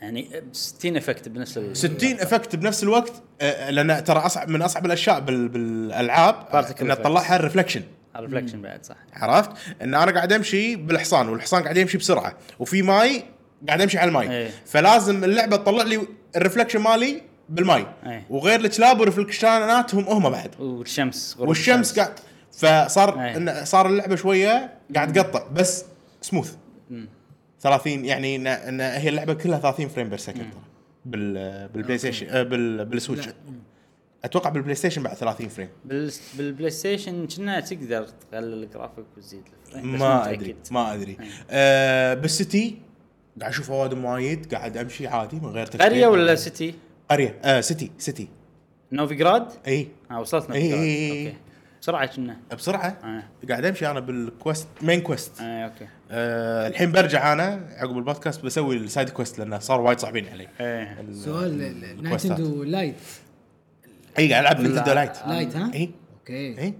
Speaker 1: يعني 60 افكت بنفس ال
Speaker 3: 60 افكت بنفس الوقت آه، لان ترى اصعب من اصعب الاشياء بال- بالالعاب آه،
Speaker 1: Particle
Speaker 3: ان
Speaker 1: effects.
Speaker 3: تطلعها الرفلكشن
Speaker 1: الريفلكشن بعد صح
Speaker 3: عرفت؟ ان انا قاعد امشي بالحصان والحصان قاعد يمشي بسرعه وفي ماي قاعد امشي على الماي
Speaker 1: إيه.
Speaker 3: فلازم اللعبه تطلع لي الرفلكشن مالي بالماي
Speaker 1: إيه.
Speaker 3: وغير الكلاب ورفلكشناتهم هم بعد
Speaker 1: والشمس غروب
Speaker 3: والشمس قاعد فصار
Speaker 1: إيه.
Speaker 3: إن صار اللعبه شويه قاعد تقطع بس سموث 30 يعني إن إن هي اللعبه كلها 30 فريم بير سكند بال بالبلاي ستيشن آه، بال بالسويتش
Speaker 2: لا.
Speaker 3: اتوقع بالبلاي ستيشن بعد 30 فريم
Speaker 1: بال... بالبلاي ستيشن كنا تقدر تقلل الجرافيك وتزيد الفريم، بس مو
Speaker 3: ما
Speaker 1: متأكد.
Speaker 3: ادري ما ادري آه بالسيتي قاعد اشوف اوادم وايد قاعد امشي عادي من غير تفكير
Speaker 1: قريه ولا سيتي؟
Speaker 3: قريه آه سيتي سيتي
Speaker 1: نوفيغراد؟
Speaker 3: اي
Speaker 1: اه وصلت
Speaker 3: اي
Speaker 1: نوفيغراد
Speaker 3: اي
Speaker 1: اوكي بسرعه كنا
Speaker 3: بسرعه
Speaker 1: آه.
Speaker 3: قاعد امشي انا بالكوست مين كويست
Speaker 1: اي اوكي
Speaker 3: أه الحين برجع انا عقب البودكاست بسوي السايد كويست لانه صار وايد صعبين علي
Speaker 1: ايه
Speaker 3: ال-
Speaker 2: سؤال
Speaker 3: الكويستات.
Speaker 2: نايتندو لايت
Speaker 3: اي قاعد العب نينتندو لايت
Speaker 2: لايت ها؟
Speaker 3: اي
Speaker 2: اوكي
Speaker 3: اي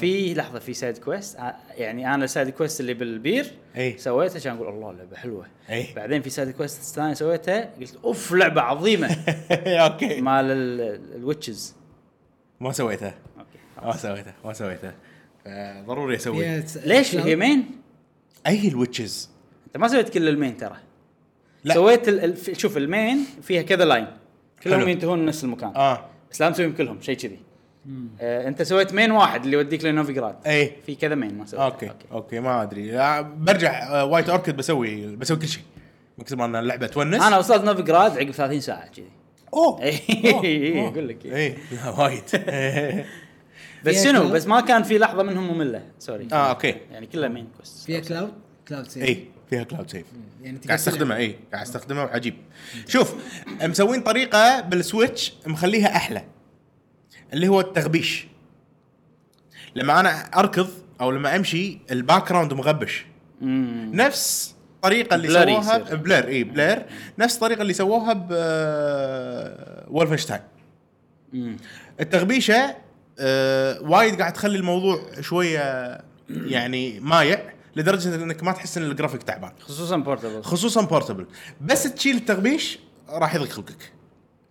Speaker 1: في لحظه في سايد كويست آه، يعني انا السايد كويست اللي بالبير
Speaker 3: إيه.
Speaker 1: سويته عشان اقول الله لعبه حلوه
Speaker 3: إيه.
Speaker 1: بعدين في سايد كويست ثانيه سويتها قلت اوف لعبه عظيمه
Speaker 3: اوكي
Speaker 1: مال ال- الويتشز
Speaker 3: ما سويته
Speaker 1: اوكي
Speaker 3: ما سويته ما سويته آه، ضروري اسوي
Speaker 2: فيها س-
Speaker 1: ليش
Speaker 2: كلاود.
Speaker 1: هي مين؟
Speaker 3: اي الويتشز
Speaker 1: انت ما سويت كل المين ترى
Speaker 3: لا.
Speaker 1: سويت ال... ال- في- شوف المين فيها كذا لاين كلهم
Speaker 3: حلو.
Speaker 1: ينتهون نفس المكان
Speaker 3: اه
Speaker 1: بس لا مسويهم كلهم شيء كذي آه انت سويت مين واحد اللي يوديك لنوفيغراد
Speaker 3: اي
Speaker 1: في كذا مين ما سويت
Speaker 3: اوكي اوكي ما ادري آه، برجع آه، وايت اوركيد بسوي بسوي كل شيء من كثر ما ان اللعبه تونس
Speaker 1: انا وصلت نوفيغراد عقب 30 ساعه كذي
Speaker 3: اوه
Speaker 1: إيه،
Speaker 3: أوه،
Speaker 1: إيه،
Speaker 3: أوه.
Speaker 1: أقول لك إيه.
Speaker 3: اي لا وايد
Speaker 1: بس
Speaker 2: فيها
Speaker 1: شنو
Speaker 2: كلام؟
Speaker 1: بس ما كان في لحظه منهم ممله سوري
Speaker 3: اه اوكي
Speaker 1: يعني كلها مين كويست
Speaker 2: فيها كلاود كلاود سيف
Speaker 3: اي فيها كلاود سيف
Speaker 2: يعني تقدر
Speaker 3: إيه. قاعد استخدمها اي قاعد استخدمها وعجيب شوف مسوين طريقه بالسويتش مخليها احلى اللي هو التغبيش لما انا اركض او لما امشي الباك جراوند مغبش
Speaker 1: امم
Speaker 3: نفس الطريقه اللي
Speaker 1: بلر
Speaker 3: سووها
Speaker 1: يصير.
Speaker 3: بلير اي بلير نفس الطريقه اللي سووها ب آه، وولفنشتاين
Speaker 1: أمم.
Speaker 3: التغبيشه آه، وايد قاعد تخلي الموضوع شويه يعني مايع لدرجه انك ما تحس ان الجرافيك تعبان
Speaker 1: خصوصا بورتبل
Speaker 3: خصوصا بورتبل بس تشيل التغبيش راح يضيق خلقك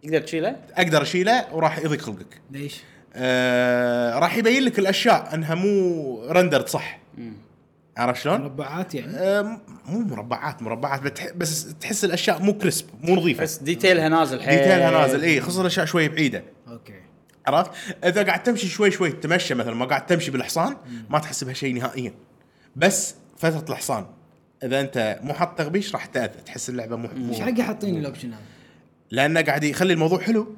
Speaker 1: تقدر تشيله
Speaker 3: اقدر اشيله وراح يضيق خلقك
Speaker 2: ليش؟
Speaker 3: آه راح يبين لك الاشياء انها مو رندرد صح
Speaker 1: أمم.
Speaker 3: عرفت شلون؟
Speaker 2: مربعات يعني
Speaker 3: آه م- مو مربعات مربعات بتح- بس تحس الاشياء مو كريسب مو نظيفه
Speaker 1: بس ديتيلها نازل حيل
Speaker 3: ديتيلها نازل اي خصوصا الاشياء شوي بعيده
Speaker 2: اوكي
Speaker 3: عرفت؟ اذا قاعد تمشي شوي شوي تمشى مثلا ما قاعد تمشي بالحصان ما تحس بهالشيء نهائيا بس فتره الحصان اذا انت مو حاط تغبيش راح تاذى تحس اللعبه مو مو-
Speaker 2: ايش حقي حاطين الاوبشن هذا؟
Speaker 3: لانه قاعد يخلي الموضوع حلو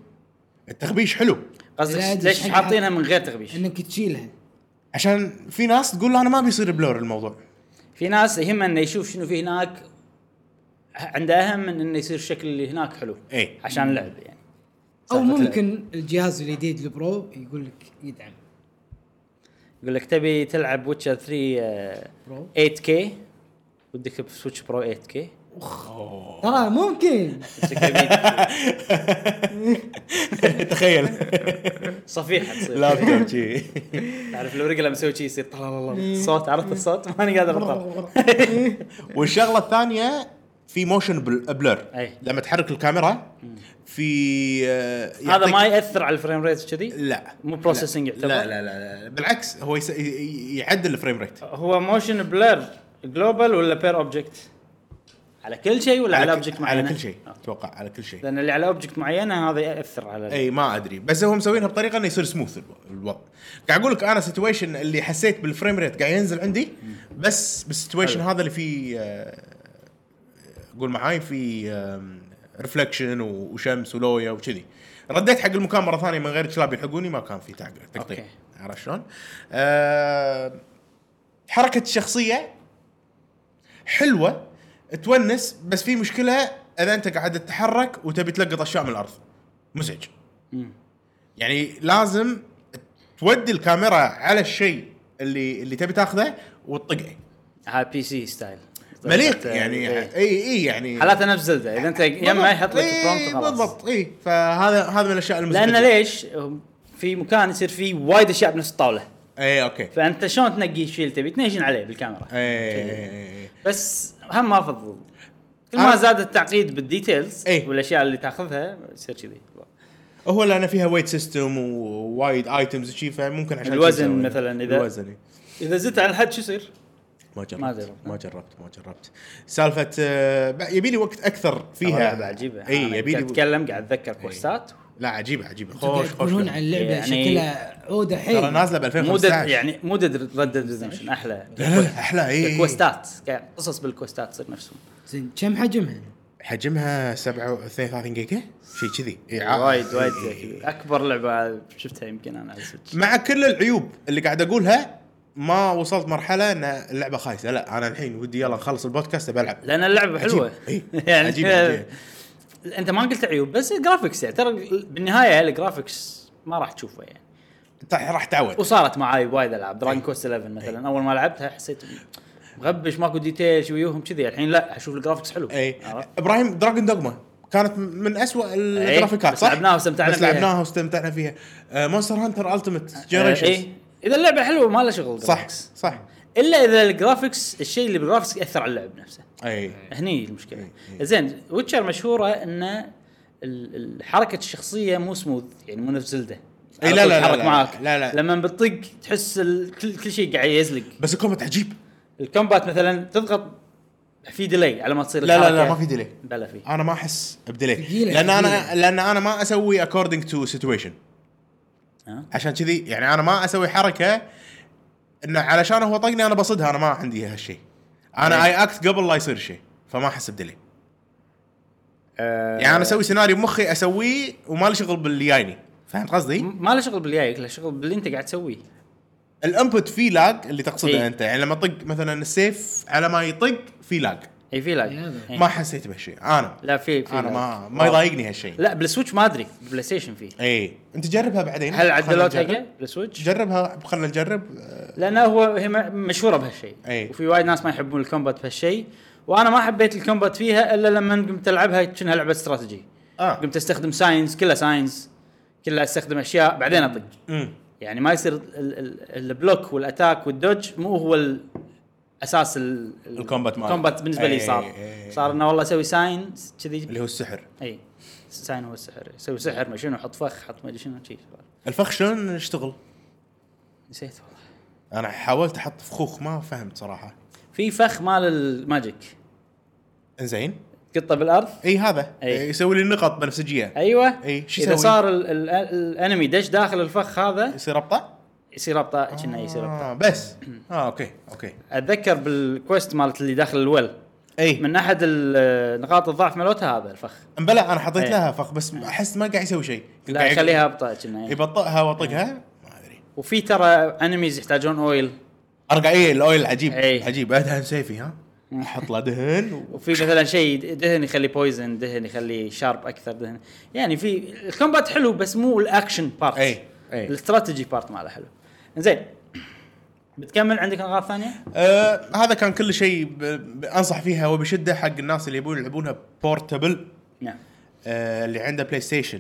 Speaker 3: التغبيش حلو
Speaker 2: لا
Speaker 1: قصدك
Speaker 2: أدري
Speaker 1: ليش
Speaker 2: شحال-
Speaker 1: حاطينها من غير تغبيش؟
Speaker 2: انك تشيلها
Speaker 3: عشان في ناس تقول انا ما بيصير بلور الموضوع
Speaker 1: في ناس يهمه انه يشوف شنو في هناك عنده اهم من انه يصير الشكل اللي هناك حلو
Speaker 3: اي
Speaker 1: عشان اللعب يعني
Speaker 2: او
Speaker 1: سالفة
Speaker 2: ممكن الجهاز الجديد البرو يقول لك يدعم
Speaker 1: يقول لك تبي تلعب ويتشر 3 آه،
Speaker 2: برو
Speaker 1: 8K ودك بسويتش برو 8K
Speaker 2: ترى ممكن
Speaker 3: تخيل
Speaker 1: صفيحه تصير
Speaker 3: لابتوب شي
Speaker 1: تعرف لو رجله مسوي شي يصير طلا لا لا صوت عرفت الصوت ماني قادر ابطل
Speaker 3: والشغله الثانيه في موشن بلور
Speaker 1: أي.
Speaker 3: لما تحرك الكاميرا في آه،
Speaker 1: هذا
Speaker 3: يعطيك-
Speaker 1: ما ياثر على الفريم ريت كذي
Speaker 3: لا
Speaker 1: مو بروسيسنج يعتبر
Speaker 3: لا لا لا لا بالعكس هو يس... ي- ي- يعدل الفريم ريت
Speaker 1: هو موشن بلر جلوبال ولا بير اوبجكت على كل شيء ولا على اوبجكت معينه
Speaker 3: على كل شيء
Speaker 1: أوكي.
Speaker 3: اتوقع على كل شيء
Speaker 1: لان اللي على اوبجكت معينه هذا ياثر على ال-
Speaker 3: اي ما ادري بس هم مسوينها بطريقه انه يصير سموث الو- الوضع قاعد اقول لك انا سيتويشن اللي حسيت بالفريم ريت قاعد ينزل عندي بس بالسيتويشن هذا اللي فيه آه، قول معاي في ريفلكشن وشمس ولويا وكذي رديت حق المكان مره ثانيه من غير كلاب يلحقوني ما كان في تعق- تقطيع
Speaker 1: أوكي.
Speaker 3: عرفت شلون؟ آه، حركه الشخصيه حلوه تونس بس في مشكله اذا انت قاعد تتحرك وتبي تلقط اشياء من الارض مزعج
Speaker 1: مم.
Speaker 3: يعني لازم تودي الكاميرا على الشيء اللي اللي تبي تاخذه وتطقه
Speaker 1: هذا بي سي ستايل
Speaker 3: مليق يعني
Speaker 1: إيه.
Speaker 3: اي اي يعني
Speaker 1: حالاته نفس زلده اذا انت يما يحط لك
Speaker 3: إيه
Speaker 1: برومت خلاص
Speaker 3: بالضبط اي فهذا هذا من الاشياء المزعجه
Speaker 1: لان ليش؟ في مكان يصير فيه وايد اشياء بنفس الطاوله
Speaker 3: اي اوكي
Speaker 1: فانت شلون تنقي الشيء اللي تبي تنيشن عليه بالكاميرا
Speaker 3: اي اي
Speaker 1: بس هم ما افضل كل ما
Speaker 3: أنا-
Speaker 1: زاد التعقيد بالديتيلز
Speaker 3: إيه.
Speaker 1: والاشياء اللي تاخذها يصير كذي
Speaker 3: هو لان فيها ويت سيستم ووايد ايتمز شي فممكن عشان
Speaker 1: الوزن
Speaker 3: كذا يسوي.
Speaker 1: مثلا إذا-
Speaker 3: الوزن إي.
Speaker 1: اذا زدت على الحد شو يصير؟
Speaker 3: ما جربت
Speaker 1: ما
Speaker 3: ما
Speaker 1: جربت.
Speaker 3: جربت ما جربت, ما جربت. سالفه آه، بق- يبي لي وقت اكثر
Speaker 1: والله
Speaker 3: فيها
Speaker 1: لعبه عجيبه
Speaker 3: اي يبي لي إيه. و-
Speaker 1: اتكلم قاعد اتذكر كوستات
Speaker 3: لا عجيبه عجيبه
Speaker 2: قاعد
Speaker 3: خوش خوش
Speaker 2: يقولون
Speaker 3: لعبة.
Speaker 2: عن اللعبه
Speaker 1: يعني-
Speaker 2: شكلها عوده
Speaker 3: ترى
Speaker 2: حيل
Speaker 3: نازله ب
Speaker 1: مو دد
Speaker 3: 2015 يعني
Speaker 1: إيه. يعني مو دد ريد ديد ريدمشن احلى
Speaker 3: لا لا احلى اي
Speaker 1: الكوستات قاعد- قصص بالكوستات تصير نفسهم
Speaker 2: زين كم حجمها؟
Speaker 3: حجمها 7 32 جيجا شيء كذي إيه، إي، ع-
Speaker 1: وايد وايد
Speaker 3: إي.
Speaker 1: زي- اكبر لعبه شفتها يمكن انا على السويتش
Speaker 3: مع كل العيوب اللي قاعد اقولها ما وصلت مرحله ان اللعبه خايسه لا انا الحين ودي يلا نخلص البودكاست بلعب
Speaker 1: لان اللعبه حلوه
Speaker 3: إي.
Speaker 1: يعني
Speaker 3: إيه. عجيب عجيب.
Speaker 1: انت ما قلت عيوب بس الجرافكس يعني ترى بالنهايه الجرافكس ما راح تشوفه يعني
Speaker 3: انت راح تعود
Speaker 1: وصارت معاي وايد العاب
Speaker 3: إيه.
Speaker 1: دراجون كوست 11 مثلا اول ما لعبتها حسيت غبش ماكو ديتيل شو ويوهم كذي يعني. الحين لا اشوف الجرافكس حلو
Speaker 3: اي
Speaker 1: عرفت؟
Speaker 3: ابراهيم دراجون دوغما كانت من أسوأ
Speaker 1: إيه،
Speaker 3: الجرافيكات
Speaker 1: بس
Speaker 3: صح؟
Speaker 1: لعبناها واستمتعنا
Speaker 3: بس
Speaker 1: فيها.
Speaker 3: لعبناها واستمتعنا فيها آه، مونستر هانتر التيمت
Speaker 1: إيه.
Speaker 3: جنريشن
Speaker 1: اذا اللعبه حلوه ما لها شغل
Speaker 3: صح
Speaker 1: graphics.
Speaker 3: صح
Speaker 1: الا اذا الجرافكس الشيء اللي بالجرافكس ياثر على اللعب نفسه
Speaker 3: اي
Speaker 1: هني المشكله
Speaker 3: إيه،
Speaker 1: زين ويتشر مشهوره ان ال- ال- حركه الشخصيه مو سموث يعني مو نفس زلده
Speaker 3: إي،
Speaker 1: على
Speaker 3: إيه، لا،
Speaker 1: طول
Speaker 3: لا، لا،
Speaker 1: تتحرك
Speaker 3: لا،
Speaker 1: معاك
Speaker 3: لا، لا.
Speaker 1: لما بتطق تحس ال- كل كل شيء قاعد يزلق
Speaker 3: بس الكومبات عجيب
Speaker 1: الكومبات مثلا تضغط في ديلي على ما تصير
Speaker 3: لا لا لا
Speaker 1: الحركة.
Speaker 3: ما في ديلي
Speaker 1: بلا في
Speaker 3: انا ما احس بديلي
Speaker 2: ثقيلة،
Speaker 1: يعني.
Speaker 3: لان انا
Speaker 2: ثقيلة.
Speaker 3: لان انا ما اسوي اكوردنج تو سيتويشن
Speaker 1: ها؟
Speaker 3: عشان كذي يعني انا ما اسوي حركه انه علشان هو طقني انا بصدها انا ما عندي هالشيء انا
Speaker 1: إيه.
Speaker 3: اي اكت قبل لا يصير شيء فما احس بديلي
Speaker 1: آه.
Speaker 3: يعني انا اسوي سيناريو بمخي اسويه وما لي شغل باللي جايني فهمت قصدي؟
Speaker 1: م- ما له شغل باللي جايك له شغل باللي انت قاعد تسويه
Speaker 3: الانبوت في لاج اللي تقصده
Speaker 1: إيه.
Speaker 3: انت يعني لما طق مثلا السيف على ما يطق في لاج
Speaker 1: اي في لاج
Speaker 2: يلا.
Speaker 1: إي.
Speaker 3: ما حسيت بهالشيء انا
Speaker 1: إيه. لا في في
Speaker 3: انا
Speaker 1: لاج.
Speaker 3: ما ما يضايقني هالشيء
Speaker 1: لا بالسويتش ما ادري بلاي ستيشن فيه
Speaker 3: اي انت جربها بعدين
Speaker 1: هل
Speaker 3: خلنا
Speaker 1: عدلوها
Speaker 3: نجرب.
Speaker 1: حقه بالسويتش؟
Speaker 3: جربها خلينا نجرب آه،
Speaker 1: لانه هو هي م- مشهوره بهالشيء
Speaker 3: أي.
Speaker 1: وفي وايد ناس ما يحبون الكومبات بهالشيء وانا ما حبيت الكومبات فيها الا لما قمت العبها كأنها لعبه استراتيجي
Speaker 3: اه
Speaker 1: قمت استخدم ساينس كلها ساينس كلها استخدم اشياء بعدين اطق
Speaker 3: أمم.
Speaker 1: يعني ما يصير ال- ال- البلوك والاتاك والدوج مو هو ال- اساس ال- ال-
Speaker 3: الكومبات مال.
Speaker 1: الكومبات بالنسبه لي
Speaker 3: أي-
Speaker 1: صار
Speaker 3: أي- أي.
Speaker 1: صار انه والله اسوي ساين كذي
Speaker 3: اللي هو السحر
Speaker 1: اي ساين هو السحر يسوي سحر ما شنو حط فخ حط ما ادري شنو شي.
Speaker 3: الفخ شلون يشتغل؟
Speaker 1: نسيت والله
Speaker 3: انا حاولت احط فخوخ ما فهمت صراحه
Speaker 1: في فخ مال الماجيك
Speaker 3: انزين
Speaker 1: تقطه بالارض
Speaker 3: اي هذا
Speaker 1: أي.
Speaker 3: إيه، يسوي لي نقط بنفسجيه
Speaker 1: ايوه
Speaker 3: أي، شو
Speaker 1: اذا
Speaker 3: يسوي؟
Speaker 1: صار ال ال الانمي دش داخل الفخ هذا
Speaker 3: يصير ابطا؟
Speaker 1: يصير ابطا كنا يصير ابطا
Speaker 3: آه بس اه اوكي اوكي
Speaker 1: اتذكر بالكويست مالت اللي داخل الويل
Speaker 3: اي
Speaker 1: من احد ال- نقاط الضعف مالتها هذا الفخ
Speaker 3: مبلى انا حطيت
Speaker 1: أي.
Speaker 3: لها فخ بس احس ما قاعد يسوي شيء
Speaker 1: لا
Speaker 3: قاعد
Speaker 1: يخليها ابطا كنا
Speaker 3: يبطئها واطقها ما ادري
Speaker 1: وفي ترى انميز يحتاجون اويل
Speaker 3: ارجع اي الاويل عجيب
Speaker 1: أي.
Speaker 3: عجيب ادهن سيفي ها احط له دهن و...
Speaker 1: وفي مثلا شيء دهن يخلي بويزن دهن يخلي شارب اكثر دهن يعني في الكومبات حلو بس مو الاكشن بارت
Speaker 3: أي، أي.
Speaker 1: الاستراتيجي بارت ماله حلو زين بتكمل عندك نقاط ثانيه؟
Speaker 3: آه هذا كان كل شيء ب... ب... انصح فيها وبشده حق الناس اللي يبون يلعبونها بورتبل
Speaker 1: نعم
Speaker 3: آه اللي عنده بلاي ستيشن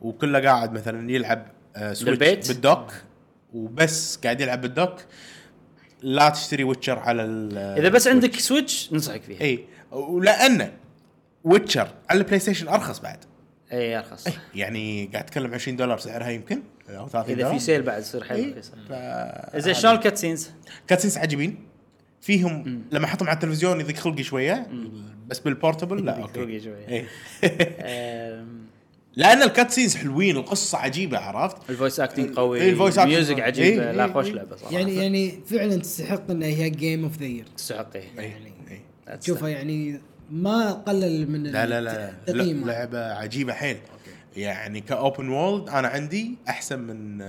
Speaker 3: وكله قاعد مثلا يلعب آه سويتش
Speaker 1: بالبيت؟
Speaker 3: بالدوك وبس قاعد يلعب بالدوك لا تشتري ويتشر على ال آه،
Speaker 1: اذا بس عندك سويتش ننصحك فيها
Speaker 3: اي ولان ويتشر على البلاي ستيشن ارخص بعد
Speaker 1: اي ارخص
Speaker 3: يعني قاعد اتكلم 20 دولار سعرها يمكن او 30
Speaker 1: اذا
Speaker 3: دولار
Speaker 1: في سيل بعد يصير حلو
Speaker 3: إيه.
Speaker 1: رخيص زين شلون الكات سينز؟
Speaker 3: كاتسينز عجيبين فيهم لما احطهم على التلفزيون يضيق خلقي شويه بس بالبورتبل لا
Speaker 1: يضيق
Speaker 3: اوكي
Speaker 1: خلقي شوية.
Speaker 3: إيه.
Speaker 1: آم،
Speaker 3: لان الكاتسينز حلوين القصه عجيبه عرفت
Speaker 1: الفويس اكتنج قوي
Speaker 3: إيه، الفويس أكتنج.
Speaker 1: الميوزك عجيب
Speaker 3: إيه،
Speaker 1: لا
Speaker 3: إيه،
Speaker 1: خوش
Speaker 3: إيه.
Speaker 1: لعبه صراحه
Speaker 2: يعني يعني فعلا تستحق انها هي جيم اوف ذا يير
Speaker 1: تستحق إيه.
Speaker 3: إيه،
Speaker 2: يعني
Speaker 3: إيه.
Speaker 1: لا
Speaker 2: تشوفها يعني ما قلل من
Speaker 3: لا لا لا لا،
Speaker 2: التقييم
Speaker 3: لعبه عجيبه حيل يعني كاوبن وولد انا عندي احسن من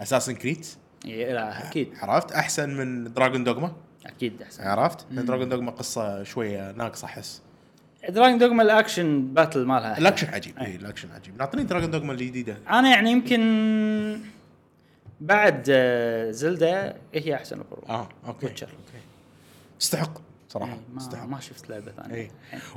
Speaker 3: اساسن كريد
Speaker 1: تستحق. إيه، لا اكيد
Speaker 3: عرفت احسن من دراجون دوغما
Speaker 1: اكيد احسن
Speaker 3: عرفت دراجون دوغما قصه شويه ناقصه احس
Speaker 1: دراجون دوغما الاكشن باتل مالها أحلى.
Speaker 3: الاكشن عجيب اي الاكشن عجيب نعطيني دراجون دوغما الجديده
Speaker 1: انا يعني يمكن بعد آه، زلدة هي احسن أبروف.
Speaker 3: اه اوكي
Speaker 1: Witcher.
Speaker 3: اوكي استحق صراحه
Speaker 1: إيه، ما
Speaker 3: استحق
Speaker 1: ما شفت لعبه ثانيه
Speaker 3: اي إيه.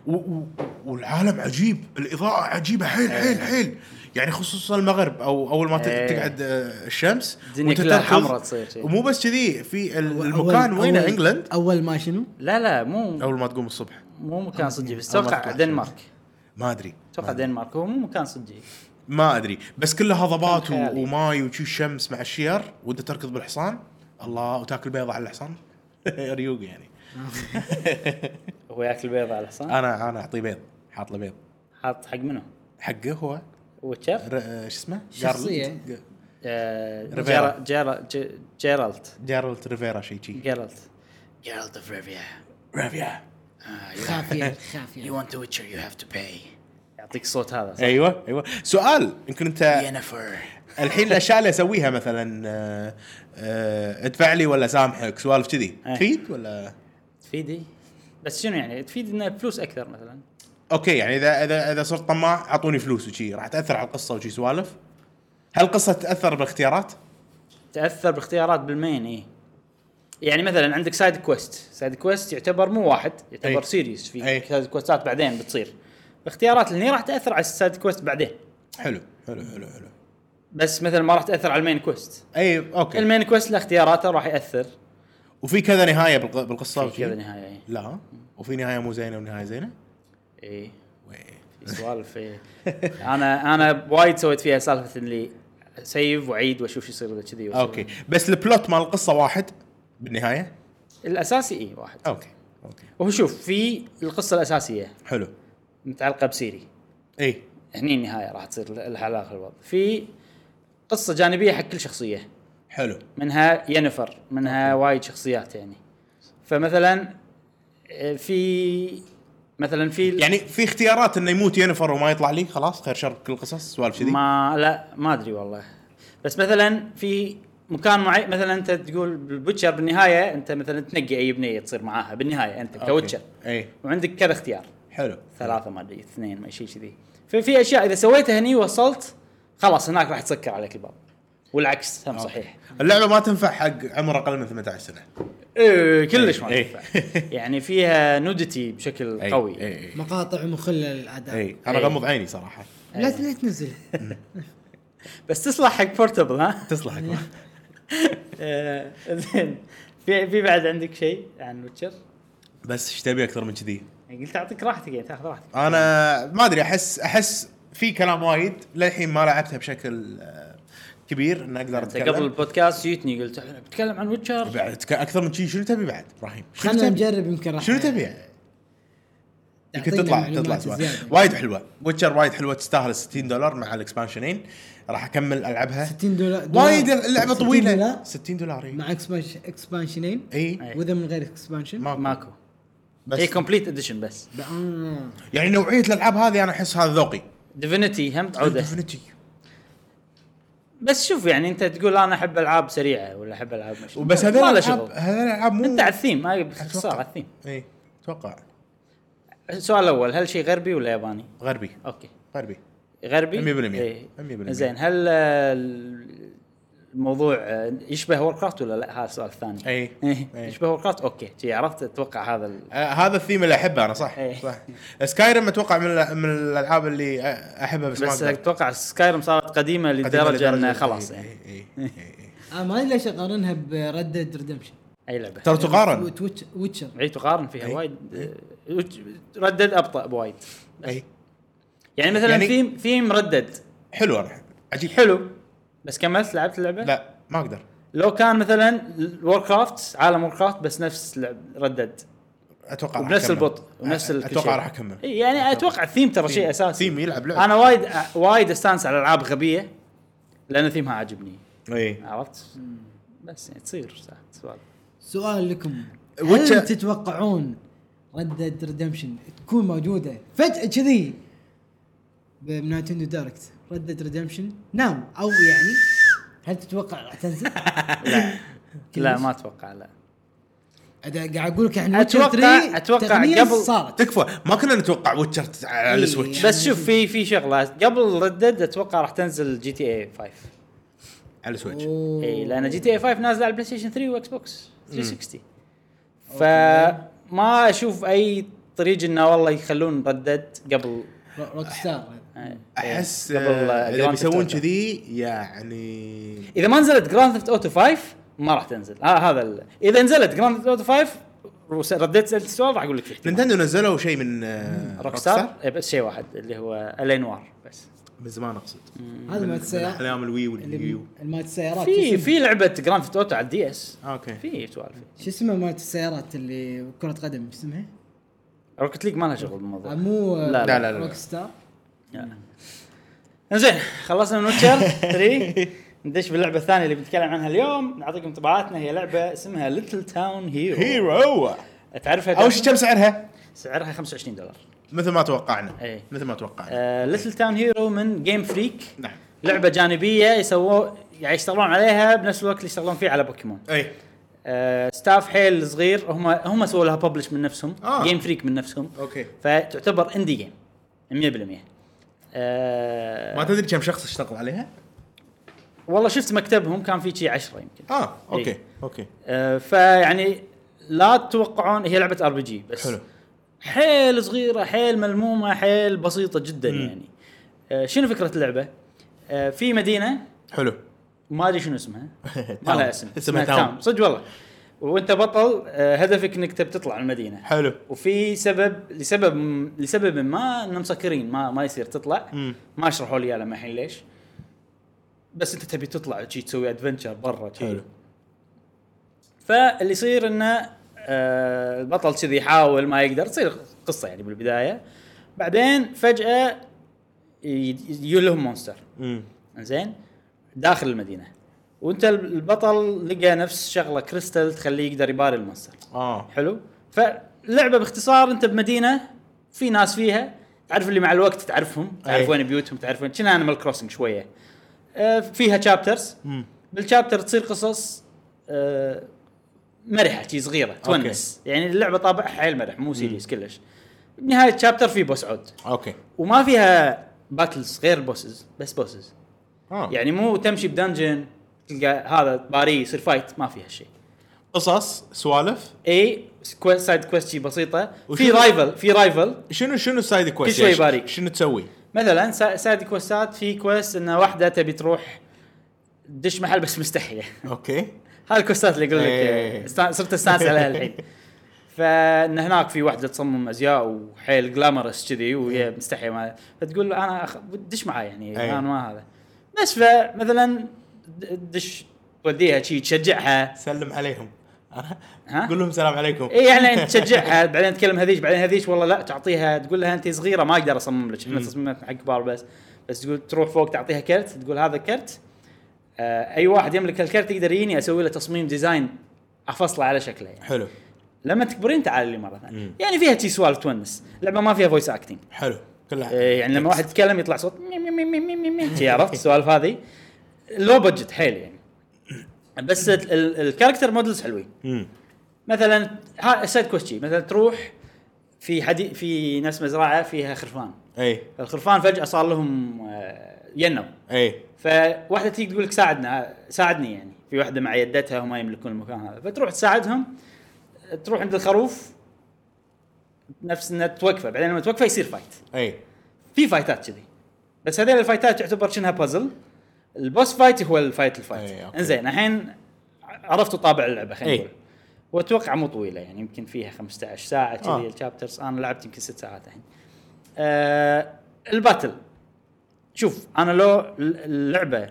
Speaker 3: و- و- والعالم عجيب الاضاءه عجيبه حيل حيل حيل يعني خصوصا المغرب او اول ما ت-
Speaker 1: إيه.
Speaker 3: تقعد آه، الشمس
Speaker 1: الدنيا
Speaker 3: وأنت
Speaker 1: كلها
Speaker 3: تركض.
Speaker 1: حمرا تصير شي.
Speaker 3: ومو بس كذي في ال-
Speaker 2: أول-
Speaker 3: المكان
Speaker 2: أول-
Speaker 3: وين
Speaker 2: أول-
Speaker 3: انجلند
Speaker 2: اول ما شنو؟
Speaker 1: لا لا مو
Speaker 3: اول ما تقوم الصبح
Speaker 1: مو مكان صجي بس
Speaker 3: أول ما آه.
Speaker 1: اتوقع
Speaker 3: تطلع
Speaker 1: دنمارك
Speaker 3: ما ادري
Speaker 1: اتوقع دنمارك هو مو مكان صجي
Speaker 3: ما ادري بس كلها هضبات
Speaker 1: كان خيالي.
Speaker 3: و- وماي وشي الشمس مع الشير وانت تركض بالحصان الله وتاكل بيضه على الحصان ريوق يعني
Speaker 1: هو ياكل بيض على الحصان
Speaker 3: انا انا اعطيه بيض حاط له بيض
Speaker 1: حاط حق منو؟
Speaker 3: حقه هو
Speaker 1: ويتشر؟
Speaker 3: ر- آه، شو اسمه؟
Speaker 2: شخصية.
Speaker 3: جارل-
Speaker 1: آه، جيرا-
Speaker 3: ريفيرا.
Speaker 1: جيرا- ج- جيرالت
Speaker 3: جارلت ريفيرا شيء شي
Speaker 1: جيرالت جيرالت اوف ريفيا
Speaker 3: ريفيا أيوة.
Speaker 2: خافيه خافيه
Speaker 1: want to witcher you have to pay يعطيك صوت هذا صح؟ يعني-
Speaker 3: ايوه ايوه سؤال يمكن انت
Speaker 1: ينفر
Speaker 3: الحين الاشياء اللي اسويها مثلا آه، آه، ادفع لي ولا سامحك سوالف كذي
Speaker 1: أي.
Speaker 3: تفيد ولا
Speaker 1: تفيدي بس شنو يعني تفيد انه فلوس اكثر مثلا
Speaker 3: اوكي يعني اذا اذا اذا صرت طماع اعطوني فلوس وشي راح تاثر على القصه وشي سوالف هل قصة تأثر باختيارات؟
Speaker 1: تاثر باختيارات بالمين اي يعني مثلا عندك سايد كويست سايد كويست يعتبر مو واحد يعتبر
Speaker 3: أي.
Speaker 1: سيريز في
Speaker 3: أي.
Speaker 1: سايد كويستات بعدين بتصير الاختيارات اللي هني راح تاثر على السايد كويست بعدين
Speaker 3: حلو حلو حلو حلو
Speaker 1: بس مثلا ما راح تاثر على المين كويست
Speaker 3: اي اوكي
Speaker 1: المين كويست له اختياراته راح ياثر
Speaker 3: وفي كذا نهاية بالق- بالقصة
Speaker 1: في كذا إيه.
Speaker 3: وشي؟
Speaker 1: نهايه إي.
Speaker 3: لا ها؟ وفي نهاية مو زينة ونهاية زينة؟
Speaker 1: اي
Speaker 3: وي.
Speaker 1: في سوالف إي. انا انا وايد سويت فيها سالفه اللي سيف واعيد واشوف شو يصير اذا كذي وأسوي.
Speaker 3: اوكي بس البلوت مال القصة واحد بالنهاية؟
Speaker 1: الاساسي اي إيه، واحد
Speaker 3: اوكي اوكي
Speaker 1: وهو شوف في القصه الاساسيه
Speaker 3: حلو
Speaker 1: متعلقه بسيري
Speaker 3: اي
Speaker 1: هني النهايه راح تصير لها علاقه بالوضع في قصه جانبيه حق كل شخصيه
Speaker 3: حلو
Speaker 1: منها ينفر منها وايد شخصيات يعني فمثلا آه، في مثلا في
Speaker 3: يعني في اختيارات انه يموت ينفر وما يطلع لي خلاص خير شر كل القصص سوالف كذي
Speaker 1: ما لا ما ادري والله بس مثلا في مكان معين مثلا انت تقول بالبوتشر بالنهايه انت مثلا تنقي اي بنيه تصير معاها بالنهايه انت
Speaker 3: أوكي.
Speaker 1: كوتشر
Speaker 3: اي
Speaker 1: وعندك كذا اختيار
Speaker 3: حلو
Speaker 1: ثلاثه ما ادري اثنين ما شيء كذي ففي اشياء اذا سويتها هني وصلت خلاص هناك راح تسكر عليك الباب والعكس هم صحيح
Speaker 3: اللعبه ما تنفع حق عمر اقل من 18 سنه
Speaker 1: إيه كلش ما
Speaker 3: إيه.
Speaker 1: تنفع يعني فيها نودتي بشكل
Speaker 3: أي،
Speaker 1: قوي إيه.
Speaker 3: اي اي
Speaker 2: مقاطع مخله للاداء
Speaker 3: اي انا
Speaker 1: أي.
Speaker 3: إيه، غمض عيني صراحه
Speaker 2: لا
Speaker 3: أيوة.
Speaker 2: لا تنزل
Speaker 1: بس تصلح حق بورتبل ها
Speaker 3: تصلح
Speaker 1: آه، زين في في بعد عندك شيء عن ويتشر؟
Speaker 3: بس ايش تبي اكثر من كذي؟
Speaker 1: قلت اعطيك راحتك يعني تاخذ راحتك
Speaker 3: انا ما ادري احس احس في كلام وايد للحين ما لعبتها بشكل آه، كبير ان اقدر
Speaker 1: انت يعني قبل
Speaker 3: اتكلم
Speaker 1: البودكاست جيتني قلت احنا بنتكلم عن ويتشر
Speaker 3: بعد ك- اكثر من شيء شنو تبي بعد ابراهيم؟ شنو
Speaker 2: خلنا
Speaker 3: تبي؟
Speaker 2: نجرب يمكن راح
Speaker 3: شنو تبي؟ يمكن
Speaker 2: تعطينا
Speaker 3: تطلع
Speaker 2: معلومات
Speaker 3: تطلع سؤال.
Speaker 2: زيادة.
Speaker 3: وايد حلوه ويتشر وايد حلوه تستاهل 60 دولار مع الاكسبانشنين راح اكمل العبها
Speaker 2: 60 دولا- دولار
Speaker 3: وايد
Speaker 2: 60
Speaker 3: اللعبه طويله
Speaker 2: دولار
Speaker 3: 60 دولار إيه. اي
Speaker 2: مع إكسبانش- اكسبانشنين
Speaker 3: اي
Speaker 2: واذا من غير اكسبانشن
Speaker 3: ماكو
Speaker 1: ماكو إيه، هي
Speaker 3: بس
Speaker 1: كومبليت اديشن بس
Speaker 2: آه.
Speaker 3: يعني نوعيه الالعاب هذه انا احس هذا ذوقي
Speaker 1: ديفينيتي هم تعوده
Speaker 3: Infinity.
Speaker 1: بس شوف يعني انت تقول انا احب العاب سريعه ولا احب العاب مش
Speaker 3: وبس هذول
Speaker 1: ما له
Speaker 3: الالعاب
Speaker 1: شغل
Speaker 3: هذول الالعاب مو
Speaker 1: انت على الثيم ما باختصار
Speaker 3: أتوقع. إيه،
Speaker 1: على الثيم
Speaker 3: اي اتوقع
Speaker 1: السؤال الاول هل شيء غربي ولا ياباني؟
Speaker 3: غربي
Speaker 1: اوكي
Speaker 3: غربي
Speaker 1: غربي
Speaker 3: 100%.
Speaker 1: إيه.
Speaker 3: 100%.
Speaker 1: زين هل آه، ال- الموضوع آه، يشبه ووركرافت ولا لا هذا السؤال الثاني
Speaker 3: اي
Speaker 1: إيه.
Speaker 3: إيه.
Speaker 1: يشبه ووركرافت اوكي شي عرفت اتوقع هذا ال...
Speaker 3: آه هذا الثيم اللي احبه انا صح
Speaker 1: إيه.
Speaker 3: صح سكايرم اتوقع من الأ- من الالعاب اللي أ- احبها بس,
Speaker 1: بس
Speaker 3: ما أقدر.
Speaker 1: اتوقع سكايرم صارت قديمه
Speaker 3: قديمة
Speaker 1: لدرجه انه
Speaker 3: لدرجة- إيه.
Speaker 1: خلاص
Speaker 3: إي-
Speaker 1: يعني
Speaker 3: إي- إي- إي- إي.
Speaker 2: آه ما ليش اقارنها بردد ريدمشن
Speaker 1: اي لعبه
Speaker 3: ترى تقارن
Speaker 2: ويتشر
Speaker 1: اي تقارن فيها
Speaker 3: إي.
Speaker 1: وايد آه، وج- ردد ابطا بوايد
Speaker 3: اي
Speaker 1: يعني مثلا
Speaker 3: يعني-
Speaker 1: ثيم ثيم ردد
Speaker 3: حلو انا أحب. عجيب
Speaker 1: حلو بس كملت لعبت اللعبه؟
Speaker 3: لا ما اقدر
Speaker 1: لو كان مثلا وور كرافت عالم وور كرافت بس نفس لعب ردد
Speaker 3: اتوقع راح
Speaker 1: وبنفس
Speaker 3: أكمل.
Speaker 1: البطء ونفس
Speaker 3: أ-
Speaker 1: ال- كل
Speaker 3: اتوقع
Speaker 1: شيء.
Speaker 3: راح اكمل
Speaker 1: إي يعني اتوقع الثيم ترى شيء اساسي
Speaker 3: ثيم يلعب لعب
Speaker 1: انا وايد وايد استانس على العاب غبيه لان ثيمها عاجبني
Speaker 3: اي
Speaker 1: عرفت؟ بس يعني تصير ساعات سؤال
Speaker 2: سؤال لكم
Speaker 3: Witcher-
Speaker 2: هل تتوقعون ردد ريدمشن تكون موجوده فجاه كذي بنايتندو دايركت ردد ريدمشن نعم او يعني هل تتوقع راح تنزل؟
Speaker 1: لا ما اتوقع لا
Speaker 2: أدا قاعد اقول لك احنا Witcher
Speaker 1: أتوقع-
Speaker 2: 3
Speaker 1: أتوقع
Speaker 2: تقنياً
Speaker 1: قبل-
Speaker 2: صارت
Speaker 3: تكفى ما كنا نتوقع ويتشر تت- على
Speaker 2: إي.
Speaker 3: السويتش
Speaker 1: بس شوف في في شغله قبل ردد اتوقع راح تنزل جي تي اي 5
Speaker 3: على السويتش
Speaker 2: أوه.
Speaker 1: اي لان إيه، جي تي اي 5 نازله على البلاي ستيشن 3 واكس بوكس 360 فما اشوف اي طريق انه والله يخلون ردد قبل آه،
Speaker 2: رو- روك ستار
Speaker 3: احس
Speaker 1: قبل
Speaker 3: آه،
Speaker 1: Grand
Speaker 3: اذا
Speaker 1: Theft
Speaker 3: بيسوون
Speaker 1: Auto.
Speaker 3: كذي يعني
Speaker 1: اذا ما نزلت جراند ثيفت اوتو 5 ما راح تنزل آه هذا ال... اذا نزلت جراند ثيفت اوتو 5 وس- رديت سالت السؤال راح اقول لك في احتمال.
Speaker 3: نينتندو نزلوا شيء من آه،
Speaker 1: روك
Speaker 3: Rockstar؟
Speaker 1: ستار إيه، بس شيء واحد اللي هو الانوار بس
Speaker 3: من زمان اقصد
Speaker 2: هذا مال السيارات
Speaker 3: ايام الوي
Speaker 2: اللي
Speaker 3: واليو
Speaker 2: مال السيارات
Speaker 1: في في لعبه جراند ثيفت اوتو على الدي اس
Speaker 3: اوكي
Speaker 1: في سؤال فيه
Speaker 2: شو اسمه مالت السيارات اللي كرة قدم ايش اسمها؟
Speaker 1: روكت ليج ما لها شغل بالموضوع
Speaker 2: آه، مو
Speaker 1: لا، لا،
Speaker 3: لا، لا.
Speaker 2: روك ستار
Speaker 1: يلا. انزين خلصنا من ويتشر 3 ندش باللعبه الثانيه اللي بنتكلم عنها اليوم نعطيكم انطباعاتنا هي لعبه اسمها ليتل تاون هيرو
Speaker 3: هيرو
Speaker 1: تعرفها
Speaker 3: اول شيء كم سعرها؟
Speaker 1: سعرها 25 دولار آه،
Speaker 3: مثل ما توقعنا
Speaker 1: إيه.
Speaker 3: مثل ما توقعنا
Speaker 1: ليتل تاون هيرو من جيم فريك
Speaker 3: نعم
Speaker 1: لعبه جانبيه يسووا يعني يشتغلون عليها بنفس الوقت اللي يشتغلون فيه على بوكيمون
Speaker 3: اي
Speaker 1: آه، ستاف حيل صغير هم هم سووا لها ببلش من نفسهم
Speaker 3: آه.
Speaker 1: جيم فريك من نفسهم
Speaker 3: اوكي
Speaker 1: فتعتبر اندي جيم 100% آه،
Speaker 3: ما تدري كم شخص اشتغل عليها؟
Speaker 1: والله شفت مكتبهم كان في شي 10 يمكن
Speaker 3: اه اوكي
Speaker 1: إيه.
Speaker 3: اوكي
Speaker 1: آه، فيعني لا تتوقعون هي لعبه ار بي جي بس
Speaker 3: حلو.
Speaker 1: حيل صغيره حيل ملمومه حيل بسيطه جدا يعني آه، شنو فكره اللعبه؟ آه، في مدينه
Speaker 3: حلو
Speaker 1: ما ادري شنو اسمها ما
Speaker 3: تاون.
Speaker 1: لها اسم
Speaker 3: اسمها تاون.
Speaker 1: صدق والله وانت بطل آه، هدفك انك تب تطلع المدينه
Speaker 3: حلو
Speaker 1: وفي سبب لسبب لسبب ما ان مسكرين ما ما يصير تطلع
Speaker 3: مم.
Speaker 1: ما شرحوا لي اياه لما الحين ليش بس انت تبي تطلع شي تسوي ادفنشر برا شي.
Speaker 3: حلو
Speaker 1: فاللي يصير انه آه، البطل كذي يحاول ما يقدر تصير قصه يعني بالبدايه بعدين فجاه ي- يلهم مونستر
Speaker 3: مم.
Speaker 1: زين داخل المدينه وانت البطل لقى نفس شغله كريستال تخليه يقدر يباري المونستر
Speaker 3: اه
Speaker 1: حلو فلعبه باختصار انت بمدينه في ناس فيها تعرف اللي مع الوقت تعرفهم تعرف
Speaker 3: أي.
Speaker 1: وين بيوتهم تعرف وين كنا انيمال كروسنج شويه آه، فيها تشابترز
Speaker 3: مم.
Speaker 1: بالشابتر تصير قصص آه، مرحه شي صغيره تونس يعني اللعبه طابع حيل مرح مو سيريس كلش بنهايه الشابتر في بوس عود
Speaker 3: اوكي
Speaker 1: وما فيها باتلز غير بوسز بس بوسز
Speaker 3: اه يعني
Speaker 1: يعني مو تمشي بدنجن تلقى هذا باري يصير فايت ما فيها شيء
Speaker 3: قصص سوالف
Speaker 1: اي كويست سايد كويست شي بسيطه في
Speaker 3: وشنو-
Speaker 1: رايفل في رايفل
Speaker 3: شنو شنو السايد كويست
Speaker 1: شوي
Speaker 3: يعني ش-
Speaker 1: باريك.
Speaker 3: شنو تسوي؟
Speaker 1: مثلا سا- سايد كويستات في كويست ان واحده تبي تروح تدش محل بس مستحيه
Speaker 3: اوكي
Speaker 1: هاي الكوستات اللي اقول لك
Speaker 3: إيه.
Speaker 1: آه، استا- صرت استانس عليها الحين فان هناك في واحده تصمم ازياء وحيل جلامرس كذي وهي مستحيه ما فتقول له انا أخ... دش معاي يعني
Speaker 3: إيه.
Speaker 1: انا ما هذا بس فمثلا د- دش توديها شي تشجعها
Speaker 3: سلم عليهم
Speaker 1: ها؟
Speaker 3: قول لهم سلام عليكم
Speaker 1: اي يعني انت تشجعها بعدين تكلم هذيش بعدين هذيش والله لا تعطيها تقول لها انت صغيره ما اقدر اصمم لك احنا تصميماتنا حق كبار بس بس تقول تروح فوق تعطيها كرت تقول هذا كرت آه اي واحد يملك الكرت يقدر يجيني اسوي له تصميم ديزاين افصله على شكله يعني
Speaker 3: حلو
Speaker 1: لما تكبرين تعالي لي مره ثانيه يعني فيها شي سوالف تونس لعبه ما فيها فويس اكتنج
Speaker 3: حلو كلها
Speaker 1: إيه، يعني لما واحد يتكلم يطلع صوت مي مي مي مي مي مي مي شي عرفت السوالف هذه لو بجت حيل يعني بس ال- ال- الكاركتر مودلز حلوين
Speaker 3: مم.
Speaker 1: مثلا ها- سايد كويست شي، مثلا تروح في حدي في نفس مزرعه فيها خرفان
Speaker 3: اي
Speaker 1: الخرفان فجاه صار لهم آه، ينو
Speaker 3: اي
Speaker 1: فواحده تيجي تقول لك ساعدنا ساعدني يعني في واحده مع يدتها وما يملكون المكان هذا فتروح تساعدهم تروح عند الخروف نفس انها توقفه بعدين لما توقفه يصير فايت
Speaker 3: اي
Speaker 1: في فايتات كذي بس هذيل الفايتات تعتبر شنها بازل البوس فايت هو الفايت
Speaker 3: أي،
Speaker 1: الفايت
Speaker 3: إيه، أوكي. إيه.
Speaker 1: انزين الحين عرفتوا طابع اللعبه خلينا
Speaker 3: أي.
Speaker 1: نقول واتوقع مو طويله يعني يمكن فيها 15 ساعه كذي
Speaker 3: آه.
Speaker 1: آه. الشابترز انا لعبت يمكن ست ساعات الحين آه الباتل شوف انا لو اللعبه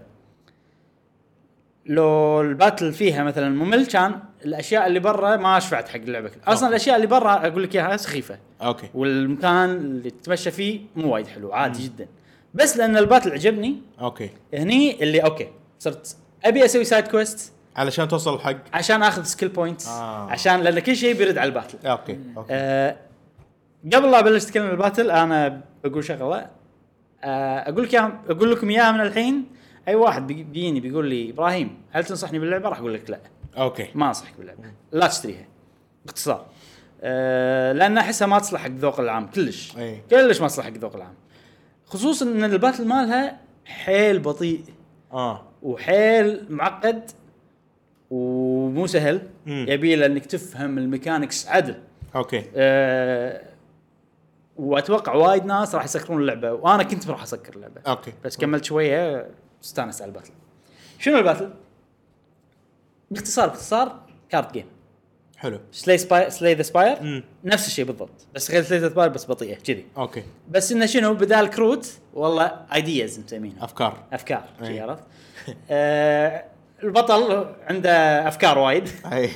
Speaker 1: لو الباتل فيها مثلا ممل كان الاشياء اللي برا ما شفعت حق اللعبه اصلا
Speaker 3: أوكي.
Speaker 1: الاشياء اللي برا اقول لك اياها سخيفه
Speaker 3: اوكي
Speaker 1: والمكان اللي تتمشى فيه مو وايد حلو عادي جدا بس لان الباتل عجبني
Speaker 3: اوكي
Speaker 1: هني اللي اوكي صرت ابي اسوي سايد كويست
Speaker 3: علشان توصل حق
Speaker 1: عشان اخذ سكيل بوينتس
Speaker 3: آه.
Speaker 1: آه. عشان لان كل شيء بيرد على الباتل
Speaker 3: اوكي اوكي
Speaker 1: آه قبل لا ابلش اتكلم عن الباتل انا بقول شغله آه اقول لك إياها- اقول لكم اياها من الحين اي واحد بي- بيجيني بيقول لي ابراهيم هل تنصحني باللعبه راح اقول لك لا
Speaker 3: اوكي
Speaker 1: ما انصحك باللعبه لا تشتريها باختصار أه لان احسها ما تصلح حق ذوق العام كلش
Speaker 3: أي.
Speaker 1: كلش ما تصلح حق ذوق العام خصوصا ان الباتل مالها حيل بطيء
Speaker 3: اه
Speaker 1: وحيل معقد ومو سهل
Speaker 3: مم.
Speaker 1: يبي له انك تفهم الميكانكس عدل
Speaker 3: اوكي
Speaker 1: أه واتوقع وايد ناس راح يسكرون اللعبه وانا كنت راح اسكر اللعبه
Speaker 3: اوكي
Speaker 1: بس كملت شويه استانست على الباتل شنو الباتل؟ باختصار باختصار كارد جيم
Speaker 3: حلو
Speaker 1: سلاي سباي سلاي ذا سباير
Speaker 3: مم.
Speaker 1: نفس الشيء بالضبط بس غير سلاي ذا سباير بس بطيئه كذي
Speaker 3: اوكي
Speaker 1: بس انه شنو بدال كروت والله ايدياز مسمينها
Speaker 3: افكار
Speaker 1: افكار شي
Speaker 3: أي.
Speaker 1: عرفت؟ آه البطل عنده افكار وايد
Speaker 3: اي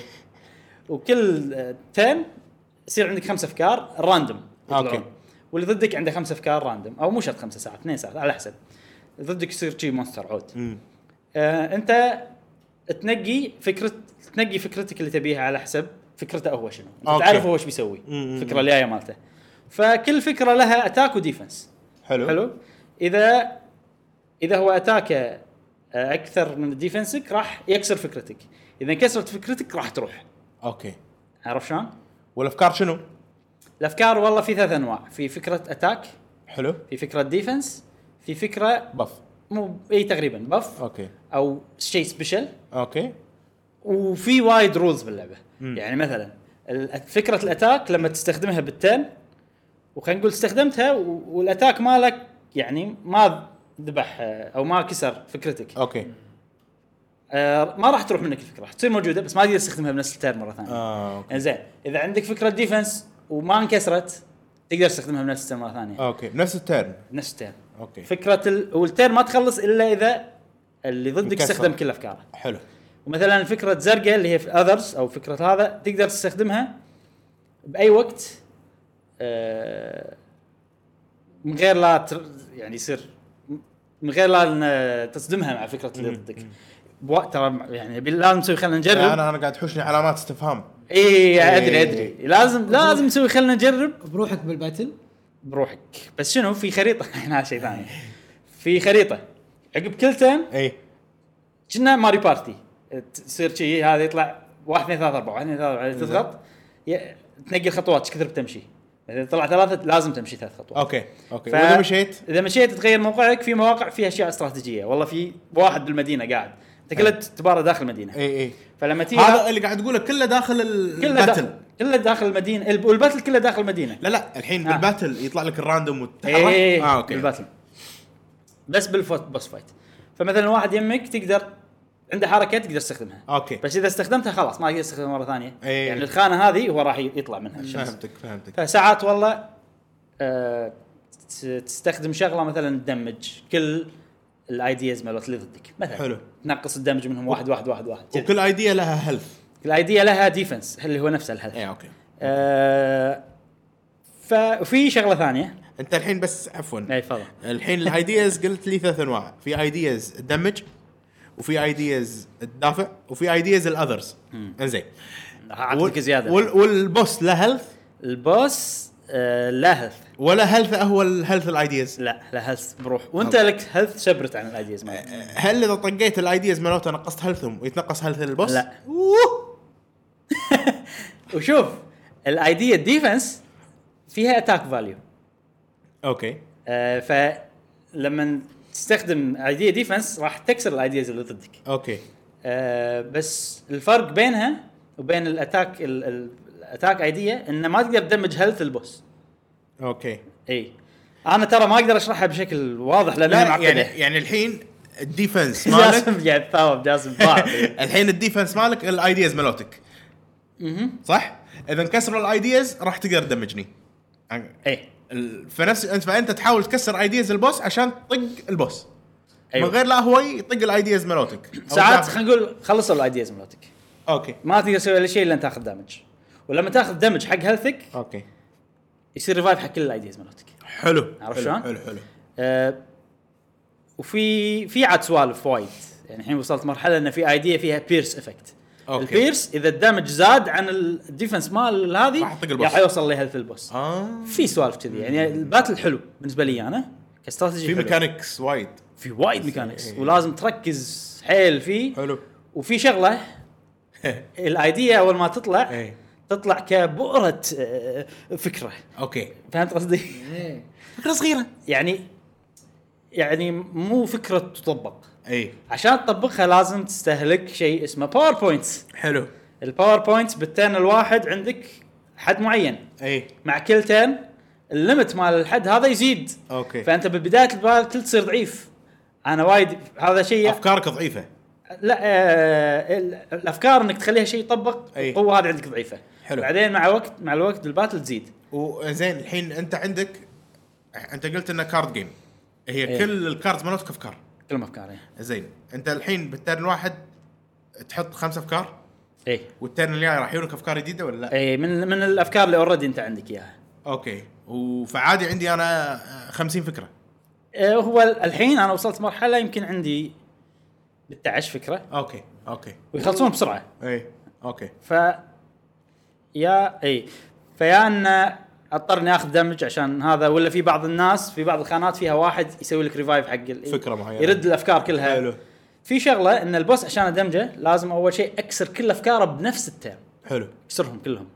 Speaker 1: وكل آه، تيرن يصير عندك خمس افكار راندوم يطلعون.
Speaker 3: أوكي.
Speaker 1: واللي ضدك عنده خمس افكار راندوم او مو شرط خمسه ساعات اثنين ساعات على حسب ضدك يصير شي مونستر عود
Speaker 3: مم.
Speaker 1: آه انت تنقي فكره تنقي فكرتك اللي تبيها على حسب فكرته هو شنو انت
Speaker 3: أوكي.
Speaker 1: تعرف هو ايش بيسوي
Speaker 3: مم.
Speaker 1: الفكره الجايه مالته فكل فكره لها اتاك وديفنس
Speaker 3: حلو
Speaker 1: حلو اذا اذا هو اتاكه آه، اكثر من ديفنسك راح يكسر فكرتك اذا انكسرت فكرتك راح تروح
Speaker 3: اوكي
Speaker 1: عرف شلون
Speaker 3: والافكار شنو؟
Speaker 1: الافكار والله في ثلاث انواع في فكره اتاك
Speaker 3: حلو
Speaker 1: في فكره ديفنس في فكره
Speaker 3: بف
Speaker 1: مو اي تقريبا بف
Speaker 3: اوكي
Speaker 1: او شيء سبيشل
Speaker 3: اوكي
Speaker 1: وفي وايد رولز باللعبه يعني مثلا ال- فكره الاتاك لما تستخدمها بالتن وخلينا نقول استخدمتها و- والاتاك مالك يعني ما ذبح آه، او ما كسر فكرتك
Speaker 3: اوكي
Speaker 1: آه، ما راح تروح منك الفكره راح تصير موجوده بس ما تقدر تستخدمها بنفس التيرن مره ثانيه
Speaker 3: اه اوكي
Speaker 1: زين اذا عندك فكره ديفنس وما انكسرت تقدر تستخدمها بنفس التيرن مره ثانيه
Speaker 3: اوكي نفس التيرن
Speaker 1: بنفس التيرن
Speaker 3: اوكي
Speaker 1: فكره ال... والتيرن ما تخلص الا اذا اللي ضدك
Speaker 3: مكسر.
Speaker 1: استخدم كل افكاره
Speaker 3: حلو
Speaker 1: ومثلا فكره زرقاء اللي هي في اذرز او فكره هذا تقدر تستخدمها باي وقت آه، من غير لا تر يعني يصير من غير لا إن- تصدمها مع فكره اللي ضدك بوا- ترى يعني بالله نسوي خلينا
Speaker 3: لا،
Speaker 1: نجرب
Speaker 3: انا انا قاعد تحوشني علامات استفهام
Speaker 1: اي ادري
Speaker 3: إيه.
Speaker 1: ادري لازم لازم نسوي خلينا نجرب
Speaker 2: بروحك بالباتل
Speaker 1: بروحك بس شنو في خريطه هنا شيء ثاني في خريطه عقب كل ترن
Speaker 3: اي
Speaker 1: كنا ماري بارتي تصير شيء هذا يطلع واحد اثنين ثلاثة أربعة واحد اثنين ثلاثة أربعة تضغط ي- تنقل خطوات إيش كثر بتمشي إذا طلع ثلاثة لازم تمشي ثلاث خطوات
Speaker 3: اوكي اوكي واذا مشيت
Speaker 1: إذا مشيت تغير موقعك في مواقع فيها أشياء استراتيجية والله في واحد بالمدينة قاعد أنت كله تبارى داخل المدينة
Speaker 3: اي اي
Speaker 1: فلما تيجي
Speaker 3: إيه. هذا اللي قاعد تقوله كله داخل
Speaker 1: كله
Speaker 3: الباتل
Speaker 1: داخل كله داخل المدينة الب- والباتل كله داخل المدينة
Speaker 3: لا لا الحين
Speaker 1: آه.
Speaker 3: بالباتل يطلع لك الراندوم وتتحرك
Speaker 1: ايه
Speaker 3: اه اوكي
Speaker 1: بالباتل بس بالفوت بوس فايت فمثلا واحد يمك تقدر عنده حركه تقدر تستخدمها
Speaker 3: اوكي.
Speaker 1: بس اذا استخدمتها خلاص ما يقدر يستخدمها مره ثانيه
Speaker 3: إيه.
Speaker 1: يعني الخانه هذه هو راح يطلع منها الشمس
Speaker 3: فهمتك فهمتك
Speaker 1: فساعات والله آه ت- تستخدم شغله مثلا تدمج كل الايدياز مالت اللي ضدك مثلا
Speaker 3: حلو.
Speaker 1: تنقص الدمج منهم واحد واحد واحد واحد كذا.
Speaker 3: وكل ايديا لها إيه، هيلث
Speaker 1: الايديا لها ديفنس اللي هو نفسه الهدف
Speaker 3: اي اوكي
Speaker 1: آه ففي شغله ثانيه
Speaker 3: انت الحين بس عفوا
Speaker 1: اي تفضل
Speaker 3: الحين الايدياز قلت لي ثلاث انواع في ايدياز تدمج وفي ايدياز تدافع وفي ايدياز الاذرز انزين
Speaker 1: اعطيك زياده
Speaker 3: وال والبوس له هيلث
Speaker 1: البوس آه لا هيلث
Speaker 3: ولا هيلث هو الهيلث الايدياز
Speaker 1: لا لا هيلث بروح وانت لك هيلث سبرت عن الايديز
Speaker 3: إيه.
Speaker 1: مالك
Speaker 3: هل اذا طقيت الايدياز مالته نقصت هيلثهم يتنقص هيلث البوس؟
Speaker 1: لا.
Speaker 3: أوه!
Speaker 1: وشوف الايديا الديفنس فيها اتاك فاليو
Speaker 3: اوكي
Speaker 1: آه فلما تستخدم ايديا ديفنس راح تكسر الايدياز اللي ضدك
Speaker 3: اوكي
Speaker 1: آه بس الفرق بينها وبين الاتاك ال- ال- الاتاك ايديا انه ما تقدر تدمج هيلث البوس
Speaker 3: اوكي
Speaker 1: اي انا ترى ما اقدر اشرحها بشكل واضح لانها
Speaker 3: لا
Speaker 1: معقده
Speaker 3: يعني
Speaker 1: يعني
Speaker 3: يعني الحين الديفنس مالك
Speaker 1: جاسم قاعد يتثاوب جاسم باع
Speaker 3: الحين الديفنس مالك الايدياز مالتك صح؟ اذا انكسروا الايدياز راح تقدر تدمجني يعني
Speaker 1: اي
Speaker 3: ال- فنفس انت فانت تحاول تكسر ايدياز البوس عشان تطق البوس أيوة.
Speaker 1: أيوة.
Speaker 3: من غير لا هوي يطق الايدياز مالتك أو
Speaker 1: ساعات
Speaker 3: دافع.
Speaker 1: خلينا نقول خلصوا الايدياز مالتك
Speaker 3: اوكي
Speaker 1: ما تقدر تسوي ولا شيء الا أن تاخذ دامج ولما تاخذ دامج حق هيلثك
Speaker 3: اوكي
Speaker 1: يصير ريفايف حق كل الايديز مالتك
Speaker 3: حلو
Speaker 1: عرفت
Speaker 3: حلو،
Speaker 1: شلون؟
Speaker 3: حلو حلو
Speaker 1: أه وفي في عاد سوالف وايد يعني الحين وصلت مرحله ان في ايديا فيها بيرس افكت
Speaker 3: أوكي.
Speaker 1: البيرس اذا الدمج زاد عن الديفنس مال هذه
Speaker 3: راح يطق البوس.
Speaker 1: راح يوصل لهيلث البوس
Speaker 3: اه
Speaker 1: في سوالف كذي يعني الباتل حلو بالنسبه لي انا كاستراتيجي
Speaker 3: في
Speaker 1: حلو.
Speaker 3: ميكانكس وايد
Speaker 1: في وايد ميكانكس
Speaker 3: إيه.
Speaker 1: ولازم تركز حيل فيه
Speaker 3: حلو
Speaker 1: وفي شغله الايديا اول ما تطلع
Speaker 3: إيه.
Speaker 1: تطلع كبؤره آه، فكره
Speaker 3: اوكي
Speaker 1: فهمت قصدي؟
Speaker 2: ايه
Speaker 3: فكره صغيره
Speaker 1: يعني يعني مو فكره تطبق
Speaker 3: اي
Speaker 1: عشان تطبقها لازم تستهلك شيء اسمه باوربوينتس
Speaker 3: حلو
Speaker 1: الباوربوينتس بالتيرن الواحد عندك حد معين
Speaker 3: اي
Speaker 1: مع كل تيرن الليمت مال الحد هذا يزيد
Speaker 3: اوكي
Speaker 1: فانت ببدايه الباتل تصير ضعيف انا وايد هذا شيء
Speaker 3: افكارك ضعيفه
Speaker 1: لا آه ال- الافكار انك تخليها شيء يطبق
Speaker 3: أي.
Speaker 1: القوه هذه عندك ضعيفه
Speaker 3: حلو.
Speaker 1: بعدين مع وقت مع الوقت الباتل تزيد
Speaker 3: وزين الحين انت عندك انت قلت انها كارد جيم هي
Speaker 1: إيه.
Speaker 3: كل الكاردز مالتك افكار
Speaker 1: كل ما افكار
Speaker 3: زين انت الحين بالترن واحد تحط خمس افكار
Speaker 1: اي
Speaker 3: والترن الجاي راح يجونك افكار جديده ولا لا؟
Speaker 1: اي إيه. من من الافكار اللي اوريدي انت عندك اياها
Speaker 3: اوكي و- فعادي عندي انا 50 فكره
Speaker 1: آه، هو ال- الحين انا وصلت مرحله يمكن عندي 16 فكره
Speaker 3: اوكي اوكي
Speaker 1: ويخلصون بسرعه
Speaker 3: اي اوكي
Speaker 1: ف يا اي فيا ان اضطر اني اخذ دمج عشان هذا ولا في بعض الناس في بعض الخانات فيها واحد يسوي لك ريفايف حق ال-
Speaker 3: فكرة معينة.
Speaker 1: يرد الافكار كلها
Speaker 3: حلو.
Speaker 1: في شغله ان البوس عشان ادمجه لازم اول شيء اكسر كل افكاره بنفس التيرن
Speaker 3: حلو
Speaker 1: آه، اكسرهم كلهم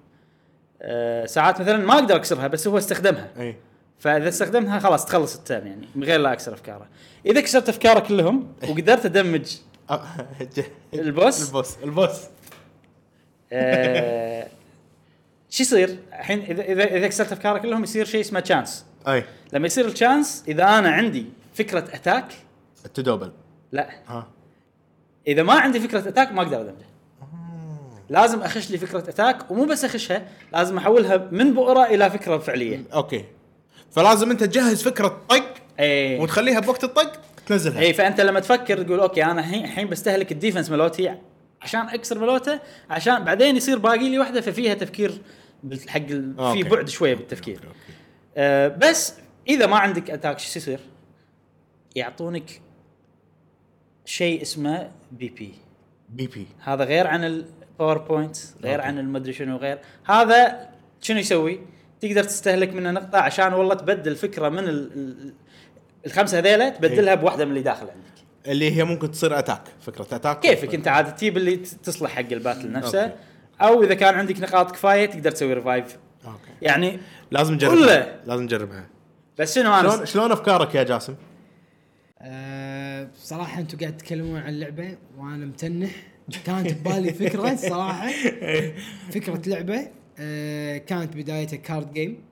Speaker 1: أه ساعات مثلا ما اقدر اكسرها بس هو استخدمها
Speaker 3: اي
Speaker 1: فاذا استخدمتها خلاص تخلص التيرن يعني من غير لا اكسر افكاره اذا كسرت افكاره كلهم وقدرت ادمج البوس؟
Speaker 3: البوس البوس
Speaker 1: آه، شو يصير؟ الحين اذا اذا اذا كسرت افكاره كلهم يصير شيء اسمه تشانس
Speaker 3: اي
Speaker 1: لما يصير التشانس اذا انا عندي فكره اتاك
Speaker 3: تدوبل
Speaker 1: لا
Speaker 3: ها
Speaker 1: اذا ما عندي فكره اتاك ما اقدر ادمجه لازم اخش لي فكره اتاك ومو بس اخشها لازم احولها من بؤره الى فكره فعليه
Speaker 3: اوكي فلازم انت تجهز فكره طق
Speaker 1: ايه
Speaker 3: وتخليها بوقت الطق تنزلها
Speaker 1: اي فانت إيه، لما تفكر تقول اوكي انا الحين الحين بستهلك الديفنس مالوتي عشان اكسر مالوته عشان بعدين يصير باقي لي واحده ففيها تفكير بال- حق ال- في
Speaker 3: أوكي.
Speaker 1: بعد شويه بالتفكير آه بس اذا ما عندك اتاك شو يصير؟ يعطونك شيء اسمه بي بي
Speaker 3: بي بي
Speaker 1: هذا غير عن الباوربوينت غير
Speaker 3: أوكي.
Speaker 1: عن المدري شنو غير هذا شنو يسوي؟ تقدر تستهلك منه نقطه عشان والله تبدل فكره من ال- ال- الخمسه هذيله تبدلها
Speaker 3: إيه.
Speaker 1: بواحده من اللي داخل عندك
Speaker 3: اللي هي ممكن تصير اتاك فكره اتاك
Speaker 1: كيفك انت عاد تجيب اللي ت- تصلح حق الباتل نفسه
Speaker 3: طيب، أوكي.
Speaker 1: او اذا كان عندك نقاط كفايه تقدر تسوي ريفايف
Speaker 3: اوكي
Speaker 1: يعني
Speaker 3: لازم
Speaker 1: ولا.
Speaker 3: نجربها لازم نجربها
Speaker 1: بس شنو انا
Speaker 3: شلون شلون افكارك يا جاسم؟
Speaker 2: أه بصراحة انتم قاعد تتكلمون عن لعبة وانا متنح كانت ببالي فكرة صراحة فكرة لعبة أه كانت بدايتها كارد جيم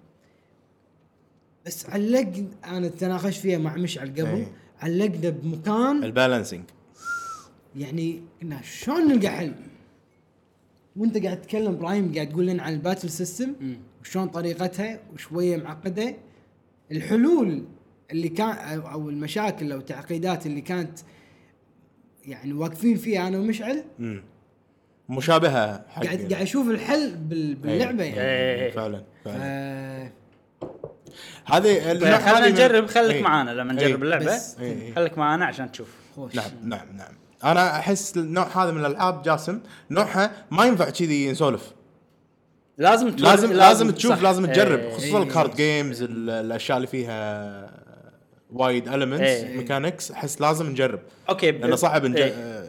Speaker 2: بس علقنا انا تناقشت فيها مع مشعل قبل
Speaker 3: إيه.
Speaker 2: علقنا بمكان
Speaker 3: البالانسنج
Speaker 2: يعني قلنا شلون نلقى حل؟ وانت قاعد تتكلم ابراهيم قاعد تقول لنا عن الباتل سيستم وشلون طريقتها وشويه معقده الحلول اللي كان أو- او المشاكل او التعقيدات اللي كانت يعني واقفين فيها انا ومشعل
Speaker 3: مم. مشابهه حق
Speaker 2: قاعد قاعد اشوف الحل بال- باللعبه يعني
Speaker 3: إيه. فعلا فعلا
Speaker 2: آه،
Speaker 3: هذه النوع- هذه
Speaker 1: طيب، خلينا
Speaker 3: من-
Speaker 1: نجرب خليك
Speaker 3: إيه.
Speaker 1: معانا لما
Speaker 3: إيه.
Speaker 1: نجرب اللعبه
Speaker 2: بس-
Speaker 3: إيه.
Speaker 1: خليك معانا عشان تشوف
Speaker 2: خوش
Speaker 3: نعم نعم نعم انا احس النوع هذا من الالعاب جاسم نوعها ما ينفع كذي نسولف
Speaker 1: لازم توري-
Speaker 3: لازم لازم تشوف
Speaker 1: صح.
Speaker 3: لازم تجرب
Speaker 1: إيه.
Speaker 3: خصوصا
Speaker 2: إيه.
Speaker 3: الكارد جيمز ال- الاشياء اللي فيها وايد المنتس
Speaker 1: إيه.
Speaker 3: ميكانكس احس لازم نجرب
Speaker 1: اوكي ب-
Speaker 3: لانه صعب نج...
Speaker 1: إيه.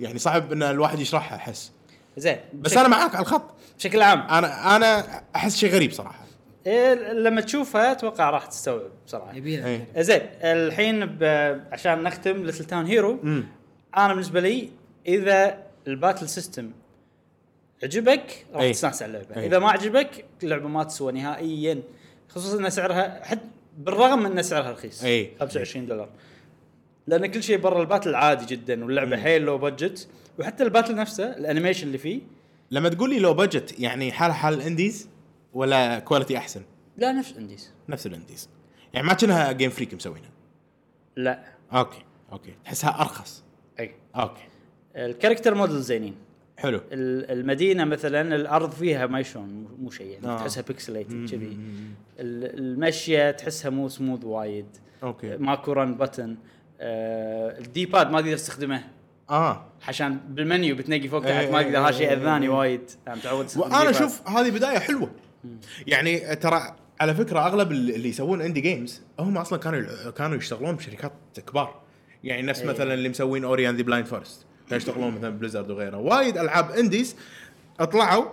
Speaker 3: يعني صعب ان الواحد يشرحها احس
Speaker 1: زين
Speaker 3: بس
Speaker 1: بشك-
Speaker 3: انا معاك على الخط
Speaker 1: بشكل عام
Speaker 3: انا انا احس شيء غريب صراحه
Speaker 1: إيه لما تشوفها اتوقع راح تستوعب بصراحه
Speaker 2: يبيها
Speaker 3: إيه.
Speaker 2: كذا.
Speaker 1: زين الحين ب... عشان نختم ليتل تاون هيرو
Speaker 3: مم.
Speaker 1: انا بالنسبه لي اذا الباتل سيستم عجبك راح
Speaker 3: أي.
Speaker 1: تستانس على اللعبه
Speaker 3: أي.
Speaker 1: اذا ما عجبك اللعبه ما تسوى نهائيا خصوصا ان سعرها حد بالرغم من ان سعرها رخيص
Speaker 3: أي.
Speaker 1: 25 دولار لان كل شيء برا الباتل عادي جدا واللعبه حيل لو بادجت وحتى الباتل نفسه الانيميشن اللي فيه
Speaker 3: لما تقول لي لو بجت يعني حال حال الانديز ولا كواليتي احسن
Speaker 1: لا نفس انديز
Speaker 3: نفس الانديز يعني ما كانها جيم فريك مسوينها
Speaker 1: لا
Speaker 3: اوكي اوكي تحسها ارخص
Speaker 1: اي
Speaker 3: اوكي
Speaker 1: الكاركتر موديل زينين
Speaker 3: حلو
Speaker 1: ال- المدينه مثلا الارض فيها ما شلون مو- مو شيء يعني
Speaker 3: آه.
Speaker 1: تحسها بيكسليتد كذي ال- المشيه تحسها مو سموث وايد
Speaker 3: اوكي
Speaker 1: ماكو رن بتن آه الدي باد ما تقدر تستخدمه
Speaker 3: اه
Speaker 1: عشان بالمنيو بتنقي فوق تحت
Speaker 3: إيه،
Speaker 1: ما اقدر هذا شيء
Speaker 3: إيه،
Speaker 1: اذاني
Speaker 3: إيه.
Speaker 1: وايد انا متعود أستخدم
Speaker 3: وانا
Speaker 1: D-pad.
Speaker 3: اشوف هذه بدايه حلوه يعني ترى على فكره اغلب اللي يسوون اندي جيمز هم اصلا كانوا كانوا يشتغلون بشركات كبار يعني نفس مثلا اللي مسوين اوري اند ذا بلايند فورست كانوا يشتغلون مثلا بليزرد وغيره وايد العاب انديز طلعوا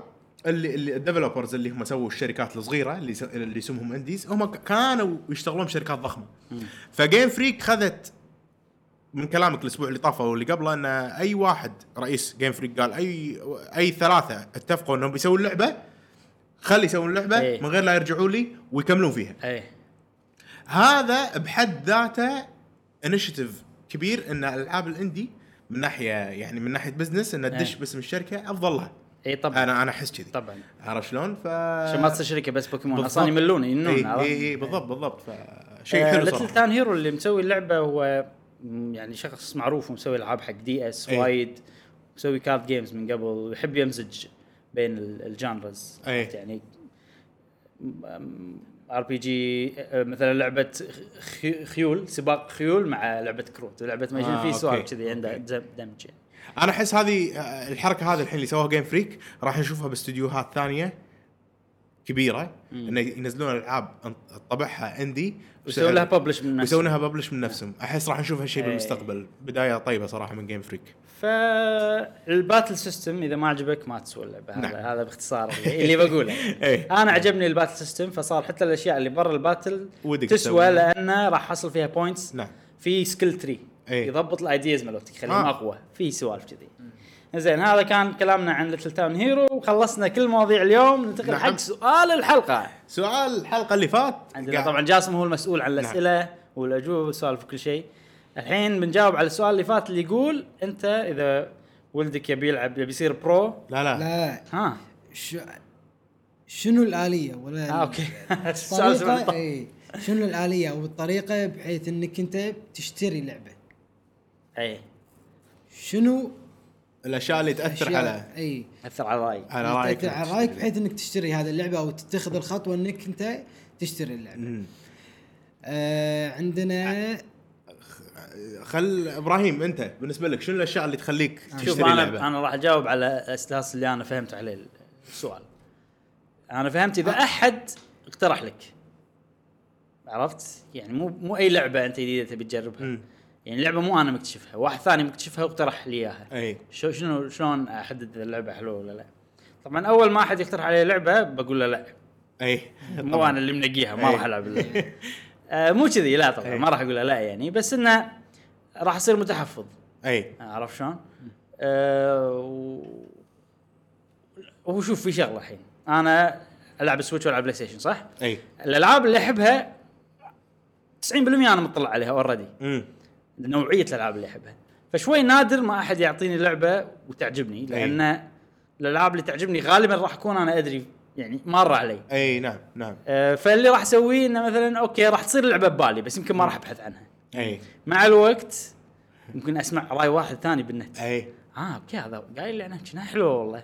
Speaker 3: اللي اللي الديفلوبرز اللي هم سووا الشركات الصغيره اللي س- اللي اسمهم انديز هم ك- كانوا يشتغلون بشركات ضخمه فجيم فريك خذت من كلامك الاسبوع اللي طاف او اللي قبله ان اي واحد رئيس جيم فريك قال اي اي ثلاثه اتفقوا انهم بيسوون لعبه خلي يسوون لعبه
Speaker 1: إيه.
Speaker 3: من غير لا يرجعوا لي ويكملون فيها
Speaker 1: ايه
Speaker 3: هذا بحد ذاته انشيتيف كبير ان العاب الاندي من ناحيه يعني من ناحيه بزنس ان تدش
Speaker 1: إيه.
Speaker 3: باسم الشركه افضل لها
Speaker 1: اي طبعا
Speaker 3: انا انا احس كذي
Speaker 1: طبعا
Speaker 3: عرفت شلون ف
Speaker 1: إيه، عشان ما تصير شركه بس بوكيمون
Speaker 3: بالضبط.
Speaker 1: اصلا يملون ينون
Speaker 3: اي
Speaker 1: عرفت؟
Speaker 3: اي بالضبط بالضبط فشيء حلو
Speaker 1: ليتل
Speaker 3: صراحه
Speaker 1: تاون هيرو اللي مسوي اللعبه هو م، يعني شخص معروف ومسوي العاب حق دي اس
Speaker 3: إيه.
Speaker 1: وايد مسوي كارد جيمز من قبل ويحب يمزج بين ال- الجانرز
Speaker 3: إيه.
Speaker 1: عرفت يعني آه، ار بي جي مثلا لعبه خي- خيول سباق خيول مع لعبه كروت ولعبه ما
Speaker 3: آه،
Speaker 1: آه في سؤال
Speaker 3: أوكي.
Speaker 1: كذي عنده
Speaker 3: أوكي.
Speaker 1: دم- دمج يعني.
Speaker 3: انا احس آه، هذه الحركه هذه الحين اللي سووها جيم فريك راح نشوفها باستديوهات ثانيه كبيره انه ينزلون العاب أن- طبعها اندي
Speaker 1: ويسوون لها publish من نفسهم.
Speaker 3: ويسوون لها ببلش من نفسهم احس راح نشوف هالشيء
Speaker 1: إيه.
Speaker 3: بالمستقبل بدايه طيبه صراحه من جيم فريك
Speaker 1: فالباتل سيستم اذا ما عجبك ما تسوى اللعبه
Speaker 3: نعم.
Speaker 1: هذا هذا باختصار اللي اللي بقوله
Speaker 3: إيه.
Speaker 1: انا عجبني الباتل سيستم فصار حتى الاشياء اللي برا الباتل
Speaker 3: ودك
Speaker 1: تسوى
Speaker 3: تسويها.
Speaker 1: لانه راح احصل فيها بوينتس
Speaker 3: نعم.
Speaker 1: في سكيل تري
Speaker 3: إيه.
Speaker 1: يضبط الايديز مالتك يخليهم
Speaker 3: آه.
Speaker 1: اقوى في سوالف كذي زين هذا كان كلامنا عن ليتل تاون هيرو وخلصنا كل مواضيع اليوم ننتقل
Speaker 3: نعم.
Speaker 1: حق سؤال الحلقه
Speaker 3: سؤال الحلقه اللي فات
Speaker 1: عندنا
Speaker 3: قاعد-
Speaker 1: طبعا جاسم هو المسؤول عن الاسئله نعم. والاجوبه والسوالف وكل شيء الحين بنجاوب على السؤال اللي فات اللي يقول انت اذا ولدك يبي يلعب يبي يصير برو
Speaker 3: لا لا, لا.
Speaker 2: لا
Speaker 1: ها
Speaker 2: ش... شنو الاليه ولا
Speaker 3: آه،
Speaker 1: اه اوكي السؤال سؤال
Speaker 2: الطريقه
Speaker 1: طيب.
Speaker 2: اي شنو الاليه والطريقه بحيث انك انت تشتري لعبه
Speaker 1: اي
Speaker 2: شنو
Speaker 3: الاشياء اللي تاثر
Speaker 2: أشياء- إيه.
Speaker 3: على
Speaker 2: اي
Speaker 1: اثر على رايك
Speaker 3: على رايك
Speaker 2: تأثر على رايك بحيث انك تشتري هذه اللعبه او تتخذ الخطوه انك انت تشتري اللعبه
Speaker 3: مم.
Speaker 2: آه عندنا
Speaker 3: خل ابراهيم انت بالنسبه لك شنو الاشياء اللي تخليك
Speaker 1: شوف
Speaker 3: تشتري
Speaker 1: انا
Speaker 3: لعبه؟
Speaker 1: انا راح اجاوب على الاساس اللي انا فهمت عليه السؤال انا فهمت
Speaker 3: آه.
Speaker 1: اذا احد اقترح لك عرفت يعني مو مو اي لعبه انت جديده تبي تجربها
Speaker 3: مم.
Speaker 1: يعني لعبه مو انا مكتشفها واحد ثاني مكتشفها واقترح لي اياها
Speaker 3: اي
Speaker 1: شو شنو شلون احدد اذا اللعبه حلوه ولا لا؟ طبعا اول ما احد يقترح علي لعبه بقول له لا
Speaker 3: اي
Speaker 1: مو انا اللي منقيها ما
Speaker 3: إيه.
Speaker 1: راح العب اللعبة. آه مو كذي لا طبعا
Speaker 3: إيه.
Speaker 1: ما راح اقول له لا يعني بس انه راح اصير متحفظ
Speaker 3: اي
Speaker 1: عرفت شلون؟ آه و... هو شوف في شغله الحين انا العب سويتش والعب بلاي ستيشن صح؟
Speaker 3: اي
Speaker 1: الالعاب اللي احبها 90% انا مطلع عليها اوريدي
Speaker 3: امم
Speaker 1: نوعيه الالعاب اللي احبها فشوي نادر ما احد يعطيني لعبه وتعجبني لان الالعاب اللي تعجبني غالبا راح اكون انا ادري يعني مر علي
Speaker 3: اي نعم نعم
Speaker 1: أه، فاللي راح اسويه انه مثلا اوكي راح تصير اللعبه ببالي بس يمكن ما راح ابحث عنها
Speaker 3: اي
Speaker 1: مع الوقت يمكن اسمع راي واحد ثاني بالنت
Speaker 3: اي
Speaker 1: اه اوكي هذا قايل لي عنها كنا حلوه والله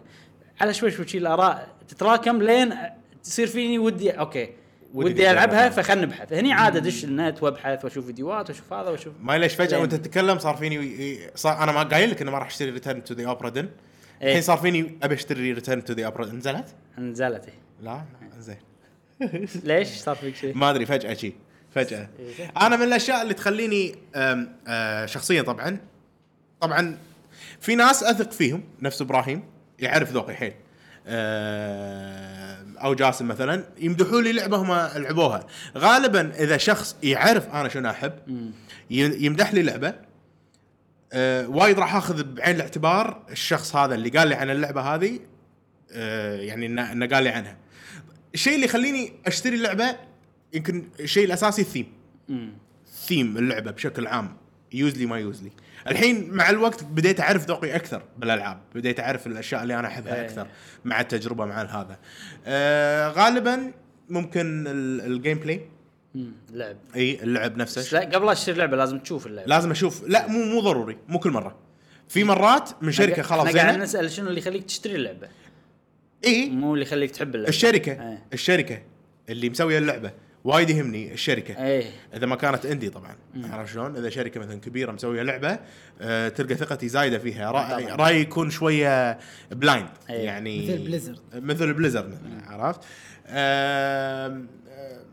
Speaker 1: على شوي شوي شي الاراء تتراكم لين تصير فيني ودي اوكي
Speaker 3: ودي
Speaker 1: ودي, العبها
Speaker 3: تجربها.
Speaker 1: فخلنا نبحث هني عاد ادش النت وابحث واشوف فيديوهات واشوف هذا واشوف
Speaker 3: ما ليش فجاه
Speaker 1: زين.
Speaker 3: وانت تتكلم صار فيني صار انا ما قايل لك انه ما راح اشتري ريتيرن تو ذا اوبرا دن
Speaker 1: إيه.
Speaker 3: الحين صار فيني ابي اشتري ريتيرن تو ذا اوبرا نزلت؟
Speaker 1: نزلت إيه.
Speaker 3: لا لا، زين
Speaker 1: ليش صار فيك شيء؟
Speaker 3: ما ادري فجاه شي فجاه
Speaker 1: إيه.
Speaker 3: انا من الاشياء اللي تخليني أم، آه، شخصيا طبعا طبعا في ناس اثق فيهم نفس ابراهيم يعرف ذوقي حيل آه، او جاسم مثلا يمدحوا لي لعبه هم لعبوها غالبا اذا شخص يعرف انا شنو احب ي- يمدح لي لعبه آه، وايد راح اخذ بعين الاعتبار الشخص هذا اللي قال لي عن اللعبه هذه آه، يعني انه إنه قال لي عنها الشيء اللي يخليني اشتري اللعبه يمكن الشيء الاساسي الثيم
Speaker 1: مم.
Speaker 3: ثيم اللعبه بشكل عام يوزلي ما يوزلي الحين مع الوقت بديت اعرف ذوقي اكثر بالالعاب بديت اعرف الاشياء اللي انا احبها
Speaker 1: إيه.
Speaker 3: اكثر مع التجربه مع هذا آه غالبا ممكن ال- الجيم بلاي
Speaker 1: مم. لعب
Speaker 3: اي اللعب نفسه
Speaker 1: بس لا قبل لا تشتري لعبه لازم تشوف اللعبه
Speaker 3: لازم اشوف لا مو مو ضروري مو كل مره في مرات من شركه خلاص
Speaker 1: احنا قاعد
Speaker 3: زينه
Speaker 1: نسال شنو اللي يخليك تشتري اللعبه
Speaker 3: اي
Speaker 1: مو اللي يخليك تحب اللعبه
Speaker 3: الشركه
Speaker 1: إيه.
Speaker 3: الشركه اللي مسويه اللعبه وايد يهمني الشركه
Speaker 1: ايه
Speaker 3: اذا ما كانت اندي طبعا عرفت شلون؟ اذا شركه مثلا كبيره مسويه لعبه آه تلقى ثقتي زايده فيها رايي
Speaker 1: طبعاً. إيه.
Speaker 3: رايي يكون شويه بلايند
Speaker 1: أي.
Speaker 3: يعني
Speaker 2: مثل Blizzard.
Speaker 3: مثل بليزرد مثلا عرفت؟ آم، آه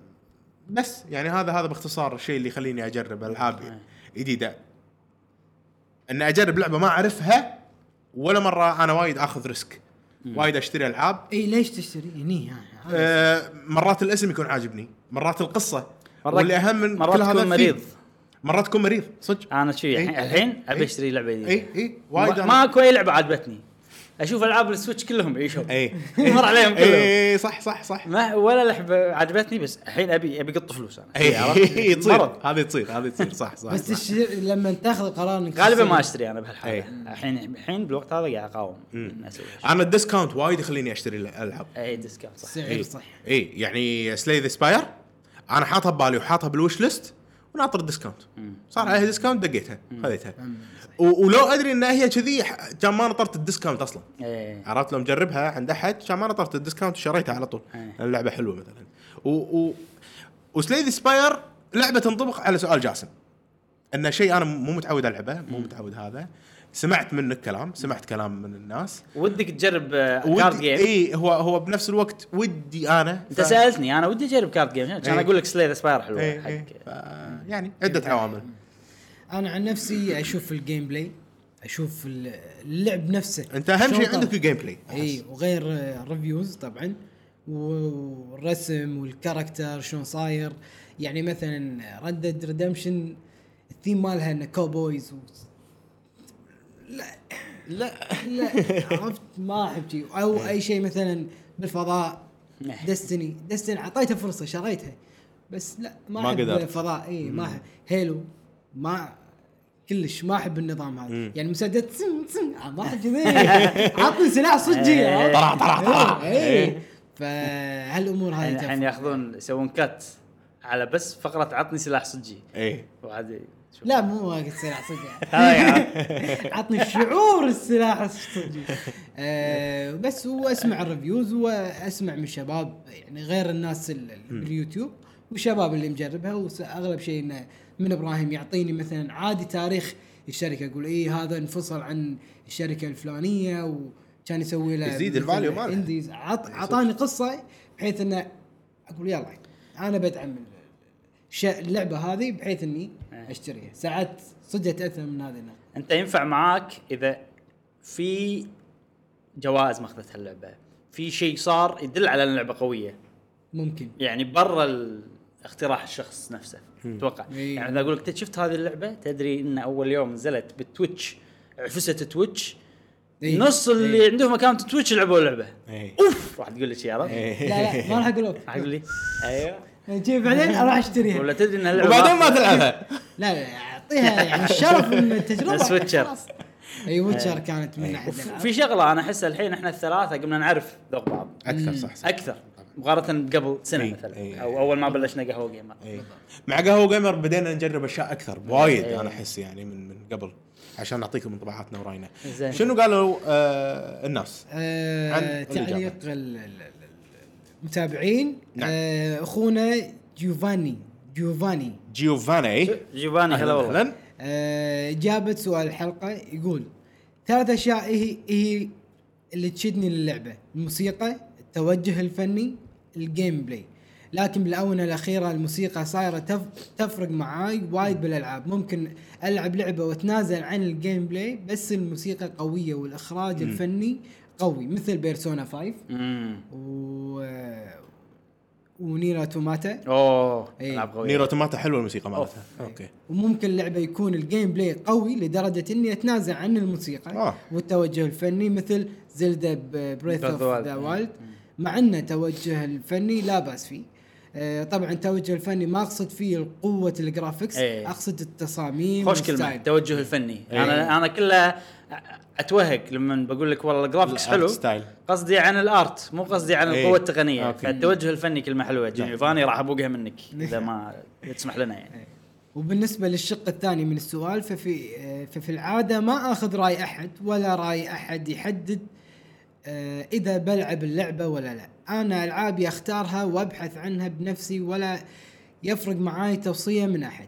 Speaker 3: بس يعني هذا هذا باختصار الشيء اللي يخليني اجرب العاب
Speaker 1: إيه.
Speaker 3: جديده ان اجرب لعبه ما اعرفها ولا مره انا وايد اخذ ريسك وايد اشتري العاب
Speaker 2: اي ليش تشتري هني ها-
Speaker 1: إيه.
Speaker 2: ها.
Speaker 3: آه، مرات الاسم يكون عاجبني مرات القصه
Speaker 1: مرات-
Speaker 3: واللي اهم من
Speaker 1: مرات
Speaker 3: كل هذا
Speaker 1: تكون
Speaker 3: الثيم.
Speaker 1: مريض.
Speaker 3: مرات تكون مريض صدق
Speaker 1: انا شو الحين
Speaker 3: إيه.
Speaker 1: الحين ابي
Speaker 3: إيه.
Speaker 1: اشتري لعبه جديده
Speaker 3: اي اي وايد
Speaker 1: ما-
Speaker 3: أنا-
Speaker 1: ماكو اي لعبه عجبتني اشوف العاب السويتش كلهم يعيشون
Speaker 3: اي
Speaker 1: مر عليهم كلهم
Speaker 3: اي إيه. صح صح صح
Speaker 1: ما ولا لعبه عجبتني بس الحين ابي ابي قط فلوس انا
Speaker 3: اي
Speaker 1: إيه، عرفت؟
Speaker 3: إي، إيه، تصير
Speaker 1: مرض.
Speaker 3: هذه تصير هذه تصير صح صح
Speaker 2: بس
Speaker 3: صح.
Speaker 2: تشتري لما تاخذ قرار انك
Speaker 1: غالبا
Speaker 2: تشتري-
Speaker 1: ما اشتري انا
Speaker 3: إيه. آه.
Speaker 1: بهالحاله الحين الحين بالوقت هذا قاعد اقاوم إن أسوي شيء.
Speaker 3: انا الديسكاونت وايد يخليني اشتري الالعاب
Speaker 1: اي ديسكاونت إيه، صح
Speaker 2: السعر صح
Speaker 3: اي إيه. يعني سلاي ذا سباير انا حاطها ببالي وحاطها بالوش ليست وناطر الديسكاونت صار عليها ديسكاونت دقيتها خذيتها و- ولو ادري انها هي كذي ح- كان ما نطرت الديسكاونت اصلا
Speaker 1: ايه
Speaker 3: عرفت لو مجربها عند احد عشان ما نطرت الديسكاونت وشريتها على طول
Speaker 1: أي.
Speaker 3: اللعبه حلوه مثلا و و وسليد سباير لعبه تنطبق على سؤال جاسم انه شيء انا مو متعود العبه مو متعود هذا سمعت منك كلام سمعت كلام من الناس
Speaker 1: ودك تجرب آه، كارد
Speaker 3: ودي إيه،
Speaker 1: جيم
Speaker 3: اي هو هو بنفس الوقت ودي انا
Speaker 1: انت سالتني انا ودي اجرب كارد جيم كان
Speaker 3: إيه.
Speaker 1: اقول لك سليد اسباير حلوه
Speaker 3: إيه، إيه.
Speaker 1: حق
Speaker 3: ف- يعني عده عوامل
Speaker 2: انا عن نفسي اشوف الجيم بلاي اشوف اللعب نفسه
Speaker 3: انت اهم شيء
Speaker 2: شلون
Speaker 3: عندك
Speaker 2: طالع.
Speaker 3: الجيم بلاي
Speaker 2: اي وغير ريفيوز طبعا و- والرسم والكاركتر شلون صاير يعني مثلا ردد ريدمشن الثيم مالها انه كوبويز و... لا لا لا عرفت ما احب شيء او اي شيء مثلا بالفضاء
Speaker 1: نعم.
Speaker 2: دستني دستني اعطيتها فرصه شريتها بس لا ما
Speaker 3: ما
Speaker 2: احب
Speaker 3: قدرت.
Speaker 2: الفضاء اي إيه، ما احب هيلو ما كلش ما احب النظام هذا يعني مسدس تسم تسم آه، ما احب كذي عطني سلاح صجي
Speaker 1: إيه،
Speaker 2: عرفت؟
Speaker 3: طلع- طلع- طلع.
Speaker 2: إيه، إيه.
Speaker 3: إيه.
Speaker 2: فهالامور هذه
Speaker 1: الحين الحين
Speaker 2: تفرق.
Speaker 1: ياخذون يسوون كات على بس فقره عطني سلاح صجي
Speaker 3: اي
Speaker 1: وعادي شوف.
Speaker 2: لا مو واقف سلاح صجي
Speaker 1: هاي عاد.
Speaker 2: عطني شعور السلاح الصجي آه، بس واسمع الريفيوز واسمع من الشباب يعني غير الناس ال- ال- باليوتيوب والشباب اللي مجربها واغلب شيء انه من ابراهيم يعطيني مثلا عادي تاريخ الشركه اقول اي هذا انفصل عن الشركه الفلانيه وكان يسوي له
Speaker 3: يزيد
Speaker 2: مثلاً
Speaker 3: الvalue مالها.
Speaker 2: indies. عط عطاني قصه بحيث انه اقول يلا انا بدعم الش- اللعبه هذه بحيث اني اشتريها ساعات صدق اتاثر من هذه النقطه
Speaker 1: انت ينفع معاك اذا في جوائز ما اخذتها اللعبه في شيء صار يدل على ان اللعبه قويه
Speaker 2: ممكن
Speaker 1: يعني برا ال- اقتراح الشخص نفسه اتوقع
Speaker 2: إيه.
Speaker 1: يعني اذا اقول لك "أنت شفت هذه اللعبه تدري ان اول يوم نزلت بالتويتش عفست تويتش
Speaker 2: إيه.
Speaker 1: نص اللي عندهم اكونت تويتش لعبوا اللعبه
Speaker 3: إيه.
Speaker 1: اوف راح تقول لي شي عرفت؟
Speaker 2: لا لا ما راح اقول لك
Speaker 1: راح تقول لي
Speaker 2: أيوه.
Speaker 1: ايوه
Speaker 2: جيب بعدين اروح اشتريها
Speaker 1: ولا
Speaker 2: لا
Speaker 1: تدري ان اللعبه
Speaker 3: وبعدين ما تلعبها
Speaker 2: لا اعطيها يعني الشرف من التجربه
Speaker 1: بس ويتشر.
Speaker 2: خلاص. اي ويتشر كانت من احد
Speaker 1: وف-
Speaker 2: الألعاب.
Speaker 1: في شغله انا احس الحين احنا الثلاثه قمنا نعرف ذوق بعض
Speaker 3: اكثر صح, صح.
Speaker 1: اكثر مقارنه بقبل سنه
Speaker 3: إيه.
Speaker 1: مثلا
Speaker 3: إيه.
Speaker 1: او اول ما بلشنا قهوه جيمر
Speaker 3: إيه. مع قهوه جيمر بدينا نجرب اشياء اكثر
Speaker 1: إيه.
Speaker 3: وايد انا احس يعني من من قبل عشان نعطيكم انطباعاتنا وراينا
Speaker 1: زين.
Speaker 3: شنو قالوا آه الناس عن
Speaker 2: آه،
Speaker 3: الإجابة.
Speaker 2: تعليق ال- ال- ال- المتابعين
Speaker 3: نعم.
Speaker 2: آه، اخونا جيوفاني جيوفاني
Speaker 3: جيوفاني
Speaker 1: جيفاني هلا والله
Speaker 3: أهلاً.
Speaker 2: آه، جابت سؤال الحلقه يقول ثلاث اشياء هي هي اللي تشدني للعبه الموسيقى التوجه الفني الجيم بلاي لكن بالاونه الاخيره الموسيقى صايره تف... تفرق معاي وايد بالالعاب ممكن العب لعبه واتنازل عن الجيم بلاي بس الموسيقى قويه والاخراج الفني قوي مثل بيرسونا 5
Speaker 1: امم
Speaker 2: و ونيرا توماتا
Speaker 1: اوه
Speaker 2: إيه.
Speaker 1: العاب قويه
Speaker 3: نيرو توماتا حلوه الموسيقى مالتها
Speaker 1: إيه.
Speaker 3: اوكي
Speaker 2: وممكن لعبه يكون الجيم بلاي قوي لدرجه اني اتنازل عن الموسيقى
Speaker 3: آه.
Speaker 2: والتوجه الفني مثل زلدا بريث
Speaker 1: Breath of
Speaker 2: اوف
Speaker 1: the
Speaker 2: ذا
Speaker 1: Wild.
Speaker 2: وايلد مع ان التوجه الفني لا باس فيه آه، طبعا التوجه الفني ما اقصد فيه قوه الجرافكس
Speaker 1: إيه.
Speaker 2: اقصد التصاميم
Speaker 1: خوش كلمه
Speaker 2: والستايل.
Speaker 1: التوجه الفني
Speaker 3: إيه.
Speaker 1: انا انا كلها اتوهق لما بقول لك والله الجرافكس
Speaker 3: الآرت
Speaker 1: حلو
Speaker 3: ستايل.
Speaker 1: قصدي عن الارت مو قصدي عن
Speaker 3: إيه.
Speaker 1: القوه التقنيه
Speaker 3: أوكي.
Speaker 1: فالتوجه الفني كلمه حلوه جيفاني راح ابوقها منك اذا ما تسمح لنا يعني
Speaker 2: وبالنسبه للشق الثاني من السؤال ففي آه، ففي العاده ما اخذ راي احد ولا راي احد يحدد آه، اذا بلعب اللعبه ولا لا انا العابي اختارها وابحث عنها بنفسي ولا يفرق معاي توصيه من احد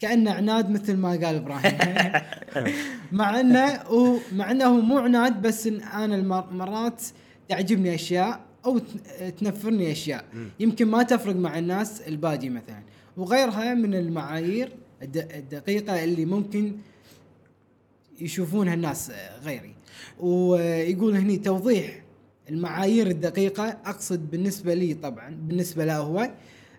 Speaker 2: كانه عناد مثل ما قال ابراهيم مع انه هو- مع انه هو مو عناد بس إن انا المر- مرات تعجبني اشياء او ت- تنفرني اشياء يمكن ما تفرق مع الناس الباقي مثلا وغيرها من المعايير الد- الدقيقه اللي ممكن يشوفونها الناس آه، غيري ويقول هني توضيح المعايير الدقيقة أقصد بالنسبة لي طبعا بالنسبة له هو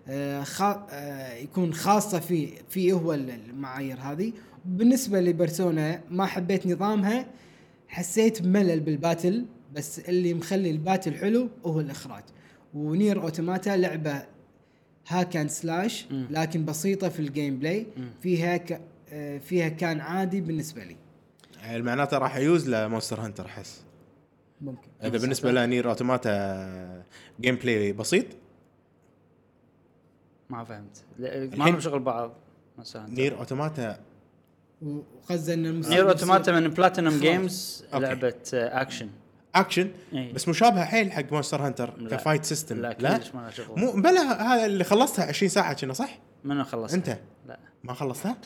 Speaker 2: آه، خا- آه، يكون خاصة في في هو ال- المعايير هذه بالنسبة لبرسونا ما حبيت نظامها حسيت بملل بالباتل بس اللي مخلي الباتل حلو هو الإخراج ونير أوتوماتا لعبة هاك اند سلاش لكن بسيطه في الجيم بلاي فيها ك... آه، فيها كان عادي بالنسبه لي
Speaker 3: معناته يعني راح يوز لمونستر هانتر احس
Speaker 2: ممكن
Speaker 3: اذا بالنسبه لنير اوتوماتا جيم بلاي بسيط
Speaker 1: ما فهمت لا، ما
Speaker 3: الحين-
Speaker 1: لهم شغل بعض مثلا
Speaker 3: نير اوتوماتا
Speaker 2: وقصد ان الموسيقى
Speaker 1: نير اوتوماتا من بلاتينوم جيمز
Speaker 3: أوكي.
Speaker 1: لعبه آه، اكشن
Speaker 3: اكشن
Speaker 1: إيه.
Speaker 3: بس مشابهه حيل حق مونستر هانتر
Speaker 1: لا.
Speaker 3: كفايت سيستم
Speaker 1: لا
Speaker 3: لا
Speaker 1: كلش ما لها شغل
Speaker 3: مو بلا هذا اللي خلصتها 20 ساعه كنا صح؟
Speaker 1: منو خلصت
Speaker 3: أنت.
Speaker 1: لا
Speaker 3: ما خلصتها؟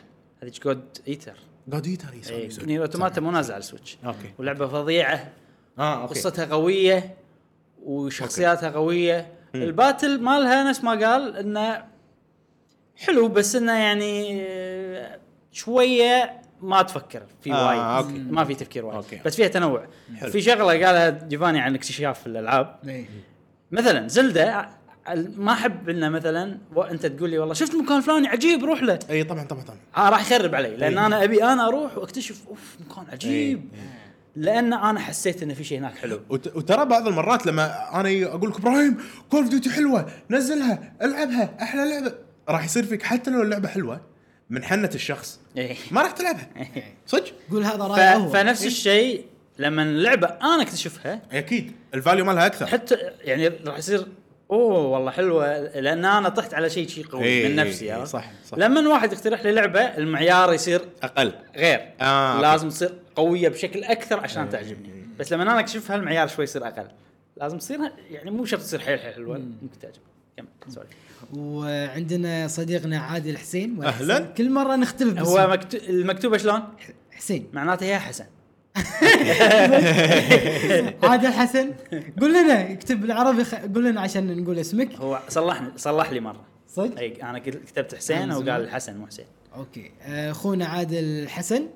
Speaker 1: هذيك جود ايتر
Speaker 3: جاد ايتر يسوي يسوي.
Speaker 1: نير اوتوماتا مو نازل على السويتش
Speaker 3: اوكي.
Speaker 1: ولعبه فظيعه
Speaker 3: اه اوكي
Speaker 1: قصتها قويه وشخصياتها قويه الباتل مالها نفس ما قال انه حلو بس انه يعني آه، شويه ما تفكر في
Speaker 3: آه،
Speaker 1: وايد
Speaker 3: أوكي.
Speaker 1: ما في تفكير وايد
Speaker 3: أوكي.
Speaker 1: بس فيها تنوع
Speaker 3: حلو.
Speaker 1: في شغله قالها جيفاني عن اكتشاف الالعاب
Speaker 2: إيه.
Speaker 1: مثلا زلدة ما احب انه مثلا و- انت تقول لي والله شفت مكان فلاني عجيب روح له
Speaker 3: اي طبعا طبعا طبعا
Speaker 1: آه راح يخرب علي لان
Speaker 3: إيه.
Speaker 1: انا ابي انا اروح واكتشف اوف
Speaker 3: طيب.
Speaker 1: مكان عجيب لان انا حسيت انه في شيء هناك حلو
Speaker 3: وت- وترى بعض المرات لما انا اقول لك ابراهيم كول اوف ديوتي حلوه نزلها العبها احلى لعبه راح يصير فيك حتى لو اللعبه حلوه من حنه الشخص
Speaker 1: إيه.
Speaker 3: ما راح تلعبها صدق
Speaker 2: قول هذا
Speaker 1: ف...
Speaker 3: طيب،
Speaker 2: رايه هو
Speaker 3: إيه.
Speaker 1: فنفس الشيء لما اللعبه انا اكتشفها
Speaker 3: اكيد الفاليو مالها اكثر
Speaker 1: حتى يعني راح يصير اوه والله حلوه لان انا طحت على شيء شيء قوي
Speaker 3: إيه،
Speaker 1: من نفسي
Speaker 3: إيه،
Speaker 1: عرفت؟
Speaker 3: صح، صح.
Speaker 1: لما واحد يقترح لي لعبه المعيار يصير
Speaker 3: اقل
Speaker 1: غير
Speaker 3: آه، أوكي. إيه،
Speaker 1: لازم تصير قويه بشكل اكثر عشان تعجبني بس لما انا اكشفها المعيار شوي يصير اقل لازم تصير يعني مو شرط تصير حيل حيل حلوه ممكن تعجبك كمل سوري
Speaker 2: وعندنا صديقنا عادل الحسين ولا
Speaker 3: أهلاً.
Speaker 2: حسين؟ كل مره نختلف بس
Speaker 1: هو مكتو... المكتوبه شلون؟
Speaker 2: حسين
Speaker 1: معناته يا حسن
Speaker 2: عادل حسن قول لنا اكتب بالعربي خ... قول لنا عشان نقول اسمك
Speaker 1: هو صلحني صلح لي مره
Speaker 2: صدق؟
Speaker 1: اي انا كت- كتبت حسين
Speaker 2: آه، زين.
Speaker 1: وقال حسن مو حسين
Speaker 2: اوكي آه، اخونا عادل حسن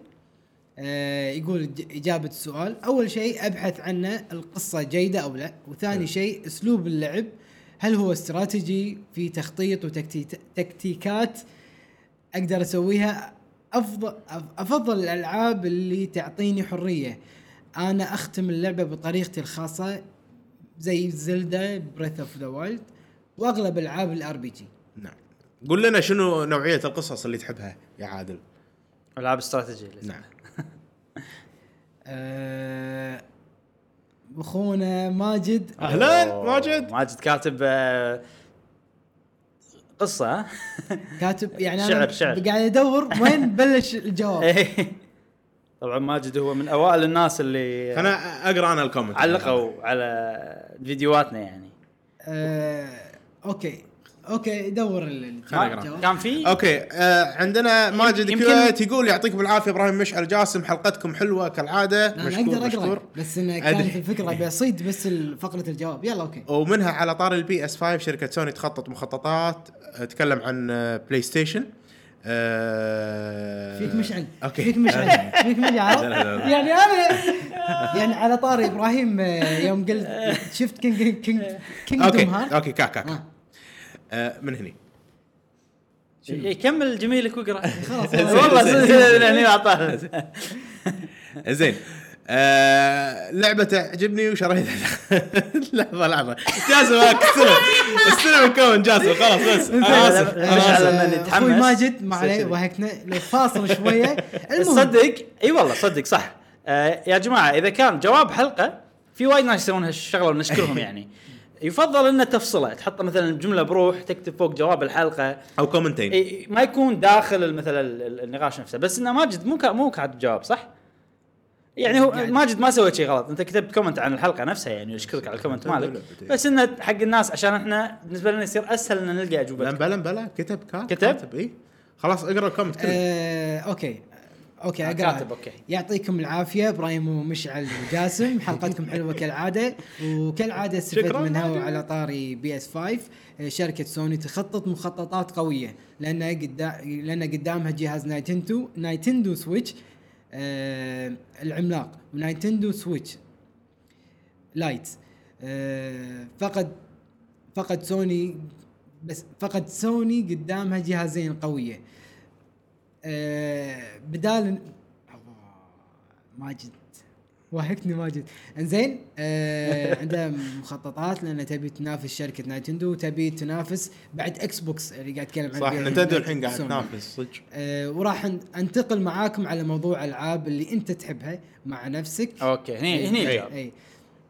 Speaker 2: آه، يقول ج- اجابه السؤال اول شيء ابحث عنه القصه جيده او لا وثاني شيء اسلوب اللعب هل هو استراتيجي في تخطيط وتكتيكات اقدر اسويها افضل أف- افضل الالعاب اللي تعطيني حريه انا اختم اللعبه بطريقتي الخاصه زي زلدا بريث اوف ذا وايلد واغلب العاب الار بي جي
Speaker 3: نعم قول لنا شنو نوعيه القصص اللي تحبها يا عادل
Speaker 1: العاب استراتيجيه
Speaker 3: نعم
Speaker 2: آه، اخونا ماجد
Speaker 1: آه.
Speaker 3: أهلاً،
Speaker 1: أوه،
Speaker 3: ماجد.
Speaker 1: ماجد كاتب آه، قصه ها؟
Speaker 2: كاتب يعني
Speaker 1: شعر- شعر.
Speaker 2: قاعد ادور وين بلش الجواب
Speaker 1: إيه. طبعا ماجد هو من اوائل الناس اللي
Speaker 3: انا اقرا انا الكومنت
Speaker 1: علقوا على فيديوهاتنا يعني
Speaker 2: آه، اوكي اوكي دور ال- ال-
Speaker 3: خليني أقرأ.
Speaker 2: الجواب.
Speaker 1: كان في
Speaker 3: اوكي آه عندنا ماجد
Speaker 1: يمكن-
Speaker 3: كويت يقول يعطيك بالعافيه ابراهيم مشعل جاسم حلقتكم حلوه كالعاده
Speaker 2: لا، انا اقدر اقرا بس انه كانت
Speaker 3: أدري. إيه.
Speaker 2: الفكره بصيد بس ال- فقره الجواب يلا اوكي
Speaker 3: ومنها على طار البي اس 5 شركه سوني تخطط مخططات آه، تكلم عن آه، بلاي ستيشن آه،
Speaker 2: فيك مشعل
Speaker 3: اوكي
Speaker 2: فيك مشعل فيك مشعل
Speaker 3: لا، لا، لا.
Speaker 2: يعني انا يعني على طاري ابراهيم آه، يوم قلت شفت كينج كينج
Speaker 3: اوكي
Speaker 2: كينجدوم هارت
Speaker 3: اوكي كاك كاك
Speaker 2: آه،
Speaker 3: آه، من هني
Speaker 1: إيه، كمل جميلك واقرا
Speaker 2: خلاص
Speaker 1: والله صدق يعني أعطاه.
Speaker 3: زين آه لعبة تعجبني وشريتها لحظة لحظة جاسم آه، هاك، استلم استلم الكون جاسم خلاص بس انا اسف
Speaker 1: مش
Speaker 3: انا
Speaker 1: على
Speaker 3: اسف
Speaker 1: من
Speaker 2: آه،
Speaker 1: يتحمس.
Speaker 2: اخوي ماجد ما عليه
Speaker 1: سلسلة.
Speaker 2: ضحكنا لو فاصل شويه المهم
Speaker 1: صدق اي والله صدق صح آه يا جماعه اذا كان جواب حلقه في وايد ناس يسوون هالشغله ونشكرهم يعني يفضل انه تفصله تحط مثلا جمله بروح تكتب فوق جواب الحلقه
Speaker 3: او كومنتين
Speaker 1: إي- ما يكون داخل مثلا النقاش نفسه بس انه ماجد مو كا- مو كاتب جواب صح؟ يعني هو
Speaker 2: قاعد.
Speaker 1: ماجد ما سوى شيء غلط انت كتبت كومنت عن الحلقه نفسها يعني اشكرك على الكومنت مالك بس انه حق الناس عشان احنا بالنسبه لنا يصير اسهل ان نلقى اجوبه
Speaker 3: بلا بلا كتب كاتب
Speaker 1: كتب؟ إيه.
Speaker 3: اي خلاص اقرا الكومنت كله
Speaker 2: آه، اوكي اوكي
Speaker 1: آه،
Speaker 2: اقرا
Speaker 1: كاتب، أوكي.
Speaker 2: يعطيكم العافيه ابراهيم ومشعل وجاسم حلقتكم حلوه كالعاده وكالعاده استفدت
Speaker 3: شكراً.
Speaker 2: منها وعلى طاري بي اس 5 آه، شركه سوني تخطط مخططات قويه لان قدا لان قدامها جهاز نايتندو نايتندو سويتش آه العملاق ونايتندو سويتش لايت آه، فقد فقد سوني بس فقد سوني قدامها جهازين قويه آه، بدال ماجد واهكني ماجد انزين آه عندها مخططات لان تبي تنافس شركه نايتندو وتبي تنافس بعد اكس بوكس اللي قاعد اتكلم عنه
Speaker 3: صح
Speaker 1: إيه.
Speaker 3: نتندو الحين قاعد
Speaker 2: سوني.
Speaker 3: تنافس صدق
Speaker 2: آه وراح أن- انتقل معاكم على موضوع العاب اللي انت تحبها مع نفسك
Speaker 1: اوكي هني هني الجواب
Speaker 2: اي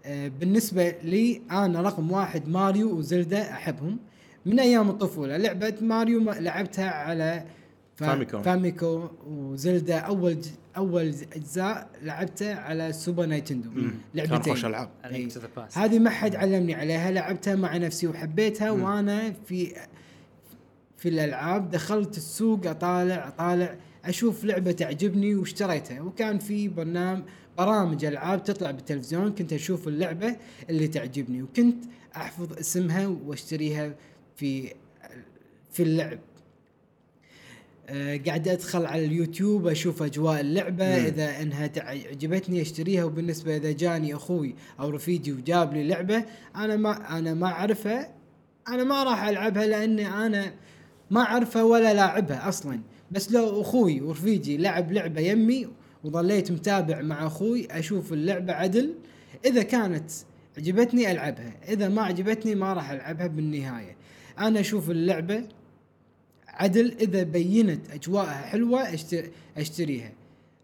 Speaker 2: آه، بالنسبه لي انا رقم واحد ماريو وزلدا احبهم من ايام الطفوله لعبه ماريو ما لعبتها على فا-
Speaker 3: فاميكوم.
Speaker 2: فاميكو وزلدا اول ج... اول ز- اجزاء لعبتها على سوبر نايتندو
Speaker 3: كان خوش
Speaker 2: لعبتين
Speaker 3: العاب
Speaker 1: A Link to the Past.
Speaker 2: هذه ما حد علمني عليها لعبتها مع نفسي وحبيتها وانا في في الالعاب دخلت السوق اطالع اطالع اشوف لعبه تعجبني واشتريتها وكان في برنامج برامج العاب تطلع بالتلفزيون كنت اشوف اللعبه اللي تعجبني وكنت احفظ اسمها واشتريها في في اللعب آه، قاعد ادخل على اليوتيوب اشوف اجواء اللعبه مم. اذا انها تعجبتني اشتريها وبالنسبه اذا جاني اخوي او رفيجي وجاب لي لعبه انا ما انا ما اعرفها انا ما راح العبها لاني انا ما اعرفها ولا لاعبها اصلا بس لو اخوي ورفيجي لعب لعبه يمي وظليت متابع مع اخوي اشوف اللعبه عدل اذا كانت عجبتني العبها اذا ما عجبتني ما راح العبها بالنهايه انا اشوف اللعبه عدل اذا بينت اجواءها حلوه أشت- اشتريها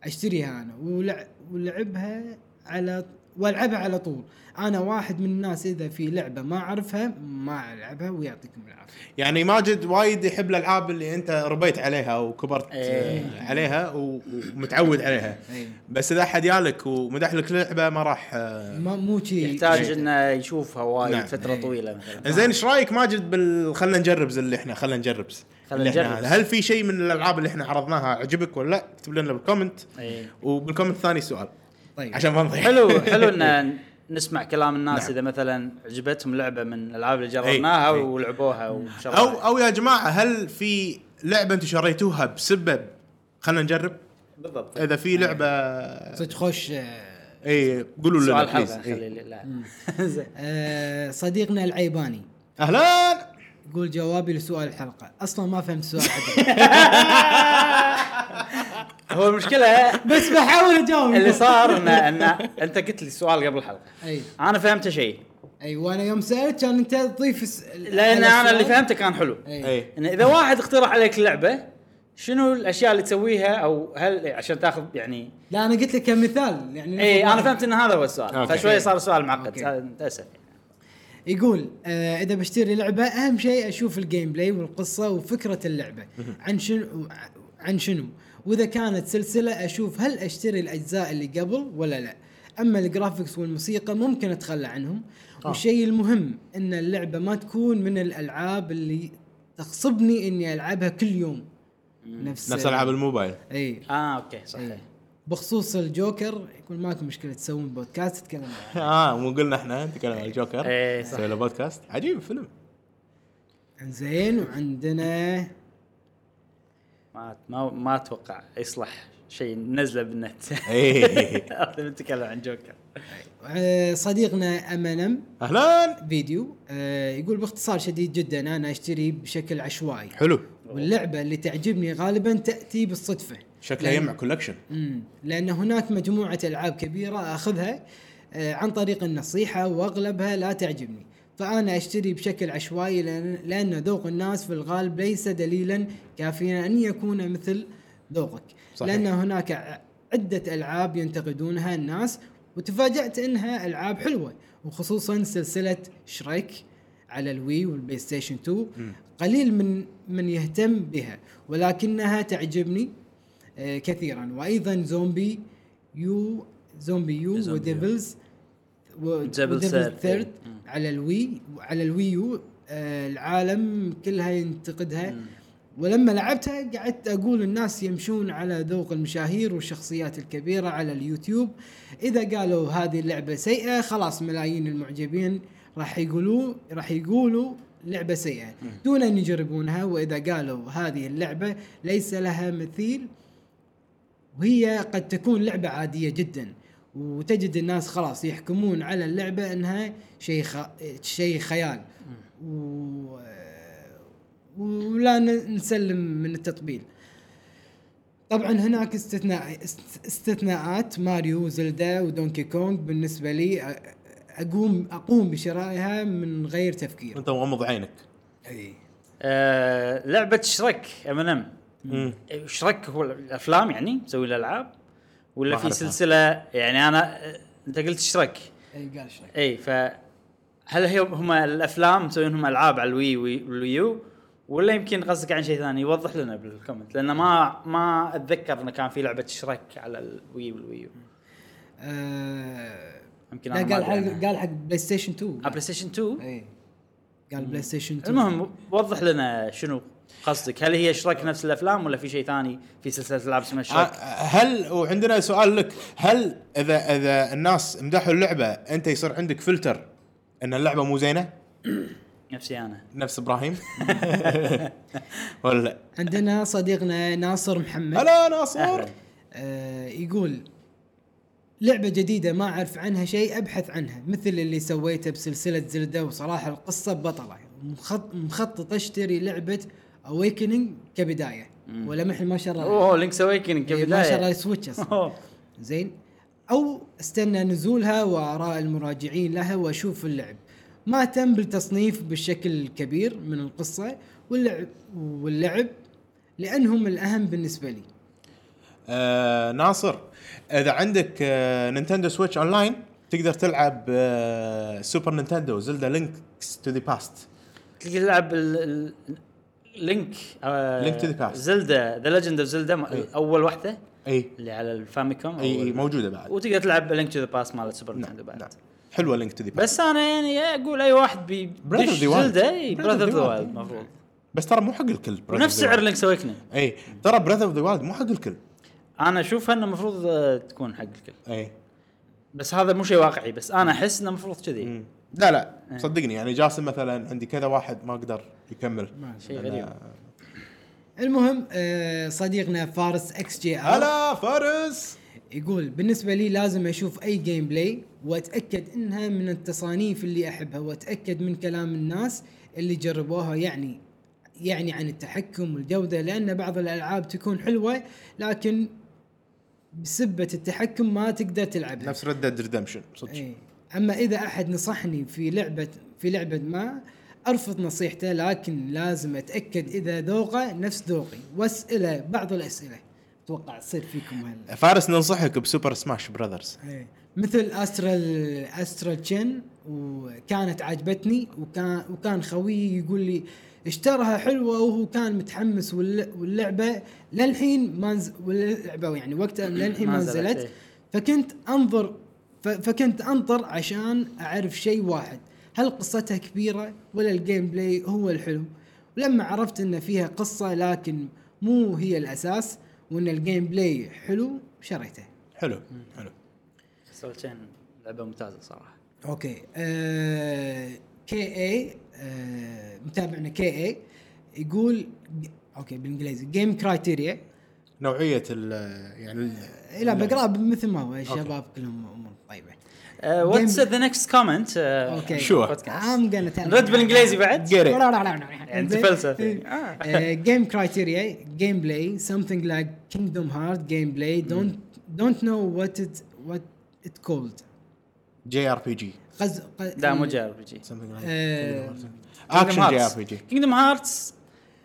Speaker 2: اشتريها انا ولع- ولعبها على والعبها على طول انا واحد من الناس اذا في لعبه ما اعرفها ما العبها ويعطيكم العافيه
Speaker 3: يعني ماجد وايد يحب الالعاب اللي انت ربيت عليها وكبرت
Speaker 1: إيه.
Speaker 3: آه، عليها و- ومتعود عليها
Speaker 2: إيه.
Speaker 3: بس اذا احد يالك ومدح لك لعبه ما راح آه.
Speaker 2: ما مو يعني. شيء
Speaker 1: يحتاج انه يشوفها وايد
Speaker 3: إيه. نعم.
Speaker 1: فتره طويله مثلا
Speaker 3: زين ايش رايك ماجد بال خلينا نجرب زي اللي احنا خلينا نجرب
Speaker 1: خلنا
Speaker 3: اللي إحنا
Speaker 1: نجرب.
Speaker 3: هذا. هل في شيء من الالعاب اللي احنا عرضناها عجبك ولا لا؟ اكتب لنا بالكومنت
Speaker 1: إيه.
Speaker 3: وبالكومنت الثاني سؤال
Speaker 2: طيب
Speaker 3: عشان ما نضيع
Speaker 1: حلو حلو ان نسمع كلام الناس
Speaker 3: نعم.
Speaker 1: اذا مثلا عجبتهم لعبه من الالعاب اللي جربناها
Speaker 3: إيه، إيه.
Speaker 1: ولعبوها وشربوها
Speaker 3: او او يا جماعه هل في لعبه انتم شريتوها بسبب خلينا نجرب
Speaker 1: بالضبط
Speaker 3: اذا في لعبه
Speaker 2: صدق خوش آه،
Speaker 3: اي قولوا لنا
Speaker 1: سؤال
Speaker 3: بليز
Speaker 1: حلقه
Speaker 3: إيه.
Speaker 1: خلي لا زين
Speaker 2: آه، صديقنا العيباني
Speaker 3: اهلا
Speaker 2: يقول جوابي لسؤال الحلقه اصلا ما فهمت سؤال عدل.
Speaker 1: هو المشكله
Speaker 2: بس بحاول اجاوب
Speaker 1: اللي صار ان ان انت قلت لي السؤال قبل الحلقه
Speaker 2: اي
Speaker 1: انا فهمت شيء
Speaker 2: اي وانا يوم سالت كان انت تضيف الس...
Speaker 1: لان
Speaker 2: على
Speaker 1: انا اللي
Speaker 2: السؤال.
Speaker 1: فهمته كان حلو
Speaker 2: اي
Speaker 3: اي
Speaker 1: ان اذا واحد اقترح عليك لعبه شنو الاشياء اللي تسويها او هل عشان تاخذ يعني
Speaker 2: لا انا قلت لك كمثال يعني
Speaker 1: اي انا إيه، فهمت ان هذا هو السؤال
Speaker 3: أوكي.
Speaker 1: فشوي صار السؤال معقد
Speaker 2: أوكي.
Speaker 1: هذا- اسف
Speaker 2: يقول آه اذا بشتري لعبه اهم شيء اشوف الجيم بلاي والقصه وفكره اللعبه عن شنو عن شنو واذا كانت سلسله اشوف هل اشتري الاجزاء اللي قبل ولا لا اما الجرافكس والموسيقى ممكن اتخلى عنهم والشيء المهم ان اللعبه ما تكون من الالعاب اللي تغصبني اني العبها كل يوم نفس
Speaker 3: نفس العاب الموبايل
Speaker 2: اي
Speaker 1: اه اوكي صحيح
Speaker 2: إيه. بخصوص الجوكر يكون معكم مشكله تسوون بودكاست تتكلم عنه.
Speaker 3: اه مو قلنا احنا نتكلم عن الجوكر
Speaker 1: إيه، صح.
Speaker 3: سوي له بودكاست عجيب فيلم
Speaker 2: زين وعندنا
Speaker 1: ما ما ما اتوقع يصلح شيء نزله بالنت
Speaker 3: ايه
Speaker 1: هذا بنتكلم عن جوكر
Speaker 2: آه، صديقنا امنم
Speaker 3: اهلا
Speaker 2: فيديو آه، يقول باختصار شديد جدا انا اشتري بشكل عشوائي
Speaker 3: حلو
Speaker 2: واللعبه اللي تعجبني غالبا تاتي بالصدفه
Speaker 3: شكله يجمع كولكشن
Speaker 2: امم لان هناك مجموعه العاب كبيره اخذها آه، عن طريق النصيحه واغلبها لا تعجبني فانا اشتري بشكل عشوائي لان لأن ذوق الناس في الغالب ليس دليلا كافيا ان يكون مثل ذوقك
Speaker 3: صحيح.
Speaker 2: لان هناك ع- عده العاب ينتقدونها الناس وتفاجات انها العاب حلوه وخصوصا سلسله شريك على الوي والبلاي ستيشن 2 قليل من من يهتم بها ولكنها تعجبني آه، كثيرا وايضا زومبي يو زومبي يو
Speaker 1: زومبي يو.
Speaker 2: وديفلز
Speaker 1: Devil Third.
Speaker 2: ثيرد
Speaker 1: مم.
Speaker 2: على الوي على الويو آه، العالم كلها ينتقدها ولما لعبتها قعدت اقول الناس يمشون على ذوق المشاهير والشخصيات الكبيره على اليوتيوب اذا قالوا هذه اللعبه سيئه خلاص ملايين المعجبين راح يقولوا راح يقولوا لعبه سيئه دون ان يجربونها واذا قالوا هذه اللعبه ليس لها مثيل وهي قد تكون لعبة عادية جدا وتجد الناس خلاص يحكمون على اللعبة انها شيء خ... شيء خيال و... ولا ن- نسلم من التطبيل طبعا هناك استثناء است- استثناءات ماريو زلدا ودونكي كونغ بالنسبة لي أ- اقوم اقوم بشرائها من غير تفكير
Speaker 3: انت مغمض عينك
Speaker 2: اي
Speaker 1: آه لعبه شرك ام ان ام
Speaker 3: مم.
Speaker 1: شرك هو الافلام يعني مسوي الالعاب ولا
Speaker 3: ما
Speaker 1: في
Speaker 3: أعرفها.
Speaker 1: سلسله يعني انا آه، انت قلت شرك
Speaker 2: اي قال شيء
Speaker 1: اي إيه، ف هل هي هم الافلام مسوينهم العاب على الوي وي- والويو ولا يمكن قصدك عن شيء ثاني يوضح لنا بالكومنت لان ما ما اتذكر انه كان في لعبه شرك على الوي والويو
Speaker 2: آه...
Speaker 1: يمكن
Speaker 2: لا
Speaker 1: انا
Speaker 2: قال
Speaker 1: ما أدري
Speaker 2: حق
Speaker 1: عنها.
Speaker 2: قال إيه. حق بلاي ستيشن 2
Speaker 1: على بلاي ستيشن 2
Speaker 2: اي قال بلاي ستيشن 2
Speaker 1: المهم وضح لنا شنو قصدك هل هي شرك نفس الافلام ولا في شيء ثاني في سلسله العاب اسمها شرك؟
Speaker 3: آه، هل وعندنا سؤال لك هل اذا اذا الناس مدحوا اللعبه انت يصير عندك فلتر ان اللعبه مو زينه
Speaker 1: نفسي انا
Speaker 3: نفس ابراهيم ولا لا؟
Speaker 2: عندنا صديقنا ناصر محمد
Speaker 3: هلا ناصر
Speaker 1: أهلاً.
Speaker 2: آه يقول لعبة جديدة ما أعرف عنها شيء أبحث عنها مثل اللي سويته بسلسلة زلدة وصراحة القصة بطلة مخط- مخطط أشتري لعبة أويكننج كبداية ولمح ما شاء الله
Speaker 1: اوه لينكس اويكننج
Speaker 2: إيه، ما شاء الله
Speaker 1: كبدايه
Speaker 2: سويتش أصلاً.
Speaker 1: أوه.
Speaker 2: زين او استنى نزولها واراء المراجعين لها واشوف اللعب ما تم بالتصنيف بالشكل الكبير من القصه واللعب واللعب لانهم الاهم بالنسبه لي
Speaker 3: آه ناصر اذا عندك آه نينتندو سويتش اونلاين تقدر تلعب آه سوبر نينتندو زلدا لينكس تو ذا باست
Speaker 1: تلقى تلعب ال- ال- لينك آه،
Speaker 3: Link to the past.
Speaker 1: زلدا ذا ليجند اوف زلدا
Speaker 3: إيه.
Speaker 1: اول واحده
Speaker 3: اي
Speaker 1: اللي على الفاميكوم
Speaker 3: اي إي، موجوده بعد
Speaker 1: وتقدر تلعب لينك تو ذا باس مال سوبر
Speaker 3: نعم،
Speaker 1: نتندو
Speaker 3: نعم.
Speaker 1: بعد
Speaker 3: حلوه لينك تو ذا
Speaker 1: بس
Speaker 3: باست
Speaker 1: انا يعني اقول اي واحد بي
Speaker 3: Breath of the Wild.
Speaker 1: زلدا إيه،
Speaker 3: Breath of
Speaker 1: براذر اوف
Speaker 3: the
Speaker 1: ذا
Speaker 3: Wild.
Speaker 1: وايلد المفروض
Speaker 3: بس ترى مو حق الكل Breath of
Speaker 1: ونفس
Speaker 3: the
Speaker 1: سعر
Speaker 3: Wild.
Speaker 1: لينكس اويكننج
Speaker 3: اي ترى براذر اوف ذا وايلد مو حق الكل
Speaker 1: انا اشوفها انه المفروض آه، تكون حق الكل
Speaker 3: اي
Speaker 1: بس هذا مو شيء واقعي بس انا احس انه المفروض كذي
Speaker 3: مم. لا لا صدقني يعني جاسم مثلا عندي كذا واحد ما اقدر يكمل
Speaker 1: شيء غريب
Speaker 2: المهم آه، صديقنا فارس اكس جي ار
Speaker 3: هلا فارس
Speaker 2: يقول بالنسبه لي لازم اشوف اي جيم بلاي واتاكد انها من التصانيف اللي احبها واتاكد من كلام الناس اللي جربوها يعني يعني عن التحكم والجوده لان بعض الالعاب تكون حلوه لكن بسبه التحكم ما تقدر تلعبها
Speaker 3: نفس ريد ديد ريدمشن صدق
Speaker 2: إيه. اما اذا احد نصحني في لعبه في لعبه ما ارفض نصيحته لكن لازم اتاكد اذا ذوقه نفس ذوقي واساله بعض الاسئله اتوقع تصير فيكم هلا
Speaker 3: فارس ننصحك بسوبر سماش براذرز
Speaker 2: إيه. مثل استرال استرال تشين وكانت عجبتني وكان وكان خويي يقول لي اشتراها حلوه وهو كان متحمس والل- واللعبه للحين ما نز... واللعبه يعني وقتها للحين ما
Speaker 1: ما نزلت،
Speaker 2: نزلت
Speaker 1: إيه.
Speaker 2: فكنت انظر ف... فكنت انطر عشان اعرف شيء واحد هل قصتها كبيره ولا الجيم بلاي هو الحلو ولما عرفت ان فيها قصه لكن مو هي الاساس وان الجيم بلاي حلو شريته
Speaker 3: حلو حلو
Speaker 1: إيه، سولتشين لعبه ممتازه صراحه
Speaker 2: اوكي آه كي اي آه متابعنا كي اي يقول اوكي بالانجليزي جيم كرايتيريا
Speaker 3: نوعيه ال يعني ال-
Speaker 2: لا بقراه مثل ما هو الشباب كلهم امور طيبه
Speaker 1: واتس
Speaker 2: Game-
Speaker 1: ذا نكست كومنت
Speaker 2: اوكي
Speaker 3: Sure.
Speaker 2: I'm gonna tell
Speaker 1: آه، رد
Speaker 2: you.
Speaker 1: بالانجليزي بعد
Speaker 3: Get it.
Speaker 1: يعني تفلسفي.
Speaker 2: جيم كرايتيريا جيم بلاي something like kingdom heart game play don't don't know what it what it called
Speaker 3: جي ار بي جي
Speaker 2: قز
Speaker 1: لا مو جي ار بي جي إيه.
Speaker 2: آه،
Speaker 3: اكشن جي ار بي جي
Speaker 1: كينجدم هارتس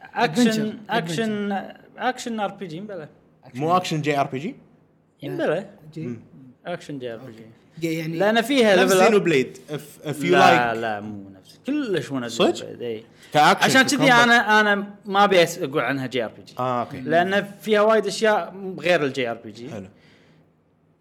Speaker 1: اكشن
Speaker 2: Adventure.
Speaker 1: اكشن اكشن ار بي جي مبلى
Speaker 3: مو اكشن جي ار بي جي
Speaker 1: مبلى
Speaker 2: جي-
Speaker 1: اكشن جي ار بي جي
Speaker 2: يعني
Speaker 1: لان فيها
Speaker 3: نفس
Speaker 1: level up.
Speaker 3: زينو بليد اف يو
Speaker 1: لا
Speaker 3: لايك
Speaker 1: لا مو نفس كلش مو نفس
Speaker 3: صدق؟
Speaker 1: Xenoblade، إي.
Speaker 3: كأكشن
Speaker 1: عشان
Speaker 3: في
Speaker 1: كذي
Speaker 3: combat.
Speaker 1: انا انا ما ابي أس- اقول عنها جي ار بي جي
Speaker 3: اه اوكي
Speaker 1: لان فيها وايد اشياء غير الجي ار بي جي
Speaker 3: حلو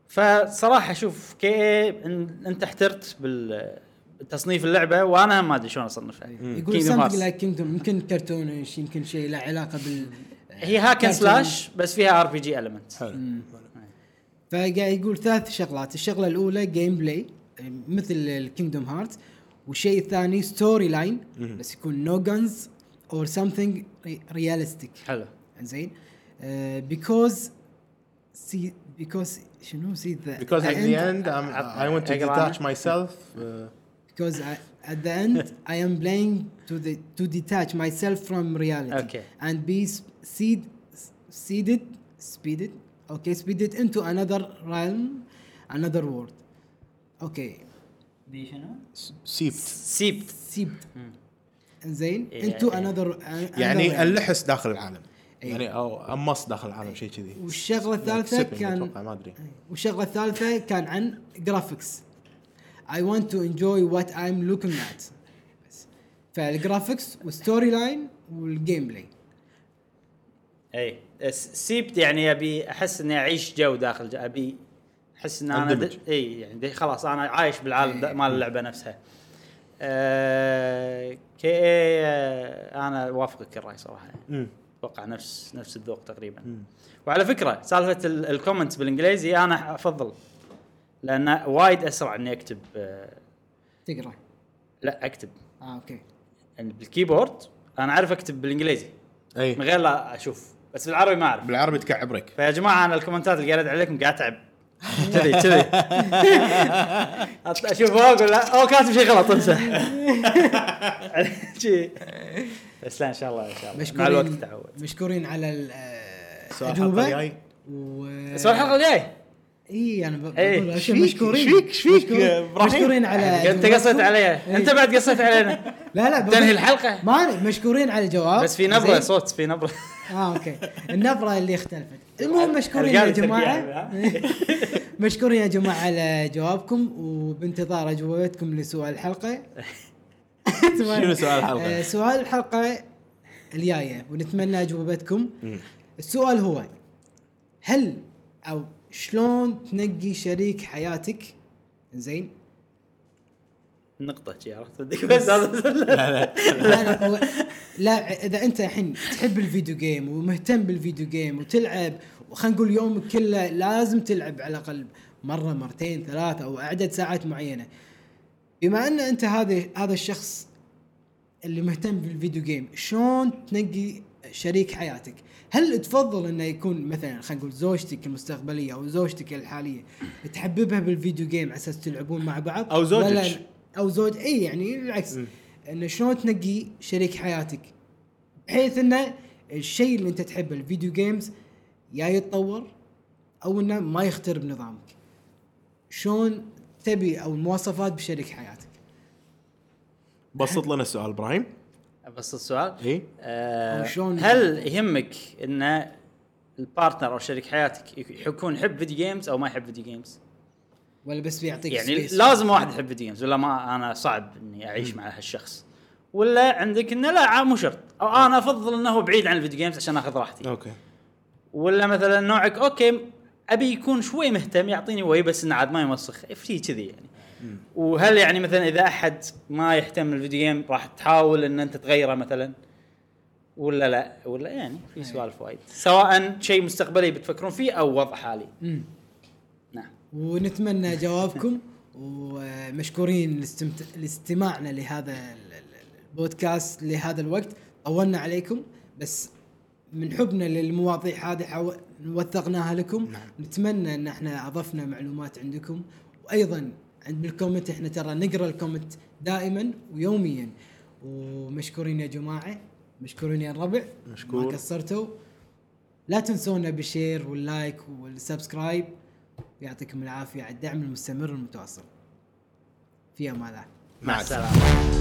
Speaker 1: فصراحه شوف كي إيه، إن- انت احترت بال- بتصنيف اللعبه وانا ما ادري شلون اصنفها
Speaker 2: يقول
Speaker 1: Kingdom
Speaker 2: something
Speaker 1: Hearts.
Speaker 2: like kingdom يمكن كرتونش يمكن شيء له علاقه بال
Speaker 1: هي هاكن
Speaker 2: كرتون.
Speaker 1: سلاش بس فيها ار بي جي المنت
Speaker 3: حلو
Speaker 2: فقاعد يقول ثلاث شغلات الشغله الاولى جيم بلاي مثل الكينجدوم هارت والشيء الثاني ستوري لاين بس يكون نو جنز اور something رياليستيك
Speaker 1: حلو
Speaker 2: زين آه، بيكوز سي بيكوز شنو سي ذا
Speaker 3: Because at the end, I'm, I want to
Speaker 1: أقرأ
Speaker 3: detach
Speaker 1: أنا.
Speaker 3: myself. Uh,
Speaker 2: because I, at the end I am playing to the to detach myself from reality
Speaker 1: Okay.
Speaker 2: and be s- seed seeded speeded okay speeded into another realm another world okay
Speaker 1: دي شنو؟
Speaker 3: seeped.
Speaker 1: سيبت
Speaker 2: سيبت زين
Speaker 1: إيه.
Speaker 2: into another uh, another
Speaker 3: يعني
Speaker 2: realm.
Speaker 3: اللحس داخل العالم. يعني او امص داخل
Speaker 1: إيه.
Speaker 3: العالم شيء كذي.
Speaker 2: والشغله الثالثه
Speaker 3: Sipping
Speaker 2: كان
Speaker 3: أتوقع، ما ادري.
Speaker 2: والشغله الثالثه كان عن جرافيكس I want to enjoy what I'm looking at فالجرافيكس والستوري لاين والجيم بلاي
Speaker 1: اي أس- سيبت يعني ابي احس اني اعيش جو داخل جو ابي احس ان انا
Speaker 3: أندمج.
Speaker 1: د... اي يعني دي خلاص انا عايش بالعالم دا- مال اللعبه نفسها آه كي اي آه انا وافقك الراي صراحه اتوقع نفس نفس الذوق تقريبا وعلى فكره سالفه ال- الكومنتس بالانجليزي انا افضل لان وايد اسرع اني اكتب آه
Speaker 2: تقرا
Speaker 1: لا اكتب
Speaker 2: اه اوكي
Speaker 1: يعني بالكيبورد انا اعرف اكتب بالانجليزي من
Speaker 3: اي
Speaker 1: غير لا اشوف بس بالعربي ما اعرف
Speaker 3: بالعربي تكعب رك
Speaker 1: فيا جماعه انا الكومنتات اللي قاعد عليكم قاعد اتعب كذي كذي أط- اشوفها اقول لا او كاتب شيء غلط امسح شي. بس لا ان شاء الله ان شاء الله مع
Speaker 2: مشكورين
Speaker 1: الوقت تعود
Speaker 2: مشكورين على ال- آه،
Speaker 3: سؤال الحلقه
Speaker 2: الاجوبه
Speaker 3: الجاي
Speaker 2: و
Speaker 1: سؤال الحلقه الجاي
Speaker 2: اي انا ب-
Speaker 1: إيه،
Speaker 2: بقول
Speaker 3: إيش
Speaker 2: أشياء
Speaker 3: فيك؟
Speaker 2: مشكورين
Speaker 3: إيش فيك؟ إيش فيك؟
Speaker 2: مشكورين-
Speaker 3: إبراهيم؟
Speaker 2: مشكورين على
Speaker 1: انت
Speaker 2: أجوبتكم.
Speaker 1: قصيت عليا انت بعد قصيت علينا
Speaker 2: لا لا بقول-
Speaker 1: تنهي الحلقة.
Speaker 2: ما أنا- مشكورين على الجواب
Speaker 1: بس في نبره
Speaker 2: أه. زين.
Speaker 1: صوت في نبره
Speaker 2: اه اوكي النبره اللي اختلفت المهم مشكورين يا
Speaker 1: رجال
Speaker 2: جماعه
Speaker 1: التربية،
Speaker 2: مشكورين يا جماعه على جوابكم وبانتظار اجوبتكم لسؤال الحلقه
Speaker 3: شنو سؤال
Speaker 2: آه،
Speaker 3: الحلقه؟
Speaker 2: سؤال الحلقه الجايه ونتمنى اجوبتكم السؤال هو هل او شلون تنقي شريك حياتك زين
Speaker 1: نقطه شي عرفت صدق بس هذا-
Speaker 2: لا لا هو- لا اذا انت الحين تحب الفيديو جيم ومهتم بالفيديو جيم وتلعب وخلينا نقول يومك كله لازم تلعب على الاقل مره مرتين ثلاثه او عدد ساعات معينه بما ان انت هذا هذا الشخص اللي مهتم بالفيديو جيم شلون تنقي شريك حياتك هل تفضل انه يكون مثلا خلينا نقول زوجتك المستقبليه او زوجتك الحاليه تحببها بالفيديو جيم على اساس تلعبون مع بعض
Speaker 3: أو زوجك.
Speaker 2: ولا او زوج اي يعني العكس انه شلون تنقي شريك حياتك بحيث انه الشيء اللي انت تحبه الفيديو جيمز يا يتطور او انه ما يخترب نظامك شلون تبي او المواصفات بشريك حياتك
Speaker 3: بسط لنا السؤال إيه؟ ابراهيم
Speaker 1: بس السؤال
Speaker 3: اي
Speaker 1: آه،
Speaker 2: وشلون-
Speaker 1: هل يهمك ان البارتنر او شريك حياتك يك- يكون يحب فيديو جيمز او ما يحب فيديو جيمز؟
Speaker 2: ولا بس بيعطيك
Speaker 1: يعني
Speaker 2: space؟
Speaker 1: لازم واحد يحب فيديو جيمز ولا ما انا صعب اني اعيش مع هالشخص ولا عندك انه لا عا- مو شرط او انا افضل انه هو بعيد عن الفيديو جيمز عشان اخذ راحتي
Speaker 3: اوكي
Speaker 1: ولا مثلا نوعك اوكي ابي يكون شوي مهتم يعطيني وي بس انه عاد ما يوسخ في كذي يعني وهل يعني مثلا اذا احد ما يهتم الفيديو جيم راح تحاول ان انت تغيره مثلا ولا لا ولا يعني في سوالف وايد سواء شيء مستقبلي بتفكرون فيه او وضع حالي
Speaker 2: مم.
Speaker 1: نعم
Speaker 2: ونتمنى جوابكم ومشكورين لاستمت... لاستماعنا لهذا ال- ال- البودكاست لهذا الوقت طولنا عليكم بس من حبنا للمواضيع هذه حاو... وثقناها لكم نتمنى ان احنا اضفنا معلومات عندكم وايضا عند بالكومنت احنا ترى نقرا الكومنت دائما ويوميا ومشكورين يا جماعه مشكورين يا الربع
Speaker 3: مشكور.
Speaker 2: ما قصرتوا لا تنسونا بالشير واللايك والسبسكرايب ويعطيكم العافيه على الدعم المستمر المتواصل في امان الله
Speaker 1: مع السلامه